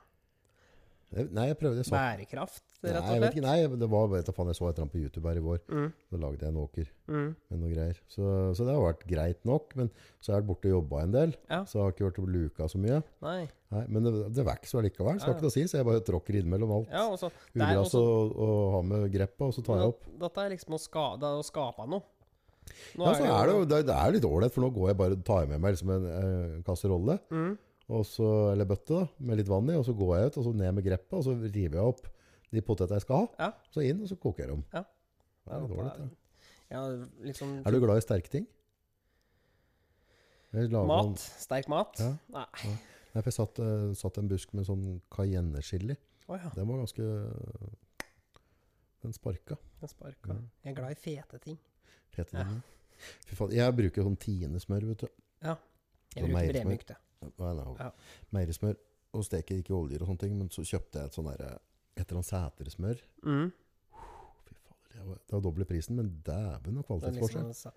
Speaker 1: Jeg- Eh, Nei, jeg prøvde. Jeg så,
Speaker 2: bærekraft,
Speaker 1: nei, jeg
Speaker 2: rett og
Speaker 1: vet
Speaker 2: slett?
Speaker 1: ikke, nei, det var, vet du, faen, jeg så et eller annet på YouTube her i vår.
Speaker 2: Mm,
Speaker 1: Da lagde jeg en åker.
Speaker 2: mm.
Speaker 1: med noe greier. Så, så det har vært greit nok, men så har jeg vært borte og jobba en del.
Speaker 2: Ja.
Speaker 1: Så har jeg ikke vært og luka så mye.
Speaker 2: Nei.
Speaker 1: Nei, men det, det vokser så allikevel, skal
Speaker 2: Ja, ja.
Speaker 1: ikke noe si. Så jeg bare tråkker innimellom alt
Speaker 2: Ja, og så det er
Speaker 1: ugress
Speaker 2: også-
Speaker 1: og, og har med greppa, og så tar jeg opp.
Speaker 2: Dette er liksom å, ska, det er å skape noe. Nå
Speaker 1: Ja, så er det, jo, det, det er litt ålreit, for nå går jeg bare og tar med meg liksom en eh, kasserolle,
Speaker 2: Mm.
Speaker 1: og så, eller bøtte, da, med litt vann i, og så går jeg ut, og så ned med greppa, og så river jeg opp de potetene jeg skal ha.
Speaker 2: Ja.
Speaker 1: Så inn, og så koker jeg dem.
Speaker 2: Ja.
Speaker 1: Det er litt ålreit, ja.
Speaker 2: Ja, liksom
Speaker 1: Er du glad i sterke ting? Jeg lager noen-
Speaker 2: Mat? Sterk mat?
Speaker 1: Ja.
Speaker 2: Nei.
Speaker 1: Nei, for jeg satt, eh, satt en busk med sånn cayennechili.
Speaker 2: Å ja.
Speaker 1: Den var ganske Den sparka.
Speaker 2: Den sparka.
Speaker 1: Mm.
Speaker 2: Jeg er glad i fete ting.
Speaker 1: Fete
Speaker 2: Ja.
Speaker 1: den. Fy faen, jeg bruker sånn tiendesmør, vet du.
Speaker 2: Jeg
Speaker 1: Og
Speaker 2: bruker
Speaker 1: meierismør.
Speaker 2: bremykte.
Speaker 1: Nei, nei,
Speaker 2: Ja.
Speaker 1: Meierismør. Og steker ikke i oljer og sånne ting, men så kjøpte jeg et sånn derre Et eller annet sætersmør.
Speaker 2: Mm.
Speaker 1: Fy faen, det var, det var doble prisen, men dæven og
Speaker 2: Det er liksom
Speaker 1: kvalitetsforskjell.
Speaker 2: å sette-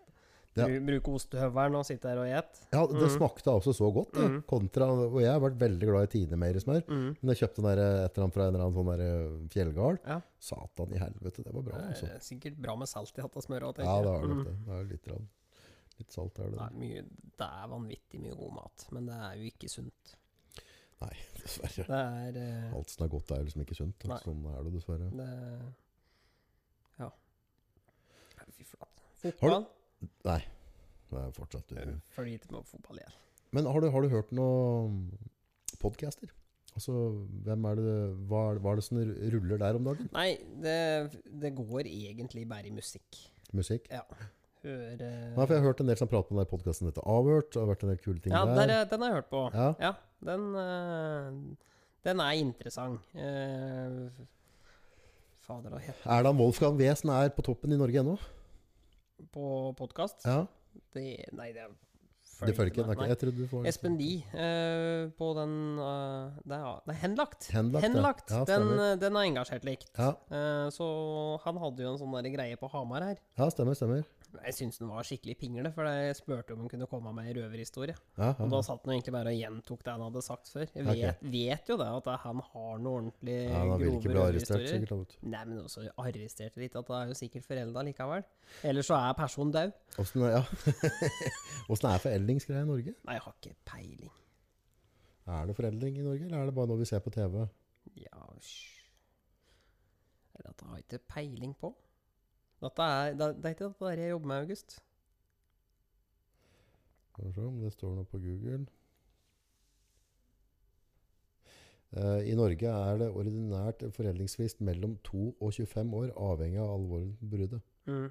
Speaker 1: Ja.
Speaker 2: Bru- Bruke ostehøvelen og sitte her og gjete.
Speaker 1: Ja, det smakte altså så godt, det.
Speaker 2: Mm.
Speaker 1: Kontra Og jeg har vært veldig glad i Tine meierismør.
Speaker 2: Mm.
Speaker 1: Men jeg kjøpte den der, et eller annet fra en eller annen sånn der fjellgard.
Speaker 2: Ja.
Speaker 1: Satan i helvete, det var bra, altså.
Speaker 2: Det er Sikkert bra med salt i hatta smør òg,
Speaker 1: Ja, det er
Speaker 2: Mm.
Speaker 1: det. vet du. Det er litt, rann. litt salt er det.
Speaker 2: Det er, mye, det er vanvittig mye god mat, men det er jo ikke sunt.
Speaker 1: Nei, dessverre.
Speaker 2: Det er eh,
Speaker 1: Alt som er godt, er liksom ikke sunt.
Speaker 2: Nei.
Speaker 1: Sånn er det dessverre.
Speaker 2: det, Ja. Nei, Fy flate. Fotball?
Speaker 1: Det er fortsatt
Speaker 2: Eh,
Speaker 1: u-
Speaker 2: For lite med fotball igjen.
Speaker 1: Men har du, har du hørt noen podcaster? Altså, hvem er det, hva, er det- hva er det som ruller der om dagen?
Speaker 2: Nei, det, det går egentlig bare i musikk. eh,
Speaker 1: Musikk?
Speaker 2: Ja. Høre
Speaker 1: Nei, for jeg har hørt en del som prater på den der podcasten dette avhørt, og det har vært en del kule ting
Speaker 2: Ja,
Speaker 1: der.
Speaker 2: der, er- den har jeg hørt på.
Speaker 1: Ja,
Speaker 2: Ja, den eh, Den er interessant. Eh, fader, hva heter
Speaker 1: Erland Wolfgang Wesen er på toppen i Norge ennå.
Speaker 2: den på podkast?
Speaker 1: Ja,
Speaker 2: Nei, det
Speaker 1: det følger ikke. det
Speaker 2: med,
Speaker 1: er ikke-
Speaker 2: nei.
Speaker 1: Jeg trodde du får
Speaker 2: Espen Lie eh, på den eh, det, er, det er Henlagt.
Speaker 1: Henlagt, ja. Ja,
Speaker 2: den,
Speaker 1: stemmer.
Speaker 2: eh, den er engasjert likt.
Speaker 1: Ja,
Speaker 2: Eh, så han hadde jo en sånn der greie på Hamar her.
Speaker 1: ja, stemmer, stemmer.
Speaker 2: Jeg syns den var skikkelig pingle, for jeg spurte om hun kunne komme med ei røverhistorie.
Speaker 1: Ja,
Speaker 2: Og
Speaker 1: ja.
Speaker 2: da satt han egentlig bare og gjentok det han hadde sagt før. Jeg vet, vet jo det, at han har noe ordentlig
Speaker 1: ja da vil ikke
Speaker 2: grove
Speaker 1: bli arrestert,
Speaker 2: røverhistorier.
Speaker 1: sikkert. da, vet du.
Speaker 2: Nei, men også arresterte litt, at det er jo sikkert forelda likevel. Eller så er personen død.
Speaker 1: Åssen er, ja. Åssen er foreldringsgreia i Norge?
Speaker 2: Nei, jeg har ikke peiling.
Speaker 1: Er det foreldring i Norge, eller er det bare noe vi ser på TV?
Speaker 2: Ja, sj. Nei, Dette har jeg ikke peiling på. Dette er, det, det er ikke dette der jeg jobber med, August.
Speaker 1: Skal vi se om det står noe på Google. Eh, I Norge er det ordinært en foreldringsfrist mellom 2 og 25 år, avhengig av alvoret på bruddet. Eh,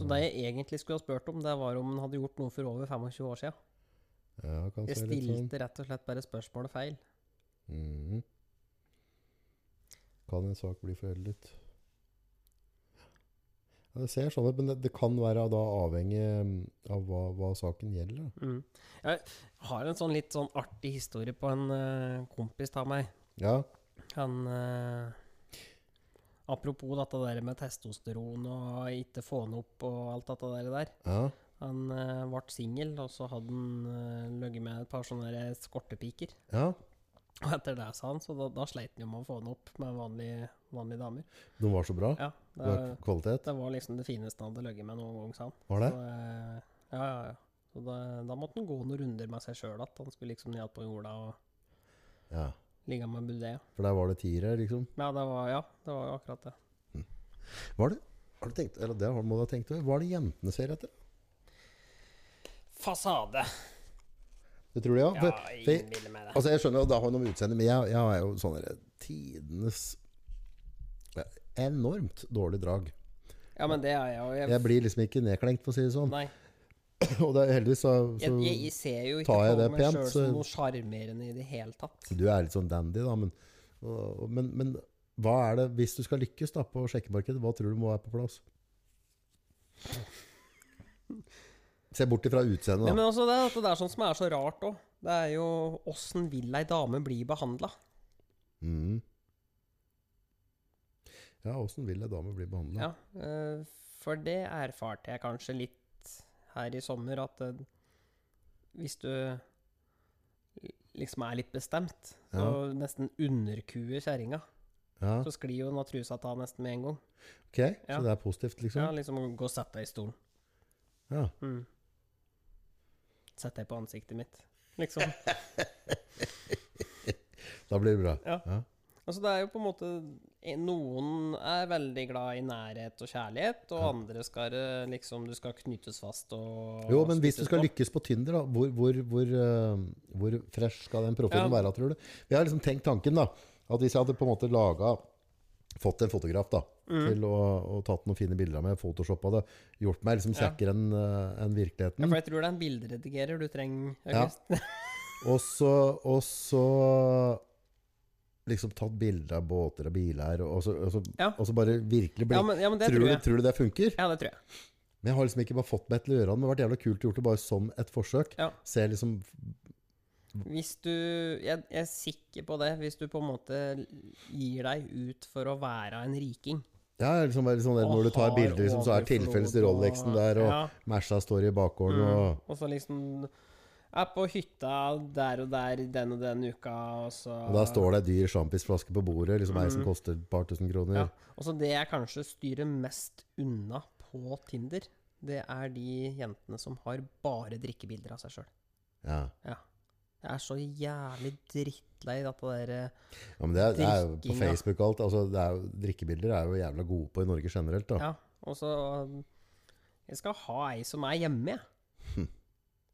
Speaker 2: Så det jeg egentlig skulle ha spurt om, det var om han hadde gjort noe for over 25 år siden.
Speaker 1: ja, kan
Speaker 2: Jeg
Speaker 1: se litt sånn.
Speaker 2: stilte rett og slett bare spørsmålet feil.
Speaker 1: Mhm. Kan en sak bli foreldet? Ja, det ser sånn ut, men det, det kan være da avhengig mm, av hva, hva saken gjelder. da.
Speaker 2: Mm. Jeg har en sånn litt sånn artig historie på en eh, kompis av meg.
Speaker 1: Ja,
Speaker 2: Han eh, Apropos dette der med testosteron og ikke få han opp og alt dette der. der.
Speaker 1: ja,
Speaker 2: Han eh, ble singel, og så hadde han eh, ligget med et par sånne der skortepiker.
Speaker 1: ja.
Speaker 2: Og etter det, sa han, så da, da sleit han jo med å få han opp med vanlige, vanlige damer.
Speaker 1: De var så bra.
Speaker 2: Ja,
Speaker 1: Det
Speaker 2: det,
Speaker 1: var kvalitet.
Speaker 2: det var liksom det fineste han hadde ligget med noen gang, sa han.
Speaker 1: Var det?
Speaker 2: Så, eh, ja, ja, ja. Så da, da måtte han gå noen runder med seg sjøl at han skulle liksom ned på jorda og
Speaker 1: Ja.
Speaker 2: ligge med budeia.
Speaker 1: For der var det tiere, liksom.
Speaker 2: Ja, det var, ja, det var jo akkurat det.
Speaker 1: Var det, har du tenkt, eller det har- må du ha tenkt over, var det jentene ser etter?
Speaker 2: Fasade!
Speaker 1: Det tror du, ja?
Speaker 2: Ja,
Speaker 1: For,
Speaker 2: jeg
Speaker 1: for,
Speaker 2: innbiller meg det.
Speaker 1: altså, jeg skjønner jo, det har noe med utseendet, men jeg, jeg er jo sånn der tidenes ja, enormt dårlig drag.
Speaker 2: Ja, men det er jeg jo. Jeg,
Speaker 1: Jeg blir liksom ikke nedklengt, for å si det sånn.
Speaker 2: nei,
Speaker 1: Og det er heldigvis så, så
Speaker 2: jeg, jeg, jeg ser jo ikke
Speaker 1: tar jeg
Speaker 2: på
Speaker 1: det
Speaker 2: meg
Speaker 1: pent,
Speaker 2: sjøl
Speaker 1: så-
Speaker 2: som noe sjarmerende i det hele tatt.
Speaker 1: Du er litt sånn dandy, da, men, og, og- men, men hva er det, hvis du skal lykkes da på sjekkemarkedet, hva tror du må være på plass? Se bort ifra
Speaker 2: Nei,
Speaker 1: utseendet, da.
Speaker 2: men også det, at det er sånn som er så rart òg. Det er jo åssen vil ei dame bli behandla?
Speaker 1: Mhm. Ja, åssen vil ei dame bli behandla?
Speaker 2: Ja, eh, for det erfarte jeg kanskje litt her i sommer, at eh, hvis du liksom er litt bestemt, så
Speaker 1: Ja.
Speaker 2: nesten underkuer kjerringa,
Speaker 1: Ja.
Speaker 2: så sklir jo den av trusa ta nesten med en gang.
Speaker 1: Ok,
Speaker 2: Ja.
Speaker 1: så det er positivt,
Speaker 2: Ja,
Speaker 1: liksom?
Speaker 2: liksom gå og sett deg i stolen.
Speaker 1: Ja.
Speaker 2: Mm. Sett deg på ansiktet mitt, liksom.
Speaker 1: Da blir det bra.
Speaker 2: Ja.
Speaker 1: Ja.
Speaker 2: Altså det er jo på en måte eh, Noen er veldig glad i nærhet og kjærlighet, og
Speaker 1: Ja.
Speaker 2: andre skal det liksom Du skal knyttes fast og
Speaker 1: Jo, men hvis du
Speaker 2: spyttes
Speaker 1: skal
Speaker 2: på.
Speaker 1: lykkes på Tinder, da, hvor, hvor, hvor, eh, hvor fresh skal den profilen
Speaker 2: Ja.
Speaker 1: være, tror du? Jeg har liksom tenkt tanken, da, at hvis jeg hadde på en måte laga Fått en fotograf da,
Speaker 2: Mm.
Speaker 1: til å og tatt noen fine bilder av meg, photoshoppa det, gjort meg liksom
Speaker 2: Ja.
Speaker 1: kjekkere enn eh, enn virkeligheten.
Speaker 2: Ja, for jeg tror det er en bilderedigerer du trenger,
Speaker 1: Ja.
Speaker 2: August. Ja.
Speaker 1: Og så, og så liksom tatt bilder av båter og biler, og så, og så,
Speaker 2: Ja.
Speaker 1: og så bare virkelig bli
Speaker 2: men, ja, men det
Speaker 1: tror,
Speaker 2: tror
Speaker 1: du,
Speaker 2: jeg.
Speaker 1: tror du det funker?
Speaker 2: Ja, det tror jeg.
Speaker 1: Men jeg har liksom ikke bare fått meg til å gjøre det. men Det har vært jævla kult gjort det bare som et forsøk.
Speaker 2: Ja.
Speaker 1: Se liksom
Speaker 2: Hvis du jeg, jeg er sikker på det. Hvis du på en måte gir deg ut for å være en riking.
Speaker 1: Ja, liksom, bare sånn der,
Speaker 2: og
Speaker 1: når du tar
Speaker 2: har
Speaker 1: bilder, liksom, så er
Speaker 2: overflod
Speaker 1: tilfellet
Speaker 2: og-
Speaker 1: Rolexen der, og
Speaker 2: ja,
Speaker 1: Mersa står i bakgården,
Speaker 2: mm,
Speaker 1: og
Speaker 2: og så liksom er på hytta der og der den og den uka, og så
Speaker 1: og der står det ei dyr sjampisflaske på bordet, liksom ei som koster et par tusen kroner.
Speaker 2: Mm. ja. Og så Altså, det jeg kanskje styrer mest unna på Tinder, det er de jentene som har bare drikkebilder av seg sjøl.
Speaker 1: Ja.
Speaker 2: Jeg er så jævlig drittlei dette eh, derre
Speaker 1: ja, men det er, det er jo på
Speaker 2: Drikking, da.
Speaker 1: Facebook og alt. Altså, det er jo, drikkebilder er jo jævla gode på i Norge generelt, da.
Speaker 2: Ja, og så um, Jeg skal ha ei som er hjemme, jeg.
Speaker 1: Hm.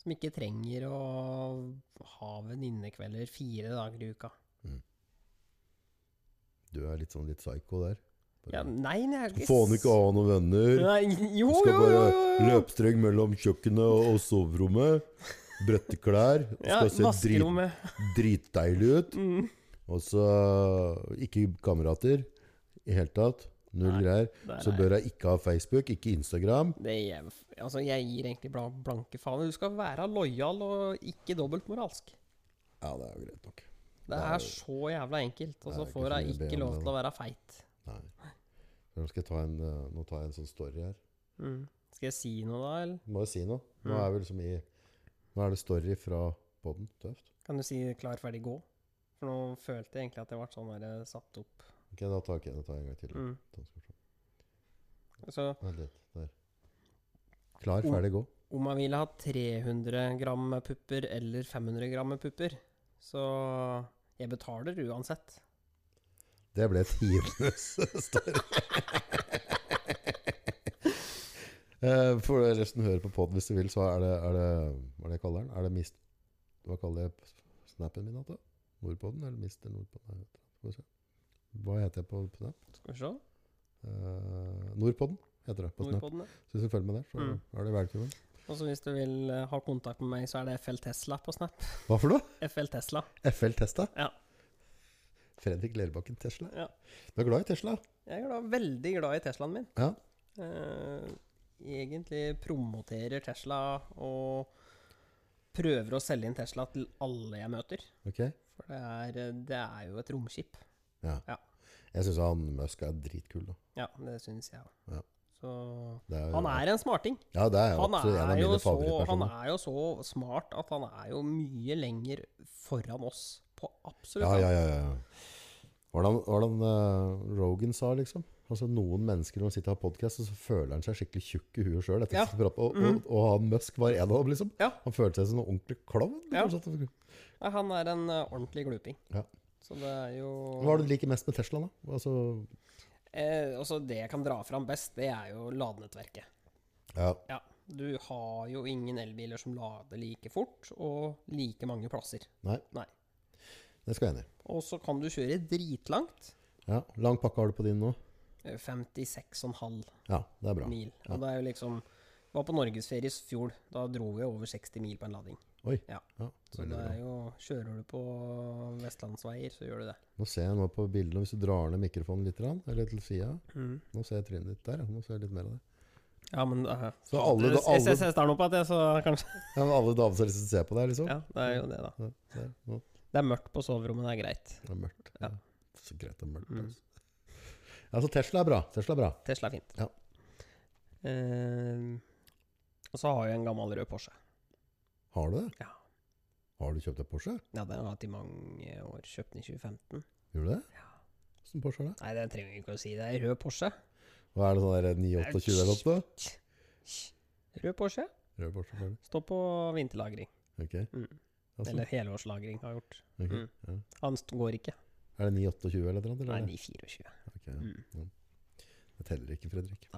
Speaker 2: Som ikke trenger å ha venninnekvelder fire dager i uka.
Speaker 1: Du er litt sånn litt psycho der.
Speaker 2: Ja, nei, nei, jeg er ikke
Speaker 1: Faen ikke
Speaker 2: s-
Speaker 1: ha noen venner.
Speaker 2: Nei, jo,
Speaker 1: Du
Speaker 2: jo,
Speaker 1: skal
Speaker 2: jo, jo,
Speaker 1: bare
Speaker 2: jo.
Speaker 1: løpstreng mellom kjøkkenet og soverommet. Brøtte klær.
Speaker 2: Ja,
Speaker 1: Skal se drit,
Speaker 2: vaskerommet.
Speaker 1: dritdeilig ut.
Speaker 2: Mm.
Speaker 1: Og så ikke kamerater i hele tatt. Null
Speaker 2: Nei,
Speaker 1: greier.
Speaker 2: Der
Speaker 1: Så
Speaker 2: er
Speaker 1: bør jeg ikke ha Facebook, ikke Instagram.
Speaker 2: Det er, altså jeg gir egentlig bla- blanke faen. Du skal være lojal og ikke dobbeltmoralsk.
Speaker 1: Ja, det er jo greit nok.
Speaker 2: Det
Speaker 1: Nei.
Speaker 2: er så jævla enkelt, og
Speaker 1: Nei,
Speaker 2: så
Speaker 1: det er
Speaker 2: får
Speaker 1: ikke så
Speaker 2: jeg
Speaker 1: mye å be
Speaker 2: ikke
Speaker 1: om
Speaker 2: lov
Speaker 1: det,
Speaker 2: til å være feit.
Speaker 1: Nei. Nå skal jeg ta en, eh, nå tar jeg en sånn story her.
Speaker 2: Mm. Skal jeg si noe, da? eller?
Speaker 1: Må jo si noe. Nå
Speaker 2: Mm.
Speaker 1: er, vi liksom i, nå er det story fra podden. Tøft.
Speaker 2: Kan du si 'klar, ferdig, gå'? For nå følte jeg egentlig at jeg ble sånn der eh, satt opp.
Speaker 1: Ok, da tar jeg, da tar jeg en gang til.
Speaker 2: Mm. Altså,
Speaker 1: Da skal vi se.
Speaker 2: Så
Speaker 1: Vent litt. Der. Klar, ferdig, gå.
Speaker 2: om jeg ville ha 300 gram med pupper eller 500 gram med pupper, så jeg betaler uansett.
Speaker 1: Det ble tidenes story. Eh, For dere som hører på podden hvis du vil, så er det, er det Hva er det jeg kaller den? Er det mist... Hva kaller jeg p- snappen min? Da? Nordpodden? Eller Mister Nordpodden? Nei, vet du. Skal vi se. Hva heter jeg på snap?
Speaker 2: Skal vi se.
Speaker 1: Eh, Nordpodden heter det på snap.
Speaker 2: Nordpodden, ja.
Speaker 1: Så hvis du følger med der, så
Speaker 2: Mm.
Speaker 1: er det velkommen.
Speaker 2: Og så hvis du vil eh, ha kontakt med meg, så er det FL Tesla på Snap.
Speaker 1: Hva for noe?
Speaker 2: FL Tesla.
Speaker 1: FL Testa?
Speaker 2: Ja.
Speaker 1: Fredrik Lerbakken Tesla.
Speaker 2: Ja.
Speaker 1: Du er glad i Tesla?
Speaker 2: Jeg er glad, veldig glad i Teslaen min.
Speaker 1: Ja.
Speaker 2: Eh, egentlig promoterer Tesla og prøver å selge inn Tesla til alle jeg møter.
Speaker 1: Ok.
Speaker 2: For det er, det er jo et romskip.
Speaker 1: Jeg syns han Musk er dritkul, da.
Speaker 2: Ja, det syns jeg òg.
Speaker 1: Ja.
Speaker 2: Så
Speaker 1: Det jo-
Speaker 2: han er en smarting.
Speaker 1: Ja, det er jo
Speaker 2: Han
Speaker 1: absolutt en av
Speaker 2: er, jo
Speaker 1: mine
Speaker 2: så, han
Speaker 1: favorittpersoner.
Speaker 2: er jo så smart at han er jo mye lenger foran oss på absolutt
Speaker 1: Ja,
Speaker 2: alt.
Speaker 1: ja, ja, ja. Hvordan, hvordan eh, Rogan sa, liksom. Altså Noen mennesker når de sitter og har podkast, så føler han seg skikkelig tjukk i huet sjøl.
Speaker 2: Ja. Mhm.
Speaker 1: Og, og, og han Musk var en av dem, liksom.
Speaker 2: Ja.
Speaker 1: Han følte seg som en ordentlig klovn.
Speaker 2: Ja.
Speaker 1: liksom.
Speaker 2: Nei, Han er en eh, ordentlig gluping.
Speaker 1: Ja.
Speaker 2: Så det er jo
Speaker 1: Hva er det du liker mest med Tesla, da? Altså,
Speaker 2: eh, også Det jeg kan dra fram best, det er jo ladenettverket.
Speaker 1: ja,
Speaker 2: Ja. Du har jo ingen elbiler som lader like fort, og like mange plasser.
Speaker 1: det skal jeg enig i.
Speaker 2: Og så kan du kjøre dritlangt.
Speaker 1: Ja. Lang pakke har du på din nå?
Speaker 2: eh, 56,5
Speaker 1: Ja, det er bra.
Speaker 2: mil.
Speaker 1: Ja.
Speaker 2: Og det er jo liksom Var på norgesferie i fjor. Da dro vi over 60 mil på en lading.
Speaker 1: Ja,
Speaker 2: Så
Speaker 1: veldig
Speaker 2: det
Speaker 1: bra.
Speaker 2: er jo Kjører du på vestlandsveier, så gjør du det.
Speaker 1: Nå ser jeg nå på bildene, hvis du drar ned mikrofonen litt, grann, eller til sida Nå ser jeg trynet ditt der. ja. Nå ser jeg litt mer av det.
Speaker 2: Ja, men uh,
Speaker 1: Så alle,
Speaker 2: Hvis
Speaker 1: alle,
Speaker 2: jeg ser nå på at jeg så kanskje
Speaker 1: ja, men alle damer som ser på deg, liksom?
Speaker 2: Ja, det er jo det, da.
Speaker 1: Ja, der, nå.
Speaker 2: Det er mørkt på soverommet, det er greit.
Speaker 1: Det er mørkt.
Speaker 2: Ja.
Speaker 1: Så greit det er mørkt.
Speaker 2: Mm.
Speaker 1: Altså. Ja, så Tesla er bra. Tesla er bra.
Speaker 2: Tesla er fint.
Speaker 1: Ja.
Speaker 2: Eh, og så har jeg en gammel rød Porsche.
Speaker 1: Har du det?
Speaker 2: Ja.
Speaker 1: Har du kjøpt deg Porsche?
Speaker 2: Ja, den har jeg hatt i mange år. Kjøpt den i 2015.
Speaker 1: Gjorde du det?
Speaker 2: Ja.
Speaker 1: Hvordan Porsche er det?
Speaker 2: Nei, det trenger vi ikke å si. Det er en rød Porsche.
Speaker 1: Hva er det sånn der 928 eller noe?
Speaker 2: Rød Porsche.
Speaker 1: Rød Porsche, selvfølgelig.
Speaker 2: Står på vinterlagring.
Speaker 1: Ok.
Speaker 2: Mm.
Speaker 1: Ja, sånn.
Speaker 2: Eller helårslagring, har jeg gjort.
Speaker 1: Ok,
Speaker 2: Mm.
Speaker 1: ja.
Speaker 2: Han st- går ikke.
Speaker 1: Er det 928 eller noe?
Speaker 2: Nei,
Speaker 1: Eller?
Speaker 2: 924.
Speaker 1: Ok, ja.
Speaker 2: Mm.
Speaker 1: Det teller ikke, Fredrik.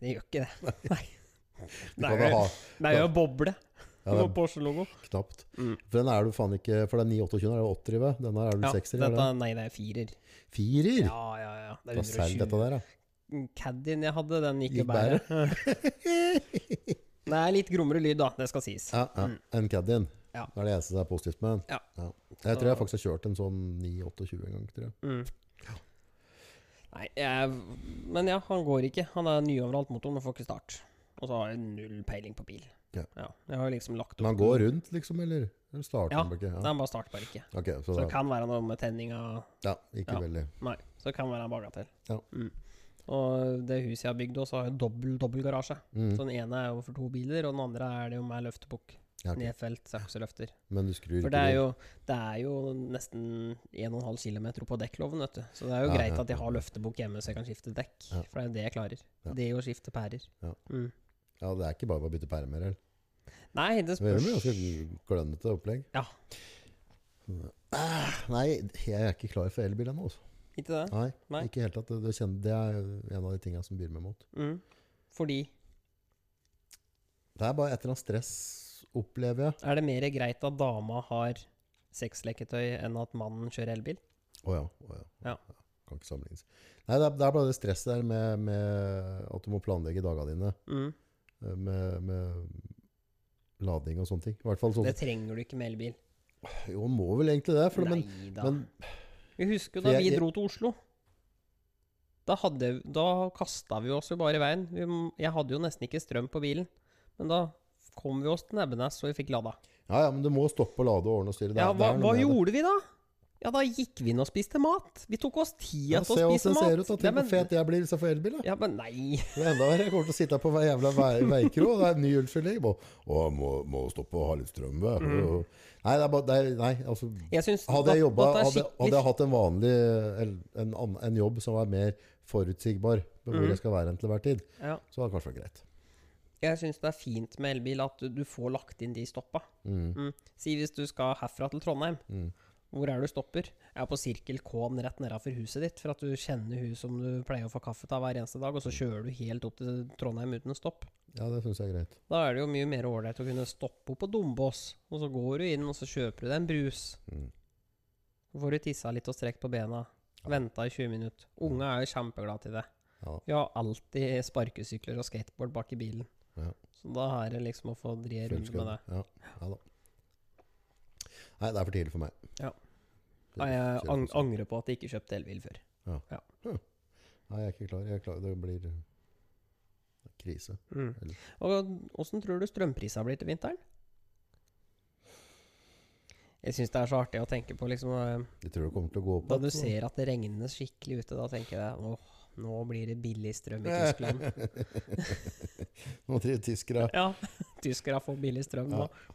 Speaker 2: Det gjør ikke det.
Speaker 1: Du
Speaker 2: Nei,
Speaker 1: kan
Speaker 2: jeg-
Speaker 1: ha
Speaker 2: Det er jo en boble
Speaker 1: ja, det
Speaker 2: på Porsche-logo.
Speaker 1: er knapt.
Speaker 2: Mm.
Speaker 1: For den er du faen ikke For den 928 er jo 80 i ved. Denne er du
Speaker 2: Ja,
Speaker 1: 60 i.
Speaker 2: dette, nei, det er firer.
Speaker 1: Firer?
Speaker 2: Ja, ja, ja. Det
Speaker 1: Da
Speaker 2: er
Speaker 1: selger dette der,
Speaker 2: 120.
Speaker 1: ja.
Speaker 2: Caddien jeg hadde, den gikk jo
Speaker 1: Gikk
Speaker 2: bare. Det er litt grommere lyd, da. Det skal sies.
Speaker 1: Ja, ja.
Speaker 2: Mm.
Speaker 1: En Caddien.
Speaker 2: Ja.
Speaker 1: Det er det eneste som er positivt med den.
Speaker 2: Ja.
Speaker 1: Jeg tror jeg
Speaker 2: Så-
Speaker 1: faktisk har kjørt en sånn 928 en gang. Tror jeg.
Speaker 2: Mm. Nei, jeg, men ja, han går ikke. Han er ny overalt, motoren, og får ikke start. Og så har jeg null peiling på bil.
Speaker 1: Ja.
Speaker 2: jeg har liksom lagt opp
Speaker 1: Men han går rundt, liksom, eller? Eller starter
Speaker 2: Ja,
Speaker 1: han bare ikke?
Speaker 2: Nei,
Speaker 1: Ja.
Speaker 2: han bare starter bare ikke.
Speaker 1: Ok, så,
Speaker 2: Så det
Speaker 1: da-
Speaker 2: kan være noe med tenninga
Speaker 1: ja, ikke
Speaker 2: Ja.
Speaker 1: veldig.
Speaker 2: Nei, så det kan være en bagatell.
Speaker 1: Ja.
Speaker 2: Mm. Og det huset jeg har bygd også, har jo dobbel, dobbel garasje.
Speaker 1: Mm.
Speaker 2: Så den ene er jo for to biler, og den andre er det jo med løftebukk.
Speaker 1: Ja, ok.
Speaker 2: Nedfelt sakseløfter.
Speaker 1: Men du skrur
Speaker 2: For
Speaker 1: ikke
Speaker 2: det er
Speaker 1: rundt.
Speaker 2: jo, det er jo nesten 1,5 km på dekkloven, vet du. Så det er jo
Speaker 1: Ja,
Speaker 2: greit
Speaker 1: ja,
Speaker 2: at jeg
Speaker 1: ja.
Speaker 2: har løftebukk hjemme så jeg kan skifte dekk.
Speaker 1: Ja.
Speaker 2: For det er jo det jeg klarer.
Speaker 1: Ja.
Speaker 2: Det å skifte pærer.
Speaker 1: Ja.
Speaker 2: Mm.
Speaker 1: Ja, det er ikke bare å bytte permer. eller?
Speaker 2: Nei, det
Speaker 1: Det er jo
Speaker 2: spørs
Speaker 1: ganske klønete opplegg.
Speaker 2: Ja.
Speaker 1: Ah, Nei, jeg er ikke klar for elbil ennå. altså.
Speaker 2: Ikke det?
Speaker 1: Nei,
Speaker 2: Nei.
Speaker 1: ikke i det hele tatt. Det, det, kjenner, det er en av de tingene som byr meg mot.
Speaker 2: Mm. Fordi
Speaker 1: Det er bare et eller annet stress, opplever jeg.
Speaker 2: Er det mer greit at dama har sexleketøy enn at mannen kjører elbil?
Speaker 1: Å ja. å ja.
Speaker 2: Ja.
Speaker 1: Kan ikke sammenlignes. Nei, det er, det er bare det stresset der med, eh, med at du må planlegge dagene dine.
Speaker 2: Mm.
Speaker 1: med, med lading og sånne ting. I hvert fall sånn
Speaker 2: Det trenger du ikke med elbil.
Speaker 1: Jo, han må vel egentlig det. For, det- men,
Speaker 2: Nei da.
Speaker 1: men
Speaker 2: Vi husker jo
Speaker 1: For
Speaker 2: da
Speaker 1: jeg-
Speaker 2: vi
Speaker 1: jeg-
Speaker 2: dro til Oslo. Da, hadde, da kasta vi oss jo bare i veien. Vi, jeg hadde jo nesten ikke strøm på bilen. Men da kom vi oss til Nebbenes, og vi fikk lada.
Speaker 1: Ja, ja, men du må stoppe å lade og ordne og styre. Det er-
Speaker 2: Ja,
Speaker 1: det
Speaker 2: hva,
Speaker 1: er noe
Speaker 2: hva
Speaker 1: med det.
Speaker 2: gjorde vi da? Ja, da gikk vi inn og spiste mat. Vi tok oss tida
Speaker 1: Ja,
Speaker 2: til å
Speaker 1: se
Speaker 2: spise
Speaker 1: åssen
Speaker 2: mat.
Speaker 1: ser ut, da. Tenk
Speaker 2: Nei,
Speaker 1: hvor fet jeg blir hvis jeg får elbil. da.
Speaker 2: Ja, men nei.
Speaker 1: Det er enda verre. Jeg kommer til å sitte her på hver jævla vei- veikro. og Det er en ny unnskyldning. Må, å, må, må stoppe og ha litt strøm. vet du.
Speaker 2: Mm.
Speaker 1: Og- Nei, det er bare, det er, nei, altså
Speaker 2: Jeg syns
Speaker 1: Hadde jeg, jobbet,
Speaker 2: dette er
Speaker 1: hadde,
Speaker 2: skikkelig-
Speaker 1: hadde jeg hatt en vanlig en, en, annen- en jobb som var mer forutsigbar på hvor
Speaker 2: Mhm.
Speaker 1: jeg skal være hen til hver tid,
Speaker 2: ja,
Speaker 1: så hadde det kanskje vært greit.
Speaker 2: Jeg syns det er fint med elbil at du, du får lagt inn de stoppa.
Speaker 1: Mm.
Speaker 2: Mm. Si hvis du skal herfra til Trondheim.
Speaker 1: Mm.
Speaker 2: Hvor er du stopper? Jeg er på Sirkel K-en rett nedafor huset ditt. For at du kjenner hun som du pleier å få kaffe av hver eneste dag, og så
Speaker 1: Mm.
Speaker 2: kjører du helt opp til Trondheim uten å stoppe.
Speaker 1: Ja, det syns jeg er greit.
Speaker 2: Da er det jo mye mer ålreit å kunne stoppe opp på Dombås, og så går du inn, og så kjøper du deg en brus.
Speaker 1: Mm.
Speaker 2: Så får du tissa litt og strekt på bena.
Speaker 1: Ja.
Speaker 2: Venta i 20 minutter. Unga er jo kjempeglade til det.
Speaker 1: Ja.
Speaker 2: Vi har alltid sparkesykler og skateboard bak i bilen.
Speaker 1: Ja.
Speaker 2: Så da er det liksom å få drie runder med det.
Speaker 1: Fullskudd. Ja. ja da. Nei, det er for tidlig for meg.
Speaker 2: Ja.
Speaker 1: Det-
Speaker 2: Nei, jeg
Speaker 1: kjører
Speaker 2: ang
Speaker 1: sånn.
Speaker 2: angrer på at jeg ikke kjøpte elbil før.
Speaker 1: Nei, jeg er ikke klar. Jeg er klar. Det blir det er krise.
Speaker 2: Mm. Og åssen tror du strømprisa blir til vinteren? Jeg syns det er så artig å tenke på liksom eh,
Speaker 1: Jeg tror det kommer til å gå opp.
Speaker 2: Da du
Speaker 1: igjen, så.
Speaker 2: ser at det regner skikkelig ute, da tenker jeg åh, nå blir det billig strøm i Tyskland.
Speaker 1: Nå tre tyskere
Speaker 2: ja, tyskere får billig strøm nå.
Speaker 1: Ja.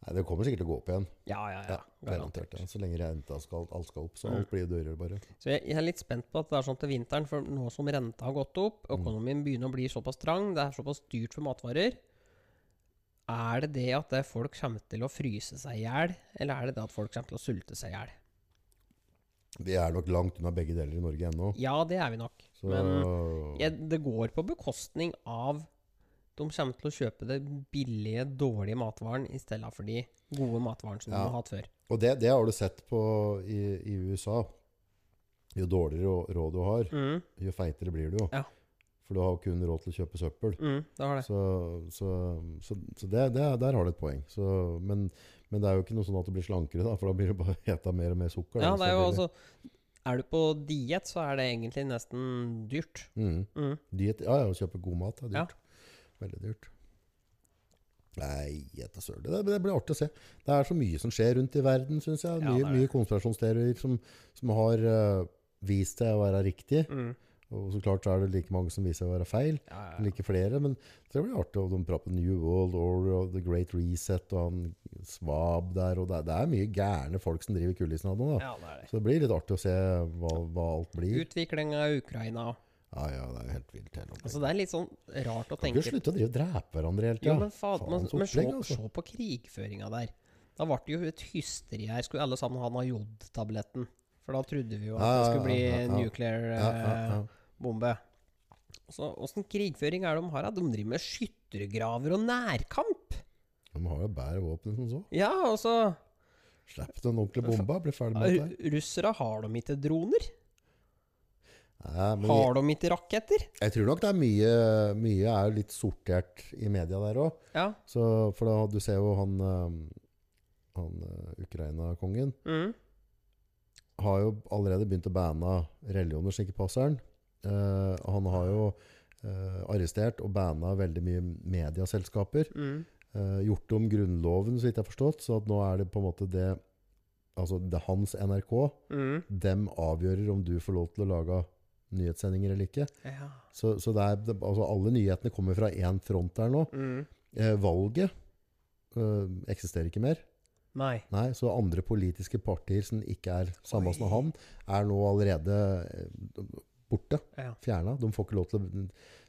Speaker 1: Nei, det kommer sikkert til å gå opp igjen.
Speaker 2: Ja, ja, ja.
Speaker 1: Ja, Garantert. Ja. Så lenge renta skal, alt skal opp, så
Speaker 2: Mm.
Speaker 1: alt blir dyrere bare.
Speaker 2: Så jeg, jeg er litt spent på at det er sånn til vinteren, for nå som renta har gått opp, økonomien begynner å bli såpass trang, det er såpass dyrt for matvarer. Er det det at det folk kommer til å fryse seg i hjel, eller er det det at folk kommer til å sulte seg i hjel?
Speaker 1: Vi er nok langt unna begge deler i Norge ennå.
Speaker 2: Ja, det er vi nok.
Speaker 1: Så
Speaker 2: Men
Speaker 1: Mm.
Speaker 2: jeg, det går på bekostning av de kommer til å kjøpe det billige, dårlige matvaren i stedet for de gode matvarene som
Speaker 1: Ja.
Speaker 2: de har hatt før.
Speaker 1: Og det, det har du sett på i, i USA. Jo dårligere rå- råd du har,
Speaker 2: Mm,
Speaker 1: jo feitere blir du jo.
Speaker 2: Ja.
Speaker 1: For du har jo kun råd til å kjøpe søppel.
Speaker 2: mm, det har det.
Speaker 1: Så, så, så, så det, det, der har du et poeng. Så, men, men det er jo ikke noe sånn at du blir slankere, da, for da blir det bare eta mer og mer sukker.
Speaker 2: Ja,
Speaker 1: da,
Speaker 2: det er jo
Speaker 1: selvfølgelig.
Speaker 2: altså Er du på diett, så er det egentlig nesten dyrt.
Speaker 1: mm.
Speaker 2: Mm.
Speaker 1: Diet, ja, ja, å kjøpe god mat er
Speaker 2: Ja.
Speaker 1: dyrt. Veldig dyrt. Nei, gjetta søren. Det, det blir artig å se. Det er så mye som skjer rundt i verden, syns jeg.
Speaker 2: Ja,
Speaker 1: Mye,
Speaker 2: det er det.
Speaker 1: mye konspirasjonsteorier som, som har eh, vist seg å være riktig.
Speaker 2: Mm.
Speaker 1: Og så klart så er det like mange som viser seg å være feil.
Speaker 2: Ja, ja, ja.
Speaker 1: Like flere, men det blir artig. Og de prater på New World Order og The Great Reset og han Svab der. Og det, er- det er mye gærne folk som driver kulissene av nå. Da.
Speaker 2: ja, det er det.
Speaker 1: Så det blir litt artig å se hva, hva alt blir.
Speaker 2: Utvikling av Ukraina og
Speaker 1: Ja, ja, det er jo helt vilt. hele
Speaker 2: Altså,
Speaker 1: opplegget.
Speaker 2: det er litt sånn rart å
Speaker 1: Kan ikke
Speaker 2: tenke
Speaker 1: slutte å drive og drepe hverandre hele
Speaker 2: Jo,
Speaker 1: tida.
Speaker 2: men faen, men,
Speaker 1: Faens
Speaker 2: men se,
Speaker 1: opplegg, altså.
Speaker 2: se på krigføringa der. Da ble det jo et hysteri her. Skulle alle sammen ha den jodtabletten? For da trodde vi jo at
Speaker 1: Ja,
Speaker 2: det
Speaker 1: ja,
Speaker 2: skulle bli
Speaker 1: ja, ja, ja.
Speaker 2: nuclear eh,
Speaker 1: Ja, ja, ja.
Speaker 2: bombe. Så åssen krigføring er det de har? da? De driver med skyttergraver og nærkamp!
Speaker 1: De har jo bedre våpen som så.
Speaker 2: Ja, altså
Speaker 1: Slipp den ordentlige bomba, bli ferdig med dette.
Speaker 2: ru- Russere, har de ikke droner?
Speaker 1: Nei, men jeg,
Speaker 2: Har de ikke raketter?
Speaker 1: jeg tror nok det er mye Mye er jo litt sortert i media der òg.
Speaker 2: Ja.
Speaker 1: For da, du ser jo han eh, Han eh, Ukraina-kongen
Speaker 2: Mm.
Speaker 1: har jo allerede begynt å banne religioner som ikke passer han. Eh, og han har jo eh, arrestert og banna veldig mye medieselskaper.
Speaker 2: Mm.
Speaker 1: eh, gjort om grunnloven, så vidt jeg har forstått. Så at nå er det på en måte det Altså det er hans NRK.
Speaker 2: Mm.
Speaker 1: Dem avgjører om du får lov til å lage nyhetssendinger eller ikke.
Speaker 2: Ja.
Speaker 1: Så, så det er, det, altså alle nyhetene kommer fra én front der nå.
Speaker 2: Mm.
Speaker 1: Eh, valget eh, eksisterer ikke mer.
Speaker 2: Nei.
Speaker 1: Nei, Så andre politiske partier som ikke er samme som
Speaker 2: Oi.
Speaker 1: han, er nå allerede eh, borte.
Speaker 2: Ja.
Speaker 1: Fjerna. De får ikke lov til å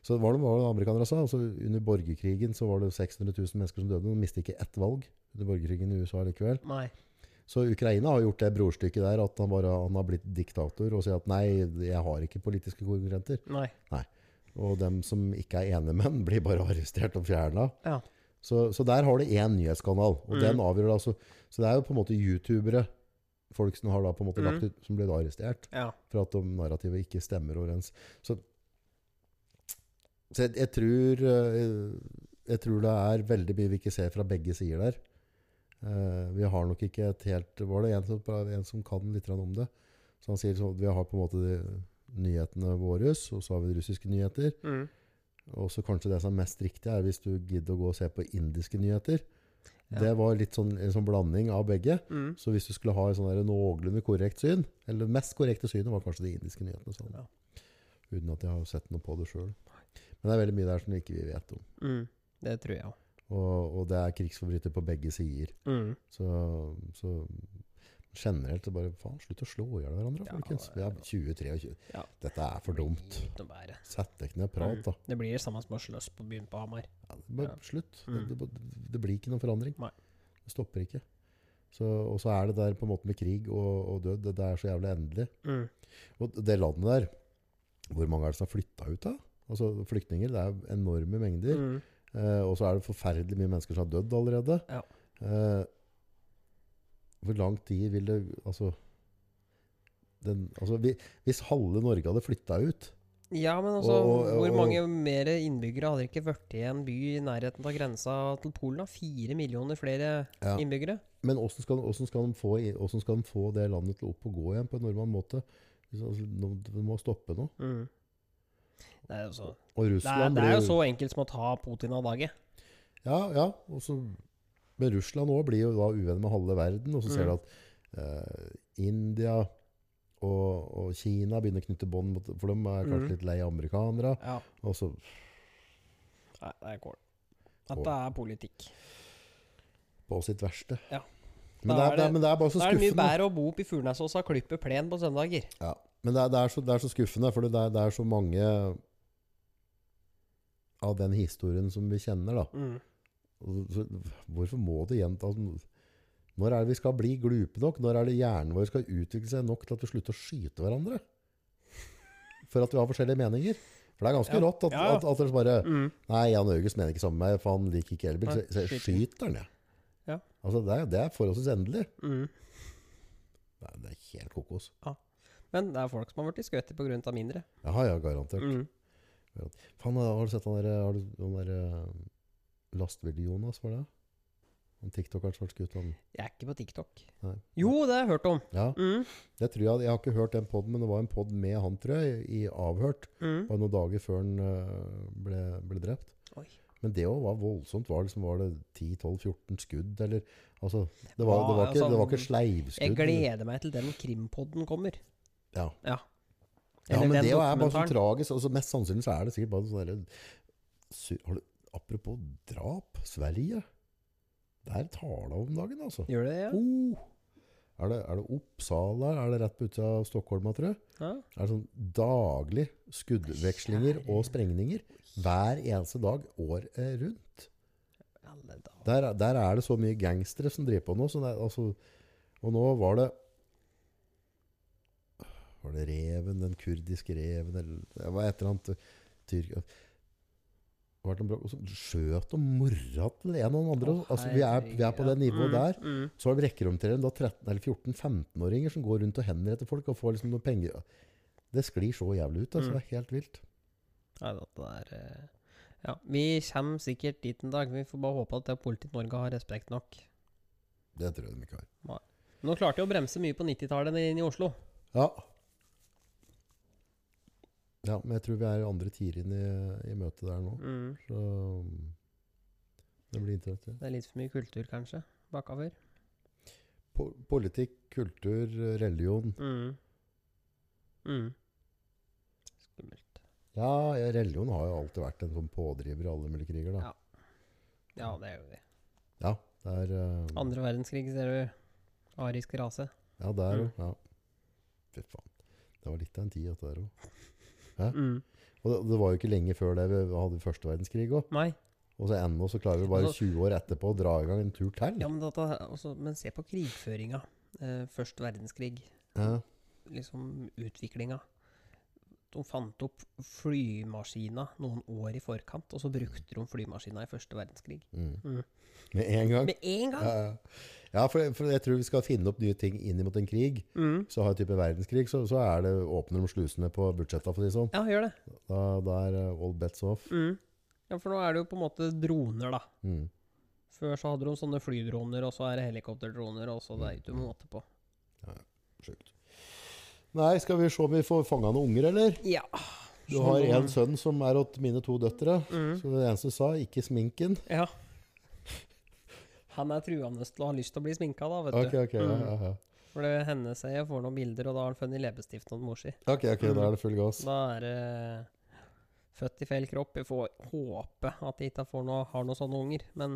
Speaker 1: Så var det hva var det amerikanere sa. Altså, under borgerkrigen så var det 600 000 mennesker som døde. De mistet ikke ett valg under borgerkrigen i USA likevel.
Speaker 2: Nei.
Speaker 1: Så Ukraina har gjort det brorstykket der at han, bare, han har blitt diktator og sier at nei, jeg har ikke politiske konkurrenter.
Speaker 2: Nei.
Speaker 1: Og dem som ikke er enige med ham, blir bare arrestert og fjerna.
Speaker 2: Ja.
Speaker 1: Så, så der har du én nyhetskanal, og
Speaker 2: Mm.
Speaker 1: den avgjør det. Altså. Så det er jo på en måte youtubere, folk som, har da på en måte
Speaker 2: Mm.
Speaker 1: lagt ut, som blir da arrestert
Speaker 2: Ja.
Speaker 1: for at de narrativet ikke stemmer overens. Så, så jeg, jeg tror eh, jeg tror det er veldig mye vi ikke ser fra begge sider der. Eh, vi har nok ikke et helt Var det en som, en som kan litt grann om det? Så han sier sånn at vi har på en måte de nyhetene våre, og så har vi russiske nyheter.
Speaker 2: Mm.
Speaker 1: Og så kanskje det som er mest riktig, er hvis du gidder å gå og se på indiske nyheter.
Speaker 2: Ja.
Speaker 1: Det var litt sånn, en sånn blanding av begge.
Speaker 2: Mm.
Speaker 1: Så hvis du skulle ha et sånn der noenlunde korrekt syn, eller det mest korrekte synet var kanskje de indiske nyhetene. Sånn.
Speaker 2: Ja.
Speaker 1: Uten at jeg har sett noe på det sjøl. Men det er veldig mye der som ikke vi vet om.
Speaker 2: Mm. Det tror jeg òg.
Speaker 1: Og, og det er krigsforbryter på begge sider.
Speaker 2: Mm.
Speaker 1: Så, så generelt så bare Faen, slutt å slå i hjel hverandre,
Speaker 2: Ja,
Speaker 1: folkens. Vi er 23.
Speaker 2: Ja.
Speaker 1: Dette er for dumt.
Speaker 2: Det bærer.
Speaker 1: Sett deg ned og prat, da.
Speaker 2: Det blir det samme som å slåss på byen på Hamar.
Speaker 1: Ja, det bare
Speaker 2: Mm. Ja.
Speaker 1: slutt.
Speaker 2: Mm.
Speaker 1: Det, det, det blir ikke noen forandring.
Speaker 2: Nei.
Speaker 1: Det stopper ikke. Så, og så er det der på en måte med krig og, og død. Det, det er så jævlig endelig.
Speaker 2: Mm.
Speaker 1: Og det landet der, hvor mange er det som har flytta ut da? Altså flyktninger, det er enorme mengder.
Speaker 2: Mm.
Speaker 1: Eh, og så er det forferdelig mye mennesker som har dødd allerede.
Speaker 2: Ja.
Speaker 1: Eh, hvor lang tid vil det Altså, den, altså vi, hvis halve Norge hadde flytta ut
Speaker 2: Ja, men altså,
Speaker 1: Og- og-
Speaker 2: hvor
Speaker 1: og-
Speaker 2: mange mer innbyggere hadde ikke vært i en by i nærheten av grensa til Polen? da? Fire millioner flere
Speaker 1: Ja.
Speaker 2: innbyggere?
Speaker 1: Men hvordan skal, hvordan, skal de få, i- hvordan skal de få det landet til å opp og gå igjen på en normal måte? Hvis- Altså, nå- det må stoppe nå.
Speaker 2: Mm. Det er jo så
Speaker 1: Og
Speaker 2: altså, det er,
Speaker 1: Russland
Speaker 2: det er jo
Speaker 1: blir-
Speaker 2: så enkelt som å ta Putin av dage.
Speaker 1: Ja, ja. Og så, men Russland også blir jo da uvenn med halve verden. Og så ser
Speaker 2: Mm.
Speaker 1: du at eh, India og, og Kina begynner å knytte bånd, mot- for de er kanskje
Speaker 2: Mm.
Speaker 1: litt lei av amerikanere. altså
Speaker 2: Ja,
Speaker 1: Og så,
Speaker 2: nei, det er kål. At det er politikk.
Speaker 1: på sitt verste.
Speaker 2: Ja.
Speaker 1: Men det
Speaker 2: Da
Speaker 1: er,
Speaker 2: er
Speaker 1: det,
Speaker 2: det-
Speaker 1: er, men det er bare så
Speaker 2: Da er det mye
Speaker 1: skuffende.
Speaker 2: bedre å bo oppe i Furnesåsa og klippe plen på søndager.
Speaker 1: Ja. Men det er, det, er så, det er så skuffende, for det er, det er så mange av den historien som vi kjenner. da.
Speaker 2: Mm.
Speaker 1: Og Så, Altså, hvorfor må det gjenta? Altså, når er det vi skal bli glupe nok? Når er det hjernen vår skal utvikle seg nok til at vi slutter å skyte hverandre? For at vi har forskjellige meninger? For det er ganske
Speaker 2: Ja.
Speaker 1: rått at,
Speaker 2: Ja, ja.
Speaker 1: at, at dere bare
Speaker 2: Mm.
Speaker 1: Nei, Jan Augus mener ikke sammen med meg, for han liker ikke elbil.
Speaker 2: Nei,
Speaker 1: Så, så jeg
Speaker 2: skyter den.
Speaker 1: skyter han, jeg.
Speaker 2: Ja.
Speaker 1: Altså, det, er- det er forholdsvis endelig.
Speaker 2: Mm.
Speaker 1: Nei, det er helt kokos.
Speaker 2: Men det er folk som har blitt skutt på grunn av mindre.
Speaker 1: Jaha, ja, garantert.
Speaker 2: Mm.
Speaker 1: Faen, har du sett han der, har du, han der eh, lastebil-Jonas, var det? Han TikTokeren som ble skutt, han
Speaker 2: Jeg er ikke på TikTok.
Speaker 1: Nei.
Speaker 2: Jo, det har jeg hørt om.
Speaker 1: Ja.
Speaker 2: Mm.
Speaker 1: Det tror jeg, jeg har ikke hørt den podden, men det var en podd med han, tror jeg, i avhørt.
Speaker 2: Mm.
Speaker 1: Det var noen dager før han øh, ble, ble drept.
Speaker 2: Oi.
Speaker 1: Men det også var voldsomt. Var, det liksom, var det 10-12-14 skudd? Eller, altså, det, var, det, var
Speaker 2: Ja,
Speaker 1: ikke, det var
Speaker 2: altså,
Speaker 1: ikke sleivskudd.
Speaker 2: Jeg gleder meg til den krimpodden kommer.
Speaker 1: Ja.
Speaker 2: Ja.
Speaker 1: Ja,
Speaker 2: Eller
Speaker 1: men
Speaker 2: den
Speaker 1: det er bare så
Speaker 2: dokumentaren.
Speaker 1: tragisk. Altså, mest sannsynlig så er det sikkert bare sånn derre Sy- har du- Apropos drap. Sverige. Der tar det om dagen, altså.
Speaker 2: Gjør det det?
Speaker 1: Oh. Er, det, er det Oppsala? Er det rett på utsida av Stockholm, tror jeg?
Speaker 2: Ja? Ja.
Speaker 1: Det er sånn daglig skuddvekslinger og sprengninger hver eneste dag året rundt.
Speaker 2: Alle dager.
Speaker 1: Der, er- der er det så mye gangstere som driver på nå. Så det, er- altså, og nå var det Var det reven, den kurdiske reven, eller det var et eller annet eh, tyrk... Var det noe bra- Og så skjøt og mora til en og den andre.
Speaker 2: Å,
Speaker 1: altså, vi, er, vi er på det nivået
Speaker 2: Mm,
Speaker 1: der.
Speaker 2: Mm.
Speaker 1: Så har de rekkeromtrent 14-15-åringer som går rundt og henretter folk og får liksom noen penger. Det sklir så jævlig ut. Altså.
Speaker 2: Mm.
Speaker 1: Det er helt vilt.
Speaker 2: Nei, det der eh, Ja, vi kommer sikkert dit en dag. Vi får bare håpe at det er politiet i Norge har respekt nok.
Speaker 1: Det tror jeg de ikke har.
Speaker 2: Nå klarte de å bremse mye på 90-tallet inn i Oslo.
Speaker 1: Ja. ja, men jeg tror vi er i andre tider inn i, i møtet der nå.
Speaker 2: Mm.
Speaker 1: Så det blir interessant.
Speaker 2: Det er litt for mye kultur, kanskje, bakover.
Speaker 1: Po politikk, kultur, religion.
Speaker 2: Mm. Mm. Skummelt.
Speaker 1: Ja, ja, religion har jo alltid vært en sånn pådriver i alle mulige kriger. Da.
Speaker 2: Ja. Ja, det er jo det.
Speaker 1: Ja, det er eh,
Speaker 2: Andre verdenskrig, ser du. Arisk rase.
Speaker 1: Ja, der
Speaker 2: Mm.
Speaker 1: òg. Ja. Fy faen. Det var litt av en tid, dette der òg.
Speaker 2: Mm.
Speaker 1: Og det, det var jo ikke lenge før det vi hadde første verdenskrig òg.
Speaker 2: Nei.
Speaker 1: Og så ennå så klarer vi bare
Speaker 2: Altså-
Speaker 1: 20 år etterpå å dra i gang en tur til.
Speaker 2: Ja, men, dette, er også, men se på krigføringa. Eh, Først verdenskrig.
Speaker 1: Ja.
Speaker 2: liksom utviklinga. De fant opp flymaskina noen år i forkant, og så brukte de flymaskina i første verdenskrig.
Speaker 1: Mm.
Speaker 2: Mm.
Speaker 1: Med en gang.
Speaker 2: Med en gang!
Speaker 1: Ja, ja. ja for, for jeg tror vi skal finne opp nye ting inn mot en krig.
Speaker 2: Mm.
Speaker 1: Så har vi type verdenskrig, så, så er det åpner de slusene på budsjetta, for å si det sånn.
Speaker 2: Ja, gjør det.
Speaker 1: Da, da er eh, all bets off.
Speaker 2: Mm. Ja, for nå er det jo på en måte droner, da.
Speaker 1: Mm.
Speaker 2: Før så hadde de sånne flydroner, og så er det helikopterdroner, og så det er ikke måte på.
Speaker 1: Sjukt. Nei, skal vi se om vi får fanga noen unger, eller?
Speaker 2: Ja.
Speaker 1: Du har en sønn som er åt mine to døtre.
Speaker 2: Mm.
Speaker 1: Så det eneste du sa, ikke sminken.
Speaker 2: Ja. Han er truende til å ha lyst til å bli sminka, da, vet
Speaker 1: Ok, ok, ja,
Speaker 2: Mm.
Speaker 1: ja, ja.
Speaker 2: du. For det hender seg jeg får noen bilder, og da har han funnet leppestift hos mor si.
Speaker 1: ok, ok, da er det full gass.
Speaker 2: Da er det født i feil kropp. Jeg får håpe at jeg ikke får noe, har noen sånne unger, men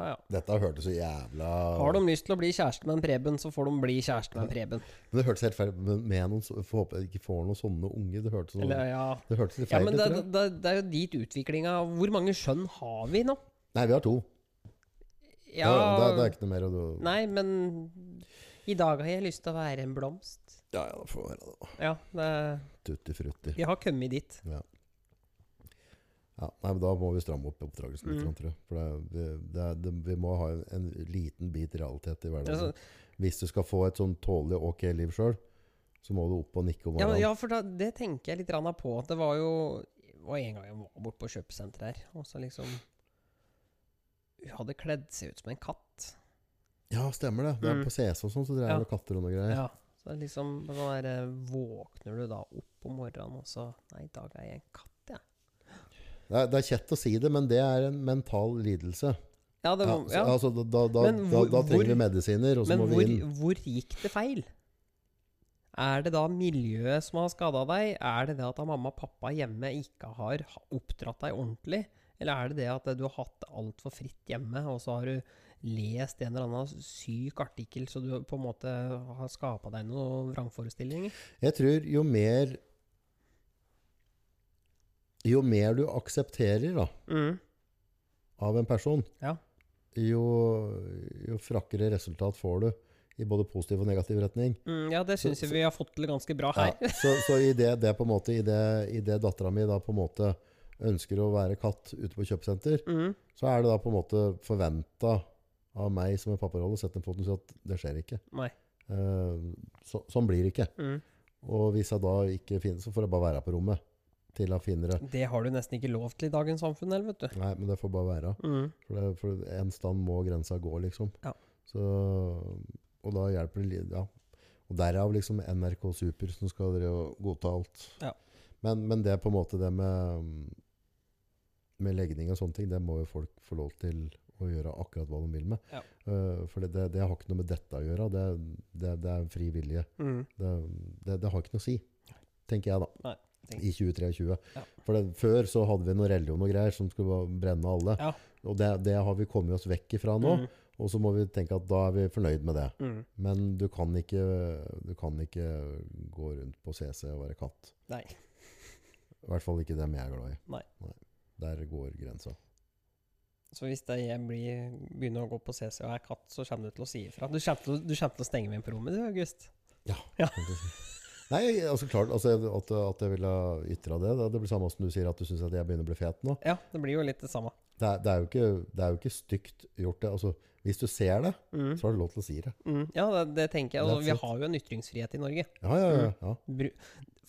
Speaker 2: ja, ja.
Speaker 1: Dette hørtes så jævla
Speaker 2: Har de lyst til å bli kjæreste med en Preben, så får de bli kjæreste med en Preben.
Speaker 1: Men Det hørtes helt feil men med noen, så- får håpe jeg ikke får noen sånne unge. Det hørtes, sånn,
Speaker 2: Eller, ja.
Speaker 1: det hørtes litt
Speaker 2: ja,
Speaker 1: feil
Speaker 2: men
Speaker 1: ut.
Speaker 2: det,
Speaker 1: tror jeg.
Speaker 2: det, det er jo dit utviklinga Hvor mange skjønn har vi nå?
Speaker 1: Nei, vi har to.
Speaker 2: Ja,
Speaker 1: Ja, det, det er ikke noe mer å du-
Speaker 2: Nei, men i dag har jeg lyst til å være en blomst.
Speaker 1: Ja, ja, det får være det. da.
Speaker 2: Ja, det,
Speaker 1: Tutti frutti.
Speaker 2: vi har kommet dit.
Speaker 1: Ja, nei, men da må vi stramme opp oppdragelsen litt,
Speaker 2: Mm.
Speaker 1: tror jeg. For det, det, det, er- det, vi må ha en, en liten bit realitet i
Speaker 2: Det er
Speaker 1: hverdagen.
Speaker 2: så-
Speaker 1: Hvis du skal få et sånn tålelig ok liv sjøl, så må du opp og nikke om
Speaker 2: Ja, men-
Speaker 1: morgenen.
Speaker 2: ja for da, det tenker jeg litt grann på. Det var jo det var en gang jeg var borte på kjøpesenteret her, og så liksom Hun hadde kledd seg ut som en katt.
Speaker 1: Ja, stemmer det. Det er
Speaker 2: Mm.
Speaker 1: på CS og sånn, så dreier
Speaker 2: Ja.
Speaker 1: det med katter og noe greier.
Speaker 2: Ja, så liksom sånn der, eh, Våkner du da opp om morgenen, og så Nei, i dag er jeg en katt, jeg.
Speaker 1: Det, er, det er kjett å si det, men det er en mental lidelse.
Speaker 2: Ja, det
Speaker 1: Ja,
Speaker 2: må,
Speaker 1: så-
Speaker 2: ja.
Speaker 1: altså, da, da, da,
Speaker 2: Men
Speaker 1: da,
Speaker 2: hvor-
Speaker 1: da trenger vi
Speaker 2: hvor-
Speaker 1: medisiner, og så
Speaker 2: Men
Speaker 1: må vi
Speaker 2: hvor,
Speaker 1: inn.
Speaker 2: hvor gikk det feil? Er det da miljøet som har skada deg? Er det det at da mamma og pappa hjemme ikke har ha- oppdratt deg ordentlig? Eller er det det at du har hatt det altfor fritt hjemme, og så har du lest en eller annen syk artikkel, så du på en måte har skapa deg noen vrangforestillinger?
Speaker 1: Jeg tror jo mer Jo mer du aksepterer da,
Speaker 2: Mm.
Speaker 1: av en person,
Speaker 2: Ja.
Speaker 1: jo, jo frakkere resultat får du i både positiv og negativ retning.
Speaker 2: Mm, ja, det syns
Speaker 1: Så-
Speaker 2: jeg vi har fått til ganske bra
Speaker 1: Ja,
Speaker 2: her.
Speaker 1: så så i det, det på en måte I det, i det dattera mi da på en måte ønsker å være katt ute på kjøpesenter,
Speaker 2: Mm.
Speaker 1: så er det da på en måte forventa av meg som en papparolle å sette en foten og si at det skjer ikke.
Speaker 2: Nei.
Speaker 1: Eh, så, sånn blir det ikke.
Speaker 2: Mm.
Speaker 1: Og hvis jeg da ikke finner, så får jeg bare være på rommet til jeg finner det.
Speaker 2: Det har du nesten ikke lov til i dagens samfunn, eller, vet du.
Speaker 1: Nei, men det får bare være.
Speaker 2: Mm.
Speaker 1: For, det, for en stand må grensa gå, liksom.
Speaker 2: Ja.
Speaker 1: Så, og da hjelper det litt, ja. Og derav liksom NRK Super som skal drive og godta alt.
Speaker 2: Ja.
Speaker 1: Men, men det er på en måte det med, mm, med legning og sånne ting, det må jo folk få lov til å gjøre akkurat hva de vil med.
Speaker 2: Ja.
Speaker 1: Eh, for det, det, det har ikke noe med dette å gjøre. Det, det, det er fri vilje.
Speaker 2: Mm.
Speaker 1: Det, det, det har ikke noe å si, tenker jeg da.
Speaker 2: Nei, tenker-
Speaker 1: I 2023.
Speaker 2: Ja.
Speaker 1: For det, før så hadde vi noe religion og greier som skulle bare brenne alle.
Speaker 2: Ja.
Speaker 1: Og det, det har vi kommet oss vekk ifra nå.
Speaker 2: Mm.
Speaker 1: Og så må vi tenke at da er vi fornøyd med det.
Speaker 2: Mm.
Speaker 1: Men du kan ikke, du kan ikke gå rundt på CC og være katt.
Speaker 2: Nei.
Speaker 1: I hvert fall ikke dem jeg er glad i.
Speaker 2: Nei.
Speaker 1: Der går grensa.
Speaker 2: Så hvis det jeg blir, begynner å gå på CC og er katt, så kommer du til å si ifra. Du kommer til, å- du kommer til å stenge meg inn på rommet, du, August.
Speaker 1: Nei, altså klart altså, at, at jeg ville ytra det. da. Det blir samme som du sier at du syns at jeg begynner å bli fet nå.
Speaker 2: Ja, det blir jo litt det samme.
Speaker 1: Det er, det er, jo, ikke, det er jo ikke stygt gjort, det. Altså, hvis du ser det,
Speaker 2: Mm.
Speaker 1: så har du lov til å si det.
Speaker 2: Mm. Ja, det, det tenker jeg.
Speaker 1: That's
Speaker 2: Altså, vi
Speaker 1: it.
Speaker 2: har jo en ytringsfrihet i Norge.
Speaker 1: Ja, ja,
Speaker 2: Mm.
Speaker 1: ja. ja.
Speaker 2: Bru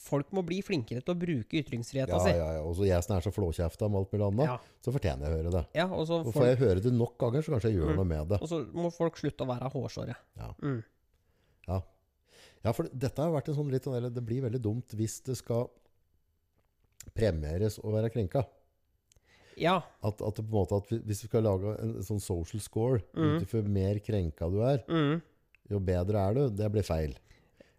Speaker 2: Folk må bli flinkere til å bruke ytringsfriheta
Speaker 1: Ja,
Speaker 2: si.
Speaker 1: ja, ja. Og så jeg som er så flåkjefta med alt mulig annet,
Speaker 2: Ja.
Speaker 1: så fortjener jeg å høre det.
Speaker 2: Ja, og så
Speaker 1: Og får
Speaker 2: folk,
Speaker 1: jeg høre det nok ganger, så kanskje jeg gjør
Speaker 2: Mm.
Speaker 1: noe med det.
Speaker 2: og så må folk slutte å være hårsåre.
Speaker 1: Ja.
Speaker 2: Mm.
Speaker 1: Ja, for dette har vært en sånn litt sånn eller Det blir veldig dumt hvis det skal premieres å være krenka.
Speaker 2: ja.
Speaker 1: At, at det på en måte at vi- hvis vi skal lage en sånn social score
Speaker 2: Mm.
Speaker 1: ut ifra mer krenka du er,
Speaker 2: Mm.
Speaker 1: jo bedre er du, det blir feil.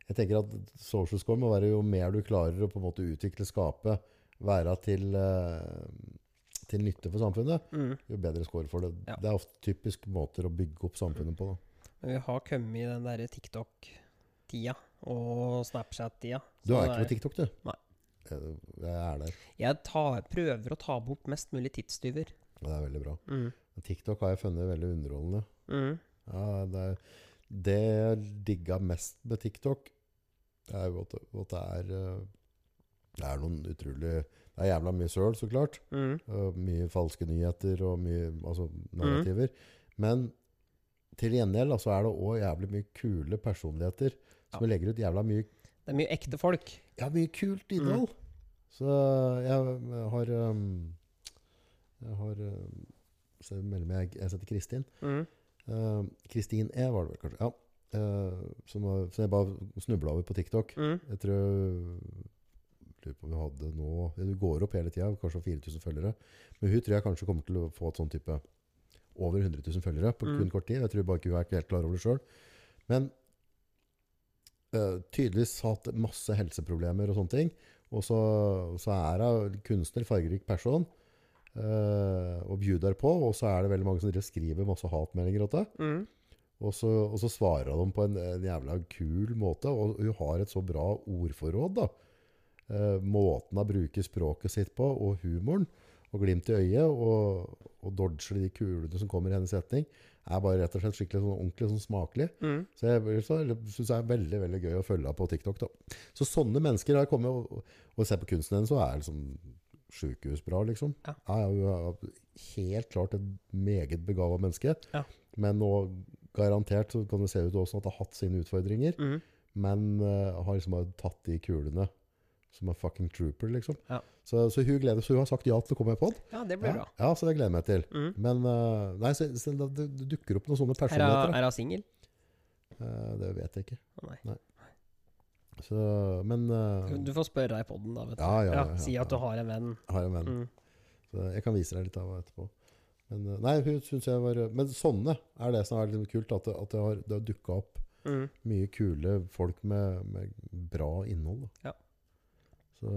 Speaker 1: Jeg tenker at social score må være jo mer du klarer å på en måte utvikle, skape, være til, eh, til nytte for samfunnet.
Speaker 2: Mm.
Speaker 1: jo bedre score for det.
Speaker 2: Ja.
Speaker 1: Det er ofte typisk måter å bygge opp samfunnet på. Da.
Speaker 2: Men vi har kommet i den derre TikTok-tida og Snapchat-tida.
Speaker 1: Du
Speaker 2: Så
Speaker 1: er ikke på
Speaker 2: det
Speaker 1: TikTok, du?
Speaker 2: Nei.
Speaker 1: Jeg, jeg er der.
Speaker 2: Jeg tar, prøver å ta bort mest mulig tidstyver.
Speaker 1: og Det er veldig bra.
Speaker 2: Mm.
Speaker 1: Men TikTok har jeg funnet veldig underholdende.
Speaker 2: Mm.
Speaker 1: Ja, det, er, det jeg digga mest med TikTok, det er jo at, det- at det er eh, Det er noen utrolig Det er jævla mye søl, så klart.
Speaker 2: Mm.
Speaker 1: og Mye falske nyheter og mye altså,
Speaker 2: Mhm.
Speaker 1: narrativer. Men til gjengjeld da, så er det òg jævlig mye kule personligheter som legger ut jævla mye
Speaker 2: Det er mye ekte folk.
Speaker 1: Ja, mye kult innhold. Så jeg har um, Jeg har eh, så jeg melder meg, jeg heter Kristin.
Speaker 2: Mm.
Speaker 1: Eh, Kristin E, var det vel kanskje. Ja. Eh, som, var, som jeg bare snubla over på TikTok.
Speaker 2: Mm.
Speaker 1: Jeg tror Lurer på om vi hadde nå Du går opp hele tida, kanskje har 4000 følgere. Men hun tror jeg kanskje kommer til å få et sånn type over 100 000 følgere på
Speaker 2: Mm.
Speaker 1: kun kort tid. Jeg tror bare ikke hun er helt klar over det sjøl. Men eh, tydeligvis hatt masse helseproblemer og sånne ting. Og så, så er hun kunstner, fargerik person, eh, og bjuder på. Og så er det veldig mange som driver og skriver masse hatmeldinger åt det.
Speaker 2: Mm.
Speaker 1: Og så, og så svarer de på en, en jævla kul måte, og hun har et så bra ordforråd. da. Eh, måten hun bruker språket sitt på, og humoren, og glimt i øyet, og, og dodger de kulene som kommer i hennes retning, er bare rett og slett skikkelig sånn ordentlig sånn smakelig.
Speaker 2: Mm.
Speaker 1: Så jeg blir så- eller synes det er veldig veldig gøy å følge henne på TikTok. da. Så sånne mennesker har kommet, og, og ser på kunsten hennes, så er det liksom sjukehusbra, liksom.
Speaker 2: Ja.
Speaker 1: Ja, hun er helt klart et meget begava menneske.
Speaker 2: Ja.
Speaker 1: Men nå garantert så kan det se ut også at hun har hatt sine utfordringer,
Speaker 2: Mm.
Speaker 1: men eh, har liksom bare tatt de kulene som en fucking trooper, liksom.
Speaker 2: Ja.
Speaker 1: Så, så hun gleder Så hun har sagt ja til å komme med pod.
Speaker 2: Ja, det blir
Speaker 1: Ja,
Speaker 2: bra.
Speaker 1: ja, så det gleder jeg meg til.
Speaker 2: Mm.
Speaker 1: Men eh, nei, så, så det det dukker opp noen sånne
Speaker 2: Er hun-
Speaker 1: personligheter. da.
Speaker 2: er hun singel?
Speaker 1: Eh, det vet jeg ikke.
Speaker 2: Å, nei.
Speaker 1: Så, men eh,
Speaker 2: Du får spørre deg i poden, da. Vet du.
Speaker 1: ja, ja, ja, ja,
Speaker 2: si at du har en venn.
Speaker 1: Jeg har en venn.
Speaker 2: Mm.
Speaker 1: Så jeg kan vise deg litt av henne etterpå. Men, eh, nei, hun synes jeg var, men sånne er det som er litt kult, at det, at det har, det har dukka opp
Speaker 2: Mm.
Speaker 1: mye kule folk med, med bra innhold. Da.
Speaker 2: Ja.
Speaker 1: Så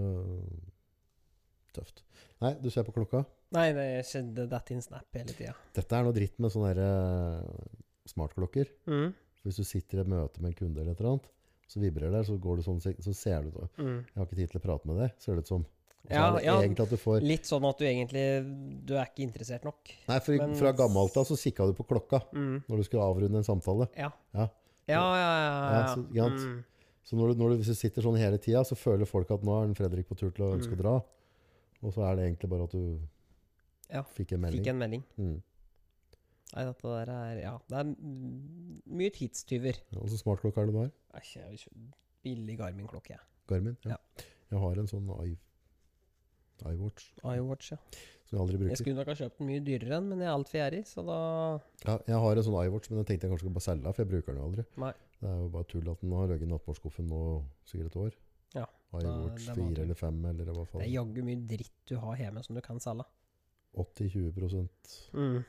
Speaker 1: tøft. Nei, du ser på klokka.
Speaker 2: Nei, det skjedde that in snap hele tida.
Speaker 1: Dette er noe dritt med sånne der, eh, smartklokker.
Speaker 2: Mm.
Speaker 1: Hvis du sitter i et møte med en kunde eller et eller annet, så vibrer det, så, går det sånn, så ser det ut
Speaker 2: Mm.
Speaker 1: Jeg har ikke tid til å prate med deg, ser det ut som. Og så
Speaker 2: Ja,
Speaker 1: er det
Speaker 2: ja.
Speaker 1: egentlig at du får
Speaker 2: Litt sånn at du egentlig Du er ikke interessert nok.
Speaker 1: Nei, for,
Speaker 2: Men-
Speaker 1: fra gammelt av så kikka du på klokka
Speaker 2: Mm.
Speaker 1: når du skulle avrunde en samtale.
Speaker 2: Ja.
Speaker 1: Ja.
Speaker 2: ja, ja, ja. ja.
Speaker 1: Ja, så- ikke sant?
Speaker 2: Mm.
Speaker 1: Så når du, når du, hvis du sitter sånn hele tida, så føler folk at nå er den Fredrik på tur til å ønske
Speaker 2: Mm.
Speaker 1: å dra. Og så er det egentlig bare at du
Speaker 2: Ja,
Speaker 1: fikk en melding.
Speaker 2: Fikk en melding.
Speaker 1: Mm.
Speaker 2: Nei, dette der er Ja, det er m- mye tidstyver.
Speaker 1: Ja, og så smartklokke er det du har?
Speaker 2: Æsj, jeg vil kjøpe billig Garmin-klokke, jeg.
Speaker 1: Garmin? Ja. Jeg har en sånn i, iWatch
Speaker 2: iWatch, ja.
Speaker 1: som jeg aldri bruker.
Speaker 2: Jeg
Speaker 1: Jeg,
Speaker 2: skulle nok ha kjøpt den mye dyrere enn, men jeg er altfor gjerrig, så da
Speaker 1: ja, jeg har en sånn iWatch, men den tenkte jeg kanskje skulle bare selge, for jeg bruker den jo aldri.
Speaker 2: Nei.
Speaker 1: Det er jo bare tull at den har ligget i nattbordskuffen nå sikkert et år.
Speaker 2: Ja,
Speaker 1: iWatch
Speaker 2: det er bare
Speaker 1: 4
Speaker 2: tull.
Speaker 1: eller 5 eller hva
Speaker 2: Det
Speaker 1: faen.
Speaker 2: er jaggu mye dritt du har hjemme som du kan selge.
Speaker 1: 80-20 prosent.
Speaker 2: Mm.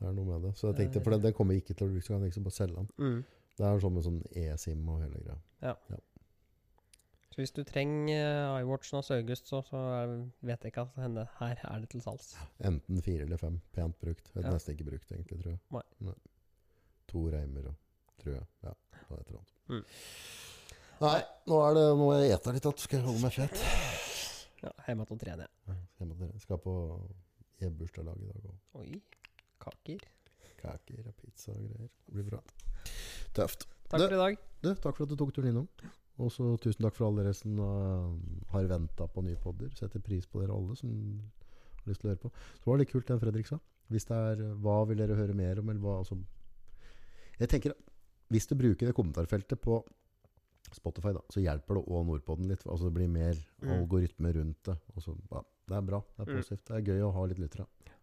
Speaker 1: Det er noe med det. Så jeg
Speaker 2: Det
Speaker 1: tenkte,
Speaker 2: er-
Speaker 1: for den, den kommer jeg ikke til å bruke, så kan jeg liksom bare selge den.
Speaker 2: Mm.
Speaker 1: Det er sånn med sånn e-sim og hele greia.
Speaker 2: Så hvis du trenger eh, iWatchen hos August, så, så er- vet jeg ikke at henne her er det til salgs.
Speaker 1: Enten fire eller fem. Pent brukt. Jeg har
Speaker 2: Ja.
Speaker 1: Nesten ikke brukt, egentlig, tror jeg.
Speaker 2: Nei.
Speaker 1: To reimer og tror jeg. Ja, det var et eller annet.
Speaker 2: Mm.
Speaker 1: Nei, nå er det nå må jeg eter litt, at skal jeg holde meg fett.
Speaker 2: Ja, hjemme til å trene.
Speaker 1: Ja, Skal, jeg med- skal på e-bursdagslag i dag og
Speaker 2: Oi. Kaker.
Speaker 1: kaker og pizza og greier. Det blir bra. Tøft.
Speaker 2: Takk
Speaker 1: Det-
Speaker 2: for i dag.
Speaker 1: Du, takk for at du tok turen innom. Og så tusen takk for alle dere som eh, har venta på nye podder. Setter pris på dere alle som har lyst til å høre på. Så var det litt kult det Fredrik sa. Hvis det er, eh, hva vil dere høre mer om? Eller hva, altså, jeg tenker, hvis du bruker det kommentarfeltet på Spotify, da, så hjelper det òg Nordpodden litt. Altså, det blir mer
Speaker 2: Mm.
Speaker 1: algoritme rundt det. Og så, ja, det er bra. Det er
Speaker 2: Mm.
Speaker 1: positivt. Det er gøy å ha litt lyttere.